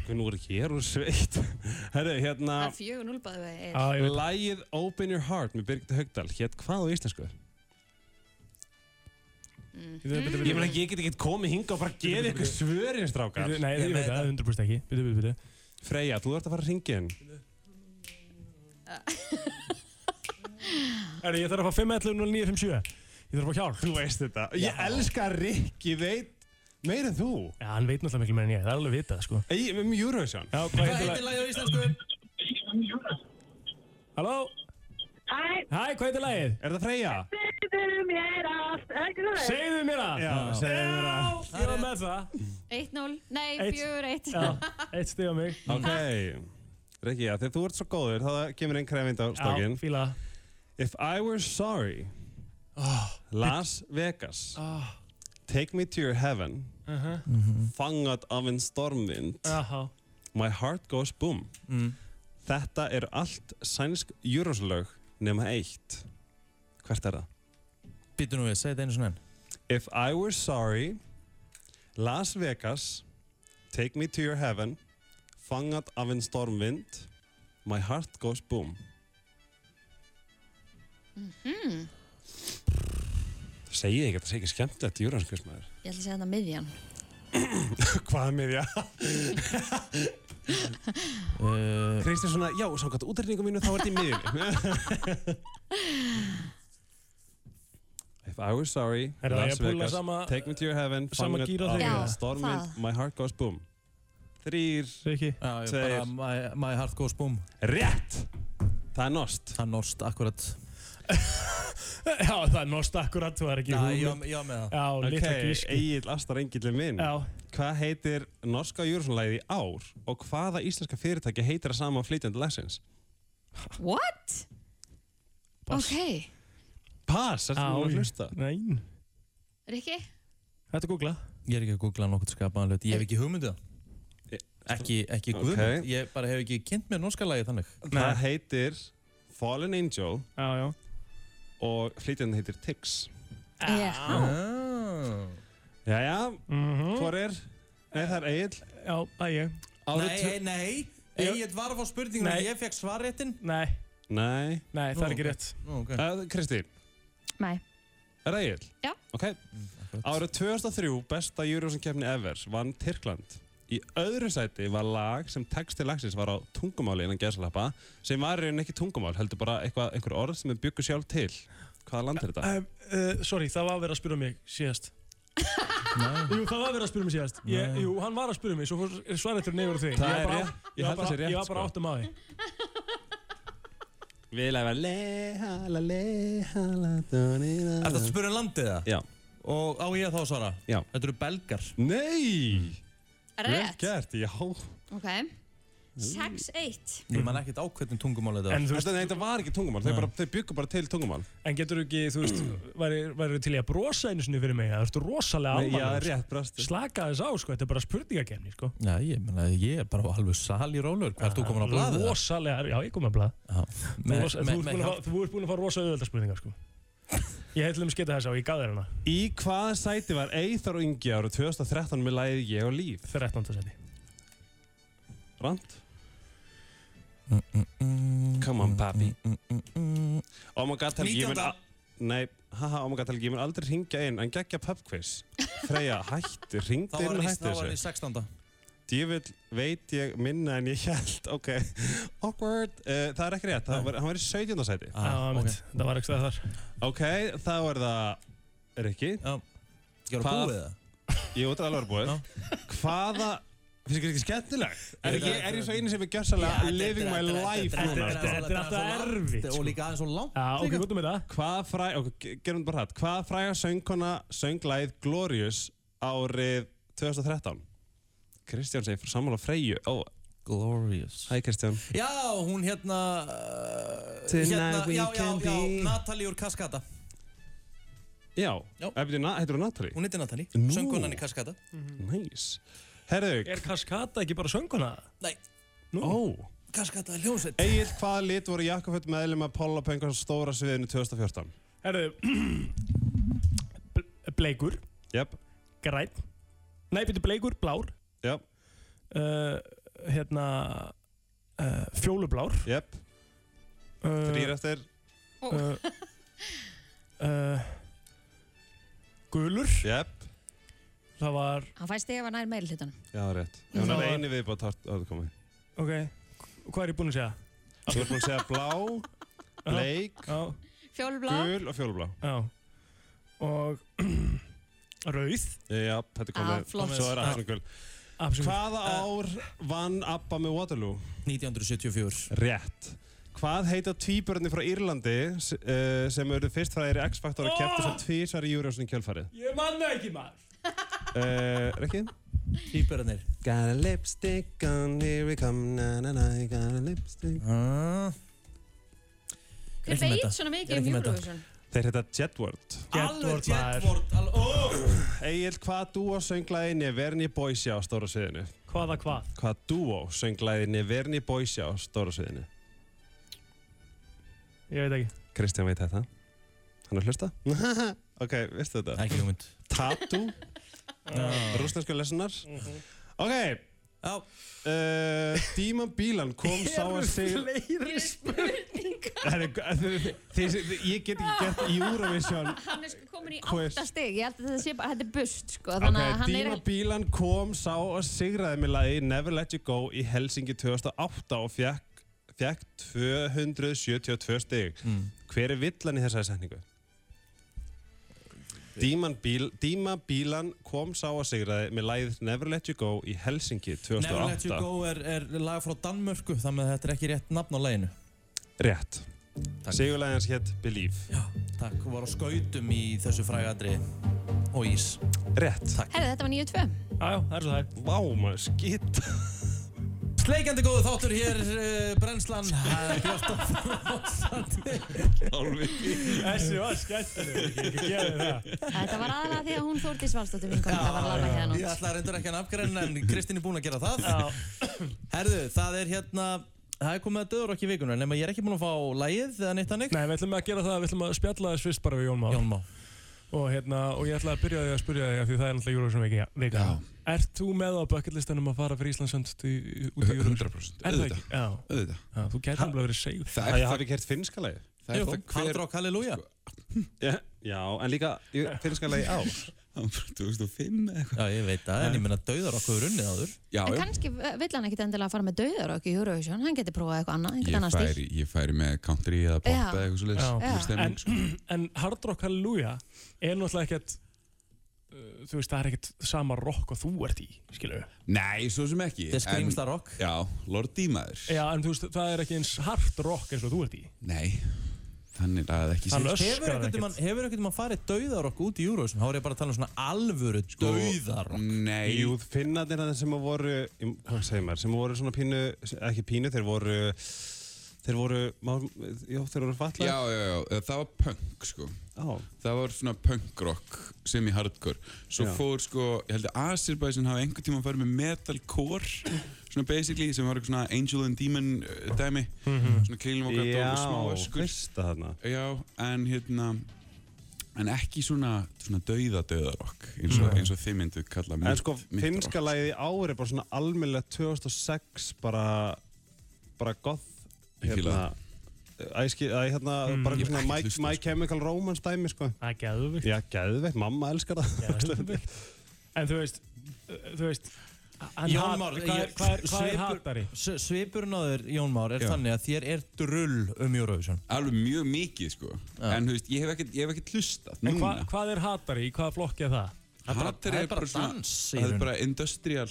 [SPEAKER 13] Hvernig voru ekki ég er úr sveitt [LAUGHS] Herru, hérna
[SPEAKER 2] Það er 4-0 bæðið við er.
[SPEAKER 13] Lægið Open Your Heart með Birgit Haugdal Hétt hvað á íslensku? Ég meina, ég get ekki komið hinga og bara gefið ykkur svörin, strákar.
[SPEAKER 3] Bíddu, Nei, ég veit það, 100% ekki. Býttu, býttu, býttu.
[SPEAKER 13] Freyja, þú ert að fara að ringja henn.
[SPEAKER 3] Herri, ég þarf að fá 5.11.09.57. Ég þarf að fá hjálp.
[SPEAKER 13] Þú veist þetta. Ég elska Rikki, veit meira en þú.
[SPEAKER 3] Já, hann veit náttúrulega miklu meira en ég. Það er alveg vitað, sko.
[SPEAKER 13] Ég, með Eurovision.
[SPEAKER 3] Já, hvað heitir lag?
[SPEAKER 11] lagið á íslensku?
[SPEAKER 3] Halló?
[SPEAKER 15] Hæ?
[SPEAKER 3] Hæ, hvað heitir lagið?
[SPEAKER 13] Er það Freyja?
[SPEAKER 15] Segðu mér allt, er ekki það?
[SPEAKER 3] Segðu mér að.
[SPEAKER 13] Já, segðu mér að.
[SPEAKER 3] Ég var með það.
[SPEAKER 2] 1-0, nei,
[SPEAKER 3] Eitt-
[SPEAKER 2] 4-1.
[SPEAKER 3] Já, eitt
[SPEAKER 2] [LAUGHS]
[SPEAKER 3] stig á mig.
[SPEAKER 13] Ok. Rikki, já, þegar þú ert svo góður, þá kemur einn krefindi á stokkinn.
[SPEAKER 3] Já, fíla. það.
[SPEAKER 13] If I were sorry,
[SPEAKER 3] Ah.
[SPEAKER 13] Las Vegas, take me to your heaven,
[SPEAKER 3] Aha. Mhm.
[SPEAKER 13] fangad af en stormvind,
[SPEAKER 3] Jaha.
[SPEAKER 13] my heart goes boom.
[SPEAKER 11] Mm.
[SPEAKER 13] Þetta er allt sænsk júroslög nema eitt. Hvert er það?
[SPEAKER 11] Býtu nú við, segi þetta einu svona enn.
[SPEAKER 13] If I were sorry, Las Vegas, take me to your heaven, fangad af en stormvind, my heart goes boom.
[SPEAKER 2] Hmm,
[SPEAKER 13] Það segið ekki, það segið ekki skemmtilegt júroskvistmæður.
[SPEAKER 2] ég ætla að segja þetta miðjan.
[SPEAKER 13] [LAUGHS] Hvað með já?
[SPEAKER 3] Eh,
[SPEAKER 13] Kristi svona, já, samkvæmt útreikningum mínu þá er þetta í miðjunni. If I were sorry,
[SPEAKER 3] Herra,
[SPEAKER 13] Las
[SPEAKER 3] ég púlla
[SPEAKER 13] Vegas,
[SPEAKER 3] sama-
[SPEAKER 13] take me to your heaven,
[SPEAKER 3] sama
[SPEAKER 13] fangad
[SPEAKER 3] gír og
[SPEAKER 13] af
[SPEAKER 3] þig. Já,
[SPEAKER 13] stormwind,
[SPEAKER 3] það.
[SPEAKER 13] my heart goes boom. Þrýr,
[SPEAKER 3] Rikki.
[SPEAKER 11] Já, ég
[SPEAKER 13] Tveir.
[SPEAKER 11] bara my, my Heart Goes Boom.
[SPEAKER 13] rétt! Það er nost.
[SPEAKER 11] Það er Norst, akkurat.
[SPEAKER 3] Já, það er nost akkurat, þú er ekki
[SPEAKER 11] Næ,
[SPEAKER 3] hugmynd.
[SPEAKER 11] ég var- ég var með það.
[SPEAKER 3] Já, litla gísku.
[SPEAKER 13] Egil Astar Engilin minn.
[SPEAKER 3] Já.
[SPEAKER 13] Hvað heitir norska júrsunlæði í ár og hvaða íslenska fyrirtæki heitir að sama flytjandi lagsins?
[SPEAKER 2] What?
[SPEAKER 13] Pass.
[SPEAKER 2] Ok,
[SPEAKER 13] Pass, ertu
[SPEAKER 3] Já,
[SPEAKER 13] nú að
[SPEAKER 3] ég-
[SPEAKER 13] hlusta?
[SPEAKER 3] Nei.
[SPEAKER 2] Rikki?
[SPEAKER 3] Þetta googla.
[SPEAKER 11] Ég er ekki að googla nokkurt skapaðan hlut. Ég hef ekki hugmyndið það. Ekki, ekki
[SPEAKER 13] Eh, Ok.
[SPEAKER 11] guðmynd. Ég bara hef ekki kynnt mér norska lagið þannig.
[SPEAKER 13] Það heitir Fallen Angel
[SPEAKER 3] já, já.
[SPEAKER 13] og flytjandi heitir Tix.
[SPEAKER 2] Já.
[SPEAKER 11] Ah.
[SPEAKER 13] Jæja,
[SPEAKER 3] Mhm.
[SPEAKER 13] hvor er? Nei, það er Egil.
[SPEAKER 3] Já, það er ég.
[SPEAKER 13] Árið
[SPEAKER 11] Nei,
[SPEAKER 13] tvö-
[SPEAKER 11] nei.
[SPEAKER 3] Ég-
[SPEAKER 11] Egil var á spurningunum,
[SPEAKER 3] Nei.
[SPEAKER 11] ég fekk svarréttin.
[SPEAKER 3] Nei.
[SPEAKER 13] Nei.
[SPEAKER 3] Nei, það
[SPEAKER 11] Nú,
[SPEAKER 3] er ekki
[SPEAKER 11] ok.
[SPEAKER 3] rétt.
[SPEAKER 11] Nú, ok.
[SPEAKER 13] Eh, Kristín,
[SPEAKER 2] Nei.
[SPEAKER 13] er það Egil?
[SPEAKER 2] Já.
[SPEAKER 13] Ok.
[SPEAKER 11] Mm,
[SPEAKER 13] Árið 2003, besta Eurovision kefni ever, vann Tyrkland. Í öðru sæti var lag sem texti lagsins var á tungumáli innan gesalappa, sem var í rauninni ekki tungumál, heldur bara eitthvað, einhver orð sem við byggu sjálf til. Hvaða land er þetta?
[SPEAKER 3] Um, uh, sorry, það var að vera að spyrja mig síðast.
[SPEAKER 11] Nei.
[SPEAKER 3] Jú, það var að vera að spyrja mig síðast. Ég,
[SPEAKER 11] Nei.
[SPEAKER 3] jú, hann var að spyrja mig, svo fór svarið til neyfur þig.
[SPEAKER 13] Það
[SPEAKER 3] Ég var
[SPEAKER 13] er
[SPEAKER 3] bara-
[SPEAKER 13] rétt. Ég held
[SPEAKER 3] var
[SPEAKER 13] það sé
[SPEAKER 3] bara- Ég
[SPEAKER 13] rétt,
[SPEAKER 3] var bara
[SPEAKER 13] sko.
[SPEAKER 3] áttum að því.
[SPEAKER 13] Við læfa lehala, lehala, donina.
[SPEAKER 11] Er þetta að um spyrja um landið það?
[SPEAKER 13] Já.
[SPEAKER 11] Og á ég þá að svara?
[SPEAKER 13] Já.
[SPEAKER 11] Þetta eru belgar.
[SPEAKER 13] Nei!
[SPEAKER 11] Vel
[SPEAKER 2] Rétt.
[SPEAKER 11] gert, já.
[SPEAKER 2] Ok. 6-1.
[SPEAKER 11] Ég man ekkert á hvernig tungumál þetta var.
[SPEAKER 3] En þú veist-
[SPEAKER 11] Þetta-
[SPEAKER 13] Nei, þetta var ekki tungumál, þau, bara, þau byggu bara til tungumál
[SPEAKER 3] En getur þú ekki, þú veist, væri- væri til í að brosa einu sinni fyrir mig? Það ertu rosalega
[SPEAKER 13] Nei, já,
[SPEAKER 3] alvarlega. sko.
[SPEAKER 13] rétt, brostu.
[SPEAKER 3] Slaka þess á, sko, þetta er bara spurningakefni, sko.
[SPEAKER 1] Já, ég, mena, ég er bara á alveg sal í rólur. Hvað ert þú komin á blaðið? það?
[SPEAKER 3] Rosalega, já, ég kom að blaða. Þú
[SPEAKER 1] Með-
[SPEAKER 3] varst- þú ert
[SPEAKER 1] með- með
[SPEAKER 3] búin að
[SPEAKER 1] hjálp-
[SPEAKER 3] fá- þú ert búin að fá rosa auðvölda spurningar, sko. Ég hef til um skita þess á, ég gaf þér hana.
[SPEAKER 13] Í hvaða sæti var Eithar og Ingi ára 2013 með lægið Ég og líf?
[SPEAKER 3] 13. sæti
[SPEAKER 13] Rand Come on papi Oh my god, Helgi, ég mun al- Nei, haha, oh my god, Helgi, ég mun aldrei ringja inn en geggja pubquiz Freyja,
[SPEAKER 11] [LAUGHS]
[SPEAKER 13] hættu,
[SPEAKER 11] Þá
[SPEAKER 13] ringdu
[SPEAKER 11] var
[SPEAKER 13] inn og
[SPEAKER 11] hann í-
[SPEAKER 13] hættu
[SPEAKER 11] þá var hann í
[SPEAKER 13] þessu
[SPEAKER 11] 16.
[SPEAKER 13] Djöfull veit ég minna en ég held Ok, awkward uh, Það er ekki rétt, það var, hann var í 17. sæti
[SPEAKER 11] Ah,
[SPEAKER 3] Já, mitt, það var ekki það þar
[SPEAKER 13] Ok, þá er það Rikki
[SPEAKER 11] Já, ég var búið það
[SPEAKER 13] Jú, þetta er alveg búið Hvaða, finnst ekki ekki skemmtileg? Er, ég, er ég svo eini sem er gjörsalega living my life núna? sko?
[SPEAKER 11] Og líka aðeins og langt líka.
[SPEAKER 3] gott um þetta
[SPEAKER 13] Hvað fræ, ok, ge- gerum þetta bara hrætt Hvað fræga söngkona sönglæð Glorious árið 2013? Kristján segir fyrir sammála Freyju Ó,
[SPEAKER 1] Glorious
[SPEAKER 13] Hæ Kristján
[SPEAKER 11] Já, hún hérna
[SPEAKER 13] Tonight
[SPEAKER 11] hérna,
[SPEAKER 13] we
[SPEAKER 11] Já, já,
[SPEAKER 13] can
[SPEAKER 11] já,
[SPEAKER 13] be.
[SPEAKER 11] Natalie úr Kaskata
[SPEAKER 13] Já, heitir hún Natalie?
[SPEAKER 11] Hún heitir Natalie,
[SPEAKER 13] Nú.
[SPEAKER 11] söngkonan í Kaskata
[SPEAKER 13] Næs Herðu
[SPEAKER 3] Er Kaskata ekki bara sönguna?
[SPEAKER 11] Nei
[SPEAKER 3] Nú
[SPEAKER 13] Ó
[SPEAKER 11] Kaskata er hljómsveit
[SPEAKER 13] Egil, hvaða lit voru jakkaföld meðlum að Póla Pengars stóra sviðinu 2014?
[SPEAKER 3] Herðu [CLEARS THROAT] Bleikur
[SPEAKER 13] Jöp
[SPEAKER 3] Græn Nei, betur bleikur, blár
[SPEAKER 13] Jöp
[SPEAKER 3] uh, Hérna uh, Fjólublár
[SPEAKER 13] Jöp
[SPEAKER 3] uh,
[SPEAKER 13] Þrýr eftir
[SPEAKER 3] uh,
[SPEAKER 2] [LAUGHS]
[SPEAKER 3] uh, Gulur
[SPEAKER 13] Jöp
[SPEAKER 3] Það var
[SPEAKER 2] Hann fæst þig að var nær meiri hlutanum.
[SPEAKER 13] Já, rétt Ef hún
[SPEAKER 3] Það
[SPEAKER 13] er
[SPEAKER 3] var-
[SPEAKER 13] eini viðbátt áttu komið
[SPEAKER 3] Ok Hvað er ég búinn að segja?
[SPEAKER 13] Þú ert búin að segja
[SPEAKER 3] [LAUGHS]
[SPEAKER 13] blá, bleik,
[SPEAKER 3] Já
[SPEAKER 2] Fjólblá.
[SPEAKER 13] gul og fjólublá
[SPEAKER 3] Já Og [CLEARS THROAT] Rauð
[SPEAKER 13] Já, þetta
[SPEAKER 2] Ah,
[SPEAKER 13] komið,
[SPEAKER 2] flott.
[SPEAKER 13] svo er aðsum gul
[SPEAKER 3] Ah, Absolutt.
[SPEAKER 13] Hvaða ár vann ABBA með Waterloo?
[SPEAKER 11] 1974
[SPEAKER 13] Rétt Hvað heita tvíbörni frá Írlandi s- eh, sem eru fyrst fræðir í X-Factor og kæftu
[SPEAKER 3] Ah.
[SPEAKER 13] svo tvísar í Eurovision kjölfarið?
[SPEAKER 3] Ég manna ekki maður
[SPEAKER 13] Uh, Rikki?
[SPEAKER 11] Tvíbörnir
[SPEAKER 13] Got a lipstick on, here we come, na na na, got a lipstick
[SPEAKER 11] ah.
[SPEAKER 2] Hver veit svona mikið um Eurovision?
[SPEAKER 13] Þeir heita Jedward
[SPEAKER 11] Alveg Jedward al- ó.
[SPEAKER 13] Egil, hvað dúo sönglaði Neverni Boysia á stóra sviðinu?
[SPEAKER 3] Hvaða hvað?
[SPEAKER 13] Hvað dúo sönglaði Neverni Boysia á stóra sviðinu?
[SPEAKER 3] Ég veit ekki
[SPEAKER 13] Kristján veit þetta Hann er að hlusta? [LAUGHS] ok, veistu þetta?
[SPEAKER 11] Ekki hugmynd [LAUGHS]
[SPEAKER 13] Tatu Rúsnesku lesunar Ok
[SPEAKER 11] Mhm. Já
[SPEAKER 13] uh, Díman Bílan
[SPEAKER 3] [LAUGHS]
[SPEAKER 11] [LAUGHS]
[SPEAKER 13] kom sá að sig
[SPEAKER 3] fleiri spurningar
[SPEAKER 13] Herri, þið- þið- þið- Ég get ekki gert Eurovision
[SPEAKER 2] [LAUGHS] Hann er sko komin í
[SPEAKER 13] Quiz.
[SPEAKER 2] átta stig. Ég held að þetta sé bara, þetta er bust sko.
[SPEAKER 13] Ok,
[SPEAKER 2] Þannig að hann er
[SPEAKER 13] Díma
[SPEAKER 2] ekki...
[SPEAKER 13] Bílan kom, sá og sigraði með lagi Never Let You Go í Helsingi 2008 og fekk, fekk 272 stig.
[SPEAKER 11] Mm.
[SPEAKER 13] Hver er villan í þessari setningu? Díman Bíl, Díma Bílan kom, sá og sigraði með lagið Never Let You Go í Helsingi 2008.
[SPEAKER 11] Never Let You Go er, er lag frá Danmörku þannig að þetta er ekki rétt nafn á laginu
[SPEAKER 13] Rétt. Sigurlagið hans hétt Believe.
[SPEAKER 11] Já, takk, hún var á skautum í þessu frægadri og ís
[SPEAKER 13] Rétt.
[SPEAKER 11] Takk
[SPEAKER 2] Herðu, þetta var 9-2.
[SPEAKER 3] Jájá, það er svo það
[SPEAKER 13] Vá maður, skýt
[SPEAKER 11] Sleikjandi góðu þáttur hér, uh,
[SPEAKER 13] [LAUGHS]
[SPEAKER 11] Brennslan, uh, Björn Dófrosandi.
[SPEAKER 3] Þessi var skemmtileg, ég ekki geði það
[SPEAKER 2] Þetta var aðalega því að hún Þórdís Valstóttir vinkona. Það var alveg hérna.
[SPEAKER 11] Ég ætla reyndar ekki að nafngræna en Kristín er búin að gera það.
[SPEAKER 1] [CLEARS THROAT]
[SPEAKER 11] Herðu, það er hérna, það er komið að döður okkur í vikunum, nema ég er ekki búin að fá lagið eða neitt hannig.
[SPEAKER 3] Nei, við ætlum að gera það, við ætlum að spjalla þess fyrst bara við Jón Má
[SPEAKER 11] Jón Má
[SPEAKER 3] Og hérna, og ég ætla að byrja á því að spyrja því að því það er náttúrulega Eurovision vika, vika. Ert þú með á bucketlistanum að fara fyrir Íslandsönd út í Eurovision?
[SPEAKER 16] 100%
[SPEAKER 3] Er það ekki? Já,
[SPEAKER 16] auðvitað.
[SPEAKER 3] Já, þú gæti alveg verið segur
[SPEAKER 13] Það ég hafi gert finnska lagið.
[SPEAKER 16] Það er það hver...
[SPEAKER 11] Rock Hallelujah.
[SPEAKER 13] Já, [LAUGHS] já, en líka ég- finnska lagið á.
[SPEAKER 16] Það var bara 2005 eða eitthvað.
[SPEAKER 11] Já, ég veit það, en ég meina döður okkur unnið áður.
[SPEAKER 16] Já,
[SPEAKER 2] En
[SPEAKER 16] já.
[SPEAKER 2] kannski vill hann ekkit endilega fara með dauðar okkur í Eurovision. Hann getur prófað eitthvað annað,
[SPEAKER 16] Ég
[SPEAKER 2] einhvern annan stíl.
[SPEAKER 16] færi, ég færi með country eða pop
[SPEAKER 2] Já.
[SPEAKER 16] eða eitthvað svoleiðis.
[SPEAKER 2] Já.
[SPEAKER 16] Það
[SPEAKER 2] Já.
[SPEAKER 16] er stemning, sko.
[SPEAKER 3] en, [CLEARS THROAT] en Hard Rock Hallelujah er náttúrulega ekkert uh, Þú veist, það er ekkert sama rock og þú ert í, skilur
[SPEAKER 16] Nei, svo sem ekki.
[SPEAKER 3] Þetta er
[SPEAKER 16] en-
[SPEAKER 3] skrímsla rock.
[SPEAKER 16] Já, Lord D maður.
[SPEAKER 3] Já, en þú veist, það er ekki eins hard rock eins og þú ert í
[SPEAKER 16] Nei. þannig lagað ekki
[SPEAKER 1] Hann hefur ekkert um hann, hefur ekkert um hann farið dauðarokk út í Eurovision, þá er ég bara að tala um svona alvöru dauðarokk.
[SPEAKER 16] Sko, Nei
[SPEAKER 13] Jú, finnarnir að þeir sem að voru Hvað segir maður? Sem voru svona pínu Ekki pínu, þeir voru Þeir voru má, Jó, þeir voru fatla
[SPEAKER 16] Já, já, já, það var punk sko
[SPEAKER 13] Já.
[SPEAKER 16] Það var svona punkrock sem í hardcore Svo
[SPEAKER 13] Já.
[SPEAKER 16] fór sko, ég held að Azerbaijan hafi einhvern tíma farið með metalcore Svona basically, sem var eitthvað svona angel and demon uh, dæmi
[SPEAKER 13] Mhm.
[SPEAKER 16] Svona klílum og gata og smá öskur
[SPEAKER 13] veist það þarna
[SPEAKER 16] Já, en hérna En ekki svona, svona dauða dauðarokk eins, og-
[SPEAKER 3] Mm.
[SPEAKER 13] Nei.
[SPEAKER 16] eins og þið myndu kalla
[SPEAKER 13] En sko, finnska lagið í ári er bara svona almennilegt 2006 bara bara goth
[SPEAKER 16] Ég fíla
[SPEAKER 13] hérna Æski, æ, hérna,
[SPEAKER 16] Mm.
[SPEAKER 13] bara
[SPEAKER 16] Ég hef
[SPEAKER 13] svona
[SPEAKER 16] ekkert
[SPEAKER 13] my,
[SPEAKER 16] hlustað,
[SPEAKER 13] my Chemical Romance dæmi, sko.
[SPEAKER 3] Það er gæðveikt.
[SPEAKER 13] Já, gæðveikt, mamma elskar það. Gæðveikt.
[SPEAKER 3] En þú veist, uh, þú veist, hann
[SPEAKER 1] Jón
[SPEAKER 3] hat-
[SPEAKER 1] Már,
[SPEAKER 3] hvað er, hvað er, hvað er
[SPEAKER 1] svipur-
[SPEAKER 3] hatari?
[SPEAKER 1] s- svipurinn á þér, Jón Már, er þannig að þér er drull um Eurovision.
[SPEAKER 16] Alveg mjög mikið sko En þú veist, ég hef ekkert, ég hef ekkert hlustað
[SPEAKER 3] En hva,
[SPEAKER 16] núna.
[SPEAKER 3] hvað er hatari? Í hvaða flokki er það?
[SPEAKER 16] Hatar er bara svona, það er bara industrial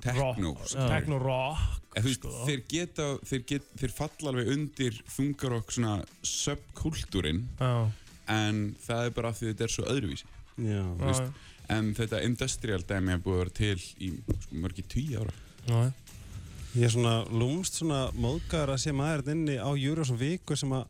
[SPEAKER 16] techno
[SPEAKER 3] Mm,
[SPEAKER 16] sko.
[SPEAKER 3] Rock, techno rock sko.
[SPEAKER 16] En þú veist, þeir geta, þeir, get, þeir falla alveg undir þungarokk svona subkultúrin
[SPEAKER 3] Já.
[SPEAKER 16] en það er bara af því þetta er svo öðruvísi
[SPEAKER 13] Já.
[SPEAKER 16] Þú veist, en þetta industrial dæmi er búið að vera til í sko, mörgi tíu ára
[SPEAKER 3] Já.
[SPEAKER 13] Ég er svona lúmst svona móðgæður að sé maður þarna inni á Eurovision viku sem að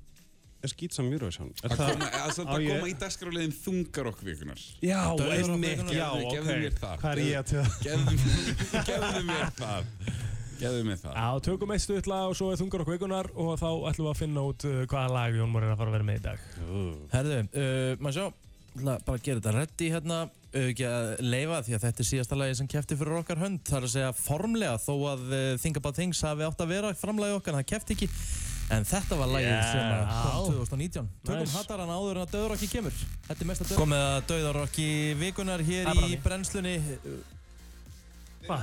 [SPEAKER 13] er skýtsam Eurovision. Er
[SPEAKER 16] að koma, að samt
[SPEAKER 13] á
[SPEAKER 16] að
[SPEAKER 13] ég-
[SPEAKER 16] koma í dagskráliðin þungarokk vikunar
[SPEAKER 13] Já, einmitt, já, ok.
[SPEAKER 16] gefðu mér það
[SPEAKER 13] Hvað er ég að tjóða?
[SPEAKER 16] Gefðu- gefðu mér það gefðu mér það
[SPEAKER 3] Já, tökum eitt stuðla og svo er þungar okkur vikunar og þá ætlum við að finna út uh, hvaða lag Jón Már er að fara að vera með í dag.
[SPEAKER 1] Herðu, uh, maður sjá, ætla bara að gera þetta ready hérna, uh, ekki að leifa því að þetta er síðasta lagi sem kefti fyrir okkar hönd. Það er að segja formlega þó að uh, Think About Things hafi átt að vera framlagi okkar, en það kefti ekki. En þetta var lagið
[SPEAKER 3] Yeah.
[SPEAKER 1] sem að kom 2019. Tökum
[SPEAKER 3] Nice.
[SPEAKER 1] hattarann áður en að Dauðarokki kemur. Þetta er mesta Dauðarokki. Komið að Dauðarokki vikunar hér
[SPEAKER 3] Það er bara
[SPEAKER 1] í
[SPEAKER 3] því.
[SPEAKER 1] brennslunni.
[SPEAKER 3] Hva?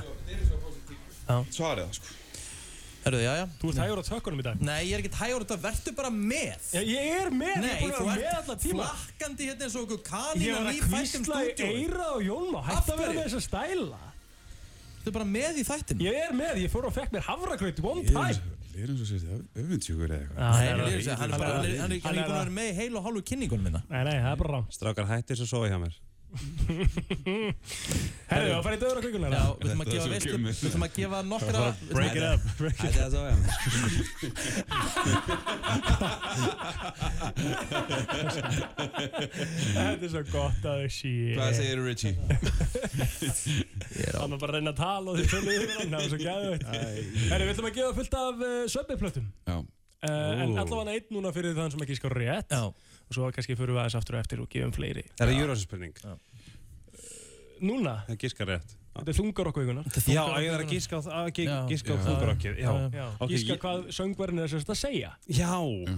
[SPEAKER 16] Svarið það sko
[SPEAKER 1] Herðu, já, já.
[SPEAKER 3] Þú ert hægur á tökkunum í dag.
[SPEAKER 1] Nei, ég er ekkert hægur, þetta verður bara með.
[SPEAKER 3] Já, ég er með, ég er
[SPEAKER 1] Nei,
[SPEAKER 3] búin að
[SPEAKER 1] þú
[SPEAKER 3] vera
[SPEAKER 1] ert
[SPEAKER 3] með alla tíma.
[SPEAKER 1] flakkandi hérna eins og okkur
[SPEAKER 3] Ég
[SPEAKER 1] kanína
[SPEAKER 3] var að
[SPEAKER 1] nýfættum
[SPEAKER 3] kvísla í
[SPEAKER 1] stúdíói.
[SPEAKER 3] eirað á Jón Már, hætti að vera með þessa stæla.
[SPEAKER 1] Þú er bara með í þættinu.
[SPEAKER 3] Ég er með, ég fór og fekk mér havragraut one time.
[SPEAKER 16] Ég er eins og sér þetta öfundsjúkur eða eitthvað
[SPEAKER 1] Nei, hann er ekki búin að
[SPEAKER 3] hann er-
[SPEAKER 1] vera
[SPEAKER 3] hann er að-
[SPEAKER 1] með í heil og hálfu kynningunum minna.
[SPEAKER 3] Nei, nei, það er bara rám.
[SPEAKER 13] Strákar hætti þessu að sofa hjá mér.
[SPEAKER 3] Herðu, það farið döður á kvikunar.
[SPEAKER 1] Já, við þurfum að gefa veislu, við þurfum að gefa nokkra...
[SPEAKER 3] Break it up, break it up. Þetta er svo gott að þau sé.
[SPEAKER 16] Hvað segir
[SPEAKER 3] [LAUGHS]
[SPEAKER 16] Richie?
[SPEAKER 3] Hann var bara að reyna að tala og þið tölum yfir hann, það var svo gæðveitt. Herru, við ætlum að gefa fullt af uh, söbbiplötum.
[SPEAKER 16] Já.
[SPEAKER 3] Uh, en
[SPEAKER 13] Ú.
[SPEAKER 3] allavega einn núna fyrir þann sem ekki skar rétt. Já. Og svo kannski fyrir við aðeins aftur og eftir og gefum fleiri.
[SPEAKER 13] Það er Eurovision spurning.
[SPEAKER 3] Núna,
[SPEAKER 13] Það giskar rétt.
[SPEAKER 3] þetta er þungar okkur vikunar.
[SPEAKER 13] Já, ég þarf að giska á það, giska á þungarokkið. Já,
[SPEAKER 3] já.
[SPEAKER 13] Ok,
[SPEAKER 3] Gíska
[SPEAKER 13] ég-
[SPEAKER 3] hvað söngverðin er sem þetta að segja.
[SPEAKER 13] [LAUGHS] Já.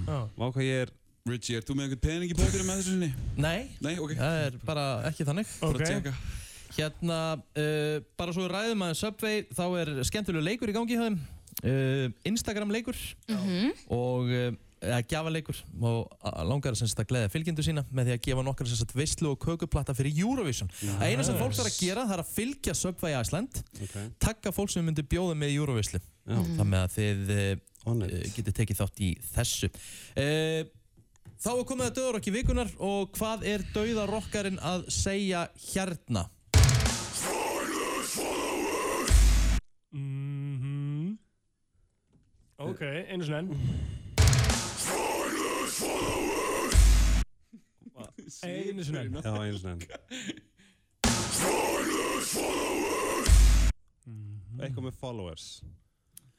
[SPEAKER 3] Já.
[SPEAKER 13] Vá hvað ég er...
[SPEAKER 16] Richie, ert þú með einhvern pening í bókinu með þessu sinni?
[SPEAKER 1] Nei,
[SPEAKER 16] Nei, ok
[SPEAKER 1] það er bara ekki þannig.
[SPEAKER 16] Bara að tjekka.
[SPEAKER 1] Hérna, uh, bara svo við ræðum aðeins Subway, þá er skemmtilegu leikur í gangi hjá þeim. Uh, Instagram leikur
[SPEAKER 8] Mhm.
[SPEAKER 1] og uh, eða gjafaleikur og a- langar sem sagt að gleðja fylgjendur sína með því að gefa nokkar sem sagt veislu og kökuplata fyrir Eurovision. Það eina sem fólk þarf að gera það er að fylgja Subway Iceland
[SPEAKER 13] okay.
[SPEAKER 1] takka fólk sem myndi bjóða með í Eurovislu þannig að þið uh, getið tekið þátt í þessu uh, þá er komið að döðarokki vikunar og hvað er döðarokkarinn að segja hérna
[SPEAKER 3] Mhm. Ok, einu sinni enn. Einu sinni enn.
[SPEAKER 13] Já, einu sinni enn.
[SPEAKER 3] Mhm.
[SPEAKER 13] Eitthvað með followers.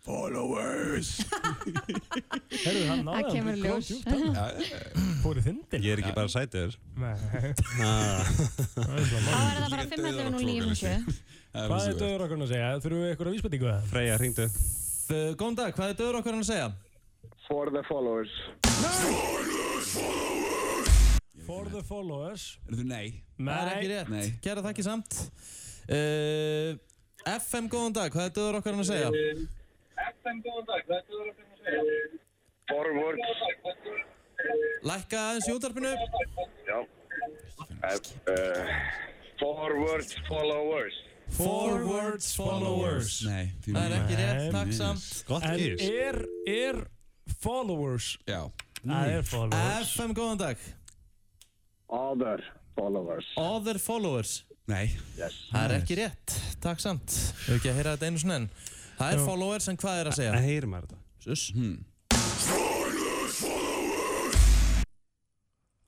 [SPEAKER 13] Followers!
[SPEAKER 3] Herðu, hann
[SPEAKER 17] Það
[SPEAKER 3] náði hann,
[SPEAKER 17] kemur
[SPEAKER 3] hann
[SPEAKER 17] ljós.
[SPEAKER 3] kom djúpt að hann. Fóruð þindin?
[SPEAKER 13] Ég er ekki bara sætur.
[SPEAKER 3] Nei.
[SPEAKER 13] Ah.
[SPEAKER 2] Þá er það bara 511 og 957.
[SPEAKER 3] Hvað er döður okkur að segja? Þurfum við eitthvað að vísbendingu það?
[SPEAKER 13] Freyja, hringdu.
[SPEAKER 1] Góðan dag, hvað er döðarokkarinn að segja?
[SPEAKER 9] For the followers
[SPEAKER 3] For the followers.
[SPEAKER 16] Er þú nei?
[SPEAKER 1] það er ekki rétt, gera það ekki samt uh, FM góðan dag, hvað er döðarokkarinn að segja?
[SPEAKER 18] Eh.
[SPEAKER 14] FM, góðan dag, hvað er það að finna að segja?
[SPEAKER 9] Forward
[SPEAKER 1] Lækka aðeins í útarpinu
[SPEAKER 9] Já uh,
[SPEAKER 18] eh.
[SPEAKER 9] Forward followers
[SPEAKER 3] Forwards followers.
[SPEAKER 16] Nei,
[SPEAKER 1] Það er ekki rétt, takk samt
[SPEAKER 3] En er, er followers
[SPEAKER 16] Já
[SPEAKER 3] Það er followers.
[SPEAKER 1] FM, góðan dag
[SPEAKER 18] Other followers
[SPEAKER 1] Other followers
[SPEAKER 16] Nei
[SPEAKER 18] yes.
[SPEAKER 1] Það er ekki rétt, takk samt Hefur ekki að heyra þetta einu svona enn Það er
[SPEAKER 13] Jú.
[SPEAKER 1] followers en hvað er að segja?
[SPEAKER 13] Það heyrir maður þetta.
[SPEAKER 1] Sus
[SPEAKER 16] Hmm.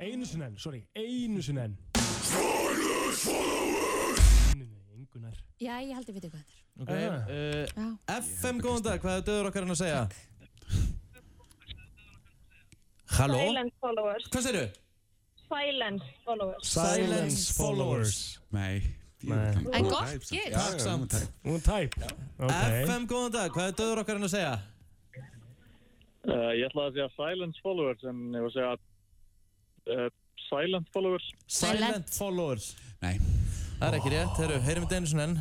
[SPEAKER 3] Einu sinni enn, sorry, einu sinni enn.
[SPEAKER 2] Já, ég held ég veit eitthvað
[SPEAKER 1] Ok, uh, FM, góðan dag, hvað er döður okkar hann að segja? Halló?
[SPEAKER 10] Silent followers.
[SPEAKER 1] Hvað segirðu?
[SPEAKER 10] Silent followers.
[SPEAKER 3] Silence followers.
[SPEAKER 16] Nei.
[SPEAKER 10] En gott giss.
[SPEAKER 1] Takk samt
[SPEAKER 3] Hún er tæp.
[SPEAKER 1] FM, góðan dag, hvað er döður okkar hann að segja?
[SPEAKER 9] Uh, ég ætlaði að segja silent followers en ég var að segja uh, silent followers.
[SPEAKER 1] Silent followers
[SPEAKER 16] Nei
[SPEAKER 1] Það er ekki rétt, herru, heyrum þetta einu svona enn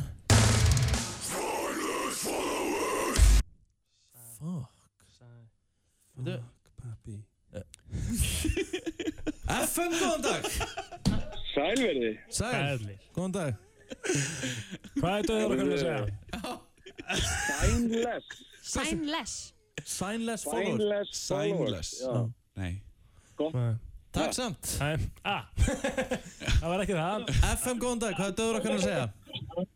[SPEAKER 1] Fuck
[SPEAKER 13] pappi
[SPEAKER 1] [LAUGHS] FM, Eh. góðan dag
[SPEAKER 9] Sælverði.
[SPEAKER 1] Sæl, góðan dag
[SPEAKER 3] Hvað er döður okkar að segja?
[SPEAKER 1] [LAUGHS]
[SPEAKER 9] Signless.
[SPEAKER 2] Signless
[SPEAKER 1] Signless
[SPEAKER 9] followers. Signless followers,
[SPEAKER 16] Signless.
[SPEAKER 9] já.
[SPEAKER 16] Nei.
[SPEAKER 9] Gott.
[SPEAKER 1] Takk samt
[SPEAKER 3] Ah, það var ekki það.
[SPEAKER 1] FM, góðan dag, hvað er döður okkar að segja?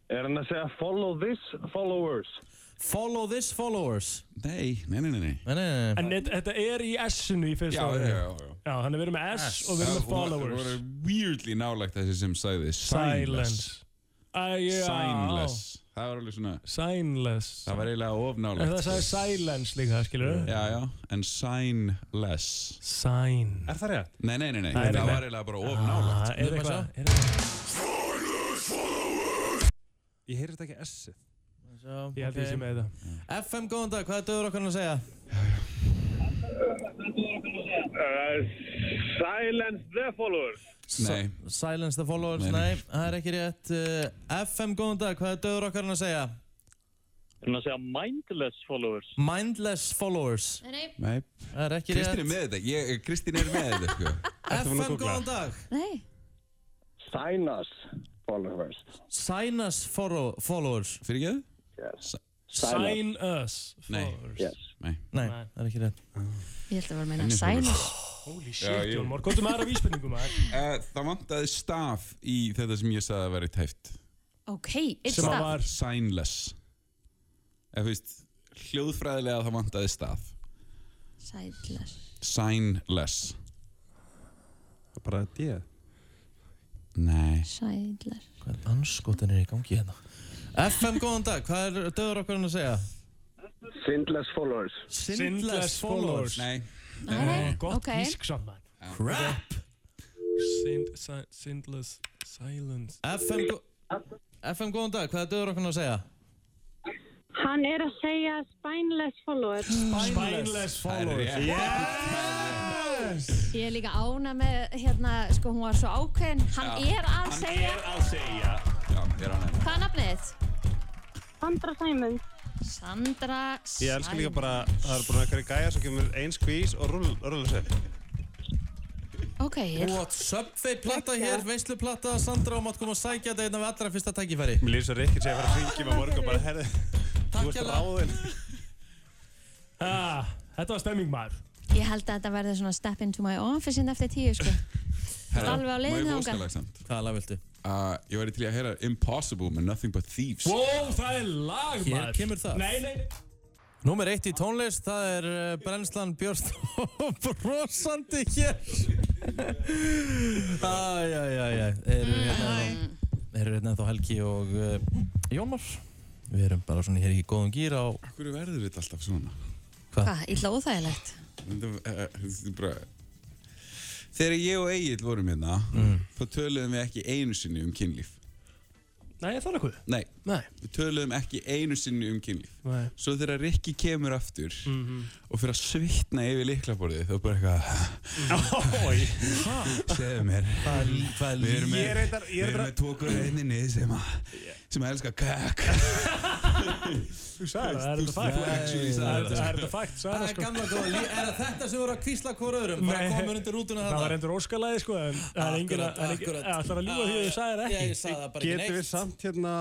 [SPEAKER 9] Er hann að segja follow this followers?
[SPEAKER 1] Follow this followers
[SPEAKER 16] Nei, nei, nei, nei, nei.
[SPEAKER 1] Nei, nei,
[SPEAKER 3] En þetta þetta er í S-inu í fyrsta
[SPEAKER 16] Já,
[SPEAKER 3] orðinu.
[SPEAKER 16] já, já, já.
[SPEAKER 3] Já, þannig við erum með S, og við erum með
[SPEAKER 16] Það
[SPEAKER 3] followers.
[SPEAKER 16] voru weirdly nálægt þessi sem sagði
[SPEAKER 3] Silence.
[SPEAKER 16] signless.
[SPEAKER 3] Æ, já.
[SPEAKER 16] Signless. Það var alveg svona...
[SPEAKER 3] Signless.
[SPEAKER 16] Það var eiginlega
[SPEAKER 3] En
[SPEAKER 16] ofnálægt.
[SPEAKER 3] það sagði silence líka, skilur við?
[SPEAKER 16] Já, já, en signless.
[SPEAKER 3] Sign.
[SPEAKER 13] Er það rétt?
[SPEAKER 16] Nei, nei, nei, nei.
[SPEAKER 3] Nei, nei,
[SPEAKER 16] það
[SPEAKER 3] nei.
[SPEAKER 16] var eiginlega bara ofnálægt.
[SPEAKER 3] Ah, Er eitthvað? er
[SPEAKER 13] Ég heyri þetta ekki S-ið.
[SPEAKER 3] Ég held ég sé með þetta.
[SPEAKER 1] FM, góðan dag, hvað er döður okkar að segja?
[SPEAKER 19] Uh, silence the followers.
[SPEAKER 16] Nei.
[SPEAKER 1] Silence the followers, nei, það er ekki rétt uh, FM, góðan dag, hvað er döður okkar að segja?
[SPEAKER 9] Er hann að segja mindless followers?
[SPEAKER 1] Mindless followers
[SPEAKER 2] Nei,
[SPEAKER 16] Nei.
[SPEAKER 1] Það er ekki rétt
[SPEAKER 16] Kristín er með þetta. Ég, eh, Kristín er með þetta, sko.
[SPEAKER 1] FM, góðan dag
[SPEAKER 2] Nei,
[SPEAKER 18] Sign us followers
[SPEAKER 1] Sign us follow, followers
[SPEAKER 16] Fyrir ekki
[SPEAKER 18] yes.
[SPEAKER 3] Sign us followers.
[SPEAKER 16] Nei.
[SPEAKER 1] Nei, það er ekki rétt
[SPEAKER 2] ég held að vera að meina
[SPEAKER 16] Henni
[SPEAKER 2] sign
[SPEAKER 16] followers. Já,
[SPEAKER 3] Holy shit,
[SPEAKER 16] ég-
[SPEAKER 3] Jón Mór. Góttu með aðra vísbendingum, maður.
[SPEAKER 16] [LAUGHS] Eh, Það vantaði staf í þetta sem ég sagði að vera tæft.
[SPEAKER 2] Ok, it's
[SPEAKER 16] Sem að
[SPEAKER 2] that
[SPEAKER 16] var signless. Ef þú veist, hljóðfræðilega það vantaði staf.
[SPEAKER 2] Signless
[SPEAKER 16] Signless.
[SPEAKER 13] Það er bara D.
[SPEAKER 16] Nei.
[SPEAKER 2] Signless
[SPEAKER 1] Hvað er anskotin er í gangi hérna? FM, góðan dag, hvað er döður okkar að segja?
[SPEAKER 18] Sindless followers
[SPEAKER 1] Sindless followers
[SPEAKER 16] Nei.
[SPEAKER 13] Eh,
[SPEAKER 3] Nei, gott
[SPEAKER 2] ok.
[SPEAKER 3] gísk saman.
[SPEAKER 1] Crap
[SPEAKER 3] Sind, si, sindless silence.
[SPEAKER 1] FM, gó- FM, góðan dag, hvað er döður okkar að segja?
[SPEAKER 10] Hann er að segja spineless followers.
[SPEAKER 3] Spineless followers.
[SPEAKER 1] Það er rétt.
[SPEAKER 2] Ég er líka ána með, hérna, sko, hún var svo ákveðin Hann
[SPEAKER 16] Já.
[SPEAKER 2] er að segja
[SPEAKER 16] að segja. Já, ég er ánægð.
[SPEAKER 2] Hvað er nafnið?
[SPEAKER 10] Sandra Simon.
[SPEAKER 2] Sandra Sæm
[SPEAKER 13] Ég elska líka bara, það er bara einhverju gæja sem kemur einn skvís og rull, rull
[SPEAKER 2] Ok, ég
[SPEAKER 1] What Subway-platta hér, veisluplatta, Sandra og mátt koma og sækja þetta einna við allra fyrsta tækifæri.
[SPEAKER 13] Mér líður svo Rikki sem ég var að ringi með morgun og bara, herðu, þú ert
[SPEAKER 1] hérlega.
[SPEAKER 13] ráðinn.
[SPEAKER 3] Ah, þetta var stemming maður.
[SPEAKER 2] Ég held að þetta verði svona step into my office inn eftir tíu, sko.
[SPEAKER 16] Herra,
[SPEAKER 2] Alveg á
[SPEAKER 16] má
[SPEAKER 2] leiðinni
[SPEAKER 16] ég
[SPEAKER 2] þangað.
[SPEAKER 16] óskalag samt?
[SPEAKER 1] Hvaða lag viltu?
[SPEAKER 16] Uh, ég væri til í að heyra Impossible með Nothing But Thieves.
[SPEAKER 3] Wow, það er lag maður.
[SPEAKER 1] Hér kemur það.
[SPEAKER 3] Nei, nei, nei.
[SPEAKER 1] Númer eitt í tónlist, það er uh, brennslan Björst og [LAUGHS] brosandi hér. [LAUGHS] Æj, æj, æj, æj. Eru hérna þá, eru hérna þá Helgi og uh, Jómar. Við erum bara svona hér í góðum gýr á...
[SPEAKER 16] Akkur verður þetta alltaf svona?
[SPEAKER 2] Hvað, illa
[SPEAKER 13] [LAUGHS]
[SPEAKER 2] óþægilegt?
[SPEAKER 16] Þetta eh, þetta er bara... Þegar ég og Egil vorum hérna,
[SPEAKER 1] Mm.
[SPEAKER 16] þá töluðum við ekki einu sinni um kynlíf.
[SPEAKER 3] Nei, það er nokkuð.
[SPEAKER 16] Nei,
[SPEAKER 3] Nei.
[SPEAKER 16] við töluðum ekki einu sinni um kynlíf.
[SPEAKER 3] Nei.
[SPEAKER 16] Svo þegar Rikki kemur aftur og fyrir að svitna yfir liklaborðið, þá bara eitthvað...
[SPEAKER 13] Ói.
[SPEAKER 16] Segðu mér
[SPEAKER 1] Hvað
[SPEAKER 16] Við erum
[SPEAKER 13] Ég
[SPEAKER 16] með,
[SPEAKER 13] reyndar- ég
[SPEAKER 16] við erum
[SPEAKER 13] reyndar-
[SPEAKER 16] með tvo gröðinni sem að sem að elska kakk
[SPEAKER 3] Þú sagði það, það er þetta fakt.
[SPEAKER 16] Þú actually
[SPEAKER 3] Það
[SPEAKER 16] sagði
[SPEAKER 3] er-
[SPEAKER 16] þetta
[SPEAKER 3] það er þetta fakt, sagði
[SPEAKER 1] Það
[SPEAKER 3] það
[SPEAKER 1] er
[SPEAKER 3] sko.
[SPEAKER 1] gamla góða, lí- er það þetta sem voru að kvísla hvora öðrum? Bara
[SPEAKER 3] Nei.
[SPEAKER 1] komur undir rútuna
[SPEAKER 3] Það var
[SPEAKER 1] þarna?
[SPEAKER 3] endur óskalæði sko, en það er enginn að...
[SPEAKER 1] Akkurat, akkurat.
[SPEAKER 3] Það ætlar að ljúa því að þú sagði það
[SPEAKER 1] Ég
[SPEAKER 3] ekki.
[SPEAKER 1] sagði það bara ekki
[SPEAKER 13] Getum
[SPEAKER 1] neitt.
[SPEAKER 13] við samt hérna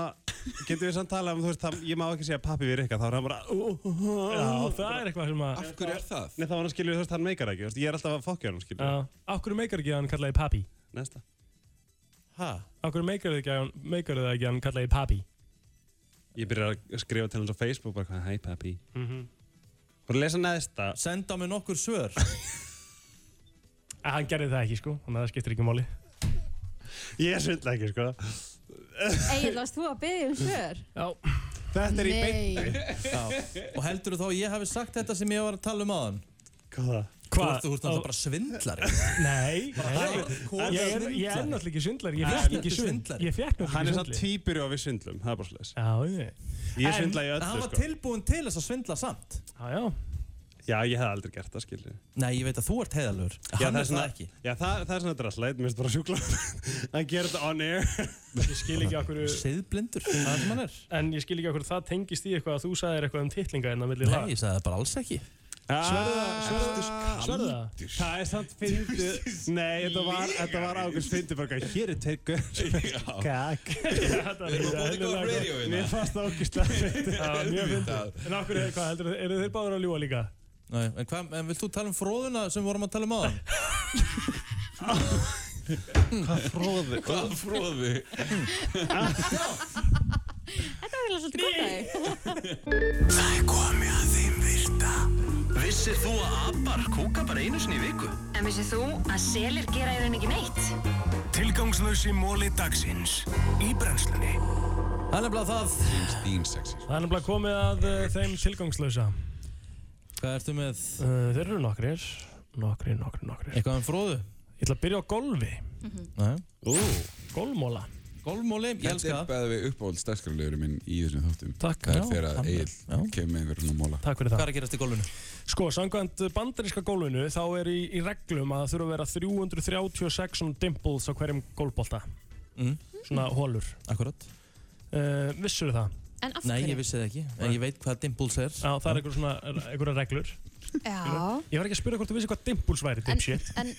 [SPEAKER 13] getum við samt talað um, þú veist, það, ég má ekki segja pappi við Rikka, þá er hann bara
[SPEAKER 3] Já, það er eitthvað sem að
[SPEAKER 16] Af hverju er það?
[SPEAKER 13] Nei, þá var hann skilur, þú veist, hann meikar ekki, þú veist, ég er alltaf að fokkja hann, skilur
[SPEAKER 3] Já, af hverju meikar ekki að hann kallaði papi?
[SPEAKER 13] Næsta Hæ?
[SPEAKER 3] Af hverju meikar þið ekki að hann, meikar þið ekki að hann kallaði papi?
[SPEAKER 13] Ég byrjar að skrifa til hans á Facebook, bara hvað, hæ pappi
[SPEAKER 3] Mhm.
[SPEAKER 13] Bara lesa neðsta
[SPEAKER 11] Senda mig nokkur svör
[SPEAKER 3] Að hann gerði það ekki, sko, þannig að það skiptir ekki máli
[SPEAKER 13] Ég svindla ekki, sko
[SPEAKER 2] Egil, varst þú að byggja um svör?
[SPEAKER 3] Já.
[SPEAKER 13] Þetta er í
[SPEAKER 2] Nei.
[SPEAKER 13] beinni
[SPEAKER 11] Já. Og heldur þú þá að ég hafi sagt þetta sem ég var að tala um aðan?
[SPEAKER 13] Hvaða?
[SPEAKER 11] Hvað? Þú ert náttúrulega bara svindlari.
[SPEAKER 3] Nei,
[SPEAKER 11] Bara-
[SPEAKER 3] nei. Ég er, ég er náttúrulega ekki svindlar, ég
[SPEAKER 13] Hann
[SPEAKER 3] fekk
[SPEAKER 13] er
[SPEAKER 3] ekki svindl
[SPEAKER 13] svindlari.
[SPEAKER 3] Ég fekk náttúrulega
[SPEAKER 13] Hann
[SPEAKER 3] ekki
[SPEAKER 13] er samt
[SPEAKER 3] svindli
[SPEAKER 13] tvíbyrju og við svindlum, það er bara slæs
[SPEAKER 3] Já, ég
[SPEAKER 13] Ég svindla í
[SPEAKER 11] En
[SPEAKER 13] öllu,
[SPEAKER 11] Hann var
[SPEAKER 13] sko
[SPEAKER 11] tilbúin til þess að svindla samt.
[SPEAKER 3] Já, já.
[SPEAKER 13] Já, ég hef aldrei gert það, skilur
[SPEAKER 11] Nei, ég veit að þú ert heiðalur.
[SPEAKER 13] Já,
[SPEAKER 11] Hann
[SPEAKER 13] það
[SPEAKER 11] er
[SPEAKER 13] er svona,
[SPEAKER 11] það ekki.
[SPEAKER 13] já, það, það er svona draslæt, mér finnst bara sjúkla að gera þetta on air
[SPEAKER 3] Ég skil ekki okkur
[SPEAKER 11] Siðblindur, það sem hann er
[SPEAKER 3] En ég skil ekki okkur það tengist í eitthvað að þú sagðir eitthvað um titlinga en það milli lag
[SPEAKER 11] Nei, ég sagði það bara alls ekki.
[SPEAKER 3] Sverða, sverða,
[SPEAKER 13] Ah,
[SPEAKER 3] sverða
[SPEAKER 13] Það er samt fyndið Nei, þetta var, þetta var ákveðs fyndið bara eitthvað, hér er teikur
[SPEAKER 11] [LAUGHS]
[SPEAKER 13] Kak Mér fannst það
[SPEAKER 11] [LAUGHS]
[SPEAKER 13] ógislega fyndið
[SPEAKER 3] Mjög fyndið En okkur, hvað heldur, eru þeir báður að ljúa líka?
[SPEAKER 11] Nei, en, hva, en vilt þú tala um fróðuna sem við vorum að tala um aðan?
[SPEAKER 13] Hvað fróðu?
[SPEAKER 16] [LAUGHS] Hvað fróðu?
[SPEAKER 2] Þetta var eiginlega svolítið gott
[SPEAKER 1] [LAUGHS]
[SPEAKER 2] að þig.
[SPEAKER 4] Það er komið að þeim virta [LAUGHS] Vissir þú að abar kúka bara einu sinni í viku?
[SPEAKER 20] En vissið þú að selir gera í rauninni ekki neitt?
[SPEAKER 4] Tilgangslösi móli dagsins Í brennslunni
[SPEAKER 11] Það er nefnilega það
[SPEAKER 16] Stín sexy
[SPEAKER 3] Það er nefnilega komið að uh, þeim tilgangslösa
[SPEAKER 11] Hvað ertu með?
[SPEAKER 3] Uh, þeir eru nokkrir Nokkrir, nokkrir, nokkrir
[SPEAKER 11] Eitthvað um fróðu?
[SPEAKER 3] Ég ætla að byrja á golfi
[SPEAKER 11] Nei
[SPEAKER 13] Ú
[SPEAKER 3] Golfmóla
[SPEAKER 11] Golfmóli, ég
[SPEAKER 16] Þetta
[SPEAKER 11] elska
[SPEAKER 16] er
[SPEAKER 11] það
[SPEAKER 16] bæðið við uppáhald stærskarlegurum minn í þessum þáttum
[SPEAKER 3] Takk.
[SPEAKER 16] Það
[SPEAKER 3] Já,
[SPEAKER 16] er þegar að
[SPEAKER 3] þannig.
[SPEAKER 16] Egil kemur með einhverjum að móla
[SPEAKER 3] Takk fyrir það
[SPEAKER 11] Hvað er að gerast í golfinu?
[SPEAKER 3] Sko, samkvæmt bandaríska gólfinu þá er í, í reglum að það þurfa að vera 336 svona dimples á hverjum gólfbolta
[SPEAKER 11] mm.
[SPEAKER 3] Svona hólur
[SPEAKER 11] Akkurat
[SPEAKER 3] uh, Vissur það?
[SPEAKER 2] En af
[SPEAKER 11] Nei,
[SPEAKER 2] hverju?
[SPEAKER 11] ég vissi það ekki En ég veit hvað dimples er
[SPEAKER 3] Já, það er einhver svona, einhverja reglur
[SPEAKER 2] Já.
[SPEAKER 3] Ég var ekki að spyrja hvort þú vissi hvað dimples væri, dipshit
[SPEAKER 2] En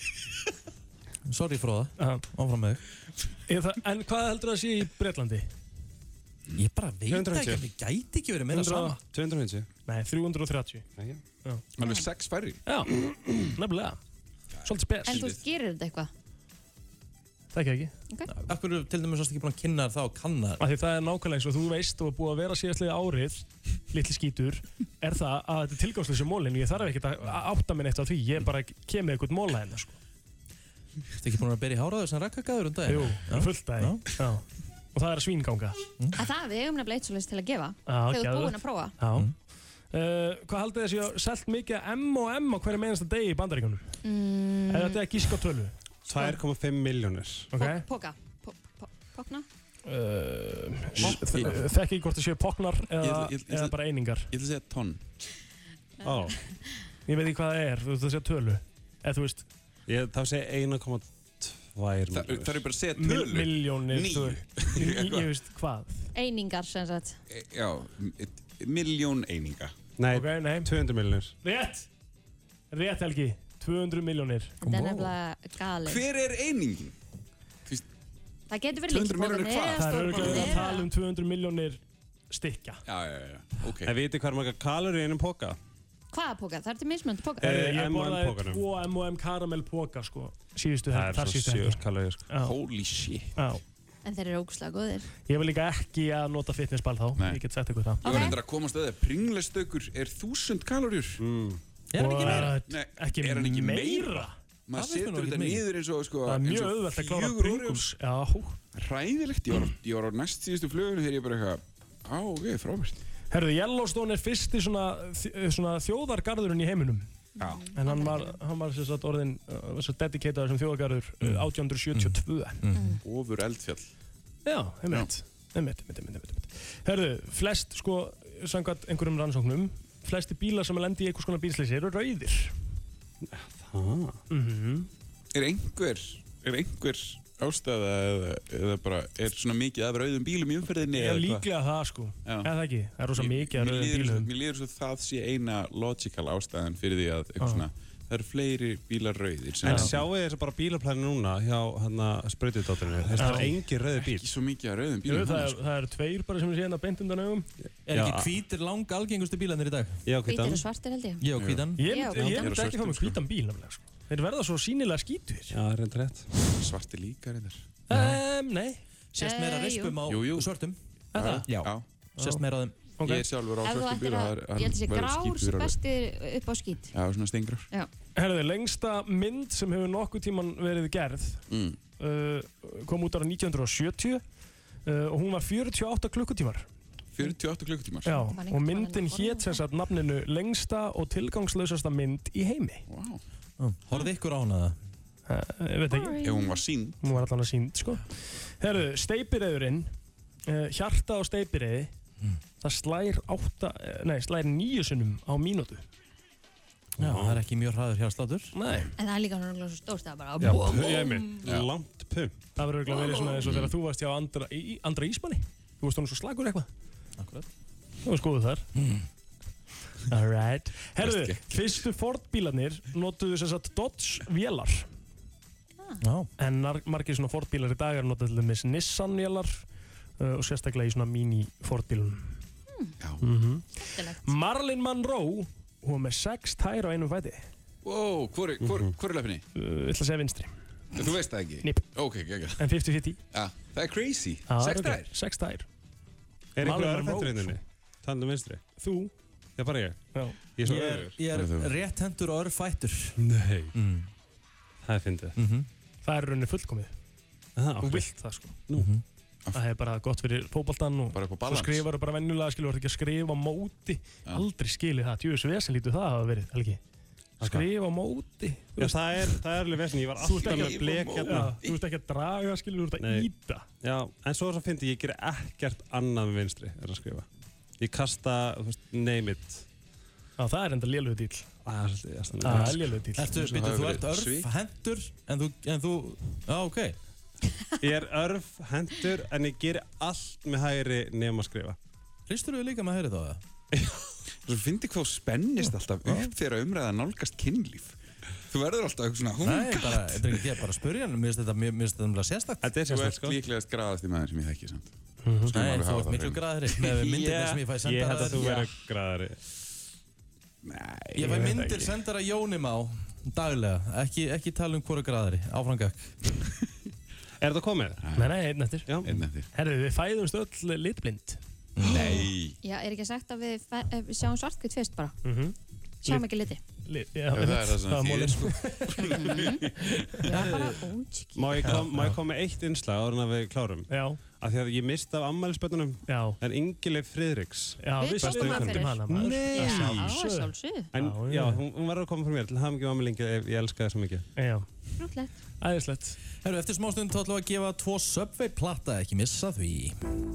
[SPEAKER 11] Sorry fróða, áfram með
[SPEAKER 3] Ég það- En hvað heldur það að sé í Breitlandi?
[SPEAKER 11] þig Ég bara veit það ekki, mér gæti ekki verið meira sama
[SPEAKER 13] 250
[SPEAKER 3] Nei, 330
[SPEAKER 13] Nei,
[SPEAKER 3] já
[SPEAKER 16] Alveg sex færri
[SPEAKER 3] Já, nefnilega Svolítið spes
[SPEAKER 2] En þú veist, gerir þetta eitthvað?
[SPEAKER 3] Það ekki ekki
[SPEAKER 11] Akkur til dæmis varst ekki búin að kynna þér það og kanna þér
[SPEAKER 3] Af því það er nákvæmlega eins og þú veist og er búið að vera síðastlega árið litli skítur, er það að þetta er tilgangslösa mólin ég þarf ekkert að að átta minn eitt á því ég bara kem með eitthvað móla hennar sko.
[SPEAKER 11] Ertu ekki búin að bera í háraður sem rakkakaður um daginn?
[SPEAKER 3] Jú, bara fullt að Já. og það er að svínganga
[SPEAKER 2] Að það við eigum nefnilega eitt svolítið til að gefa.
[SPEAKER 3] Já,
[SPEAKER 2] Þegar þú ert
[SPEAKER 3] Ah, geðveikt.
[SPEAKER 2] búinn að prófa.
[SPEAKER 3] Já
[SPEAKER 11] Mm.
[SPEAKER 3] Uh, hvað haldið þessi að selt mikið af M&M á hverjum einasta degi í bandaríkunum? Mm. Er þetta að gíska á tölu?
[SPEAKER 13] 2,5 miljónir
[SPEAKER 3] Ok.
[SPEAKER 2] Póka. Pó- pó- Pókna.
[SPEAKER 3] Uh, Þekk ekki hvort það séu poknar eða,
[SPEAKER 16] Eh, Ég ætla- ég ætla-
[SPEAKER 3] eða bara einingar
[SPEAKER 16] Ég ætla að segja tonn
[SPEAKER 13] Ó
[SPEAKER 3] Ég veit ekki hvað það er, þú veist það séu tölu Eða þú veist
[SPEAKER 13] Ég þá segi 1,2
[SPEAKER 16] Þa-
[SPEAKER 13] miljónir
[SPEAKER 16] Það er bara að segja
[SPEAKER 3] mil-
[SPEAKER 16] tölur
[SPEAKER 3] Milljónir
[SPEAKER 16] Níu.
[SPEAKER 3] þú- Ég ég veist hvað
[SPEAKER 2] Einingar, sem sagt.
[SPEAKER 16] E- Já, et- milljón eininga
[SPEAKER 13] Nei,
[SPEAKER 3] okay, nei.
[SPEAKER 13] 200 miljónir
[SPEAKER 3] Rétt Rétt Helgi 200 miljónir
[SPEAKER 2] Þetta er nefnilega galið.
[SPEAKER 16] Hver er einingin?
[SPEAKER 2] Það getur verið líkt
[SPEAKER 16] 200 milljónir hvað?
[SPEAKER 3] Það er
[SPEAKER 2] stórbóðin
[SPEAKER 3] auðvitað að
[SPEAKER 2] eða...
[SPEAKER 3] tala um 200 miljónir stykka
[SPEAKER 16] Já, já, já, já, ok
[SPEAKER 13] Það viti hvað er marga kalori í einum póka
[SPEAKER 2] Hvaða póka? Það er til mismöndu póka.
[SPEAKER 13] Eh,
[SPEAKER 3] Ég
[SPEAKER 13] M&M
[SPEAKER 3] borðaði
[SPEAKER 13] pokanum.
[SPEAKER 3] tvo M&M karamell póka sko Síðustu
[SPEAKER 13] Það
[SPEAKER 3] helgi,
[SPEAKER 13] er
[SPEAKER 3] þar
[SPEAKER 13] svo sko.
[SPEAKER 3] síðustu
[SPEAKER 13] sjöur
[SPEAKER 3] helgi
[SPEAKER 13] kalori
[SPEAKER 3] Já.
[SPEAKER 16] Holy shit
[SPEAKER 3] Já.
[SPEAKER 2] En þeir eru ógslag góðir.
[SPEAKER 3] Ég vil líka ekki að nota fitnessball þá
[SPEAKER 16] Nei.
[SPEAKER 3] Ég get sagt ykkur það
[SPEAKER 16] Ég var endur að komast að það Pringlastökur er þúsund kaloríur mm.
[SPEAKER 3] Er hann ekki meira?
[SPEAKER 16] Nei,
[SPEAKER 3] Ekki
[SPEAKER 16] er hann ekki meira?
[SPEAKER 3] meira?
[SPEAKER 16] Maður
[SPEAKER 3] Það finnst mér nú
[SPEAKER 16] setur
[SPEAKER 3] ekkert
[SPEAKER 16] þetta
[SPEAKER 3] mikið.
[SPEAKER 16] niður eins og sko
[SPEAKER 3] Það er
[SPEAKER 16] eins
[SPEAKER 3] mjög
[SPEAKER 16] og
[SPEAKER 3] auðvelt að klára
[SPEAKER 16] fjögur
[SPEAKER 3] Pringles
[SPEAKER 16] Oreos.
[SPEAKER 3] Já,
[SPEAKER 16] Hræðilegt, ég var, á- ég var á næst síðustu flugunni þegar ég bara eitthvað Á, ok, frábært
[SPEAKER 3] Herðu, Yellowstone er fyrsti svona, þ- eh, svona þjóðargarðurinn í heiminum
[SPEAKER 16] Já.
[SPEAKER 3] En hann var, hann var sem sagt orðin uh, svo dedicated sem þjóðargarður mm. 1872 Mhm.
[SPEAKER 16] Ofur eldfjall
[SPEAKER 3] Já, einmitt Einmitt, einmitt, einmitt, einmitt, einmitt Herðu, flest sko, samkvæmt einhverjum rannsóknum Flesti bílar sem lendi í einhvers konar bílsleysi eru rauðir
[SPEAKER 13] Ah.
[SPEAKER 3] Mhm.
[SPEAKER 16] Er einhver, er einhver ástæða eða, eða bara er svona mikið af rauðum bílum í umferðinni
[SPEAKER 3] Ég
[SPEAKER 16] eða
[SPEAKER 3] er
[SPEAKER 16] hvað?
[SPEAKER 3] líklega það sko
[SPEAKER 16] Já.
[SPEAKER 3] Eða það ekki, það er rosa
[SPEAKER 16] Mér-
[SPEAKER 3] mikið að
[SPEAKER 16] mér
[SPEAKER 3] rauðum
[SPEAKER 16] líður svo-
[SPEAKER 3] bílum
[SPEAKER 16] Mér líður svo það sé eina logical ástæðan fyrir því að eitthvað
[SPEAKER 3] Já.
[SPEAKER 16] svona það eru fleiri bílar rauðir sem-
[SPEAKER 13] En sjáu þið þess bara bílaplæni núna hjá hérna, hann að spreytidóttirinu Þess að það er
[SPEAKER 3] Já.
[SPEAKER 13] engin rauði bíl
[SPEAKER 16] Ekki svo mikið að rauðum sko.
[SPEAKER 3] Jú, það, er, það eru tveir bara sem við séum að beint undan augum
[SPEAKER 13] Er ekki Já.
[SPEAKER 11] hvítir lang algengustu bílanir í dag?
[SPEAKER 13] Já,
[SPEAKER 2] Hvítir og svartir held ég.
[SPEAKER 11] Já, hvítan.
[SPEAKER 3] Ég
[SPEAKER 2] Já,
[SPEAKER 3] myndi, ég
[SPEAKER 2] hvítan.
[SPEAKER 3] myndi ekki fá með hvítan bíl nefnilega sko. Þeir verða svo sínilega skítur
[SPEAKER 13] Já, reyndar rétt
[SPEAKER 16] Svartir líka reyndar
[SPEAKER 3] um, Nei
[SPEAKER 11] Sérst meira
[SPEAKER 2] Eh, jú.
[SPEAKER 11] rispum á
[SPEAKER 16] Jú, jú.
[SPEAKER 11] svörtum
[SPEAKER 16] Er það?
[SPEAKER 11] Já,
[SPEAKER 16] Já.
[SPEAKER 11] sérst meira á þeim
[SPEAKER 16] Ok. Ég er sjálfur á
[SPEAKER 2] Ef þú
[SPEAKER 16] svörtum
[SPEAKER 2] ættir
[SPEAKER 16] bíl og
[SPEAKER 2] að,
[SPEAKER 16] það er- hann
[SPEAKER 2] ég held að sé
[SPEAKER 16] verður
[SPEAKER 2] grár
[SPEAKER 16] skítur alveg.
[SPEAKER 2] bestir upp á skít.
[SPEAKER 16] Já, svona stengrar
[SPEAKER 2] Já.
[SPEAKER 3] Herðu, lengsta mynd sem hefur nokkuð tíman verið gerð
[SPEAKER 16] mm.
[SPEAKER 3] uh, kom út ára 1970 uh, og hún var 48 klukkutímar
[SPEAKER 16] 48 klukkutímar
[SPEAKER 3] Já, og myndin hétt sem sagt nafninu lengsta og tilgangslausasta mynd í heimi
[SPEAKER 16] wow.
[SPEAKER 11] Horfðu ykkur á hana það?
[SPEAKER 3] Ég veit ekki
[SPEAKER 16] Ef hún var sínd
[SPEAKER 3] Hún var allan að sínd, sko Herðu, steipireðurinn uh, Hjarta á steipireði Það slær, átta, eh, nei, slær níu sinnum á mínútu
[SPEAKER 11] Já, það er ekki mjög hraður hjá slátur
[SPEAKER 3] Nei
[SPEAKER 2] En það er líka svona svo stórt að bara...
[SPEAKER 3] Já,
[SPEAKER 2] búm,
[SPEAKER 3] ég
[SPEAKER 2] búm.
[SPEAKER 3] minn.
[SPEAKER 13] Langt pum
[SPEAKER 3] Það verður eiginlega verið svona eins og þegar þú varst hjá Andra, í, Andra Ísmanni Þú varst honum svo slagur eitthvað
[SPEAKER 11] Akkurat
[SPEAKER 3] Þú varst góðu þar Alright Herðu, fyrstu Ford-bílarnir notuðu sem sagt Dodge-vélar
[SPEAKER 11] Já
[SPEAKER 3] En nar- margir svona Ford-bílar í dag er notuðu til dæmis Nissan-vélar uh, og sérstaklega í svona mini-Ford-bílum
[SPEAKER 16] Já
[SPEAKER 3] Marlin Monroe hún var með sex tær á einum fæti
[SPEAKER 16] Wow, hvor, hvor, hvor er löpni?
[SPEAKER 3] uh, ætla að segja vinstri
[SPEAKER 16] Þú veist það ekki?
[SPEAKER 3] Nip.
[SPEAKER 16] Ok, ekki, ekki
[SPEAKER 3] en 50-50
[SPEAKER 16] Já, það er crazy
[SPEAKER 3] Já, það er
[SPEAKER 16] Sex
[SPEAKER 3] ok.
[SPEAKER 16] dæðir
[SPEAKER 3] sex tær
[SPEAKER 13] Er einhver
[SPEAKER 3] Marlon
[SPEAKER 13] örfættur
[SPEAKER 3] Monroe.
[SPEAKER 13] í þinni? Tannum vinstri
[SPEAKER 3] þú
[SPEAKER 13] Já, bara ég Ég
[SPEAKER 3] Já.
[SPEAKER 13] er
[SPEAKER 11] Ég
[SPEAKER 13] svo
[SPEAKER 11] er,
[SPEAKER 13] öðrugur.
[SPEAKER 11] ég er rétt hendur og örfættur
[SPEAKER 13] Nei
[SPEAKER 3] Mm.
[SPEAKER 13] Það er fyndið
[SPEAKER 3] Mhm. það er í rauninni fullkomið
[SPEAKER 13] Aha,
[SPEAKER 3] þú
[SPEAKER 13] ok.
[SPEAKER 3] vilt það sko það er bara gott fyrir fótboltan og
[SPEAKER 16] Bara upp á
[SPEAKER 3] þú
[SPEAKER 16] balans.
[SPEAKER 3] skrifar bara vennulega skilur þú ert ekki að skrifa á móti aldrei skilið það djúvis vesen lítur það hafa verið Helgi skrifa á móti
[SPEAKER 13] Já, það er, það er alveg vesni Ég var
[SPEAKER 3] Þú ert
[SPEAKER 13] alltaf
[SPEAKER 3] ekki
[SPEAKER 13] með
[SPEAKER 3] að-
[SPEAKER 13] blek hérna
[SPEAKER 3] Já, þú ert ekki að draga skilur þú ert að
[SPEAKER 13] Nei.
[SPEAKER 3] íta
[SPEAKER 13] Já, en svo er svo fyndið Ég ger ekkert annað með vinstri Er að skrifa Ég kasta, þú veist, name it
[SPEAKER 3] Já, það er enda lélögu dýl
[SPEAKER 13] Það er svolítið- svolítið
[SPEAKER 3] Það er
[SPEAKER 13] lélegt, sko.
[SPEAKER 3] lélögu dýl
[SPEAKER 11] Ertu, býttu, þú ert örfhendur en þú, en þú, já, ok
[SPEAKER 13] Ég er örf hendur en ég ger allt með hægri nefn að skrifa.
[SPEAKER 11] Hristur þú líka með hægri þá það?
[SPEAKER 16] [LAUGHS] Þú finnir hvað þú spennist alltaf upp þegar umræða nálgast kynlíf Þú verður alltaf eitthvað svona "Oh Hún
[SPEAKER 11] Nei, bara, þetta er ekki ég er bara að spurja hann, mér finnst þetta mjög, mér finnst þetta mjög sérstakt sko. Mhm.
[SPEAKER 13] Þetta
[SPEAKER 16] Þú ert líklegast graðast í maður sem ég þekki samt Skulum
[SPEAKER 11] Nei,
[SPEAKER 16] alveg
[SPEAKER 11] þú
[SPEAKER 16] hafa
[SPEAKER 11] ert
[SPEAKER 16] það
[SPEAKER 11] miklu
[SPEAKER 16] hreinu.
[SPEAKER 11] graðri
[SPEAKER 16] [LAUGHS]
[SPEAKER 11] með myndirna sem ég fæ sendar
[SPEAKER 13] Ég held að þú
[SPEAKER 11] þér.
[SPEAKER 13] verður graðari.
[SPEAKER 16] Nei,
[SPEAKER 11] Ég fæ
[SPEAKER 13] veit
[SPEAKER 11] myndir
[SPEAKER 13] ekki.
[SPEAKER 11] sendar að Jónim á daglega, ekki, ekki tala um hvora graðari, áframgak
[SPEAKER 13] [LAUGHS] Er þetta komið?
[SPEAKER 3] nei, nei, einn eftir
[SPEAKER 16] Einn eftir
[SPEAKER 3] herru, við fæðumst öll litblind
[SPEAKER 16] Nei
[SPEAKER 2] Já, er ekki sagt að við fe- eh, við sjáum svartkvitt fyrst bara?
[SPEAKER 3] Mhm.
[SPEAKER 2] Sjáum ekki liti.
[SPEAKER 3] Li-
[SPEAKER 16] Já, það er það sem það
[SPEAKER 3] málið.
[SPEAKER 16] þýðir sko
[SPEAKER 3] [LAUGHS]
[SPEAKER 2] Það er bara ótskýrt.
[SPEAKER 13] Má ég kom- má ég koma með eitt innslag áður en að við klárum?
[SPEAKER 3] Já.
[SPEAKER 13] Af því að ég misti af ammælisböndunum.
[SPEAKER 3] Já.
[SPEAKER 13] En Ingileif Friðriks.
[SPEAKER 3] Já, við
[SPEAKER 13] bestu
[SPEAKER 3] tókum hana
[SPEAKER 13] vinkonu
[SPEAKER 3] fyrir.
[SPEAKER 13] mín.
[SPEAKER 3] Hana, maður.
[SPEAKER 13] Nei.
[SPEAKER 3] Já,
[SPEAKER 2] Já, að
[SPEAKER 3] sjálfsögðu.
[SPEAKER 2] sjálfsögðu.
[SPEAKER 13] En
[SPEAKER 3] Já,
[SPEAKER 13] já,
[SPEAKER 3] já.
[SPEAKER 13] hún, hún verður að koma frá mér til að hafa mikið ammælingi ef ég elska það svo mikið.
[SPEAKER 3] Já.
[SPEAKER 2] Rútlegt.
[SPEAKER 3] Æðislegt
[SPEAKER 11] Herru, eftir smá stund þá ætlum við að gefa tvo Subway platta, ekki missa því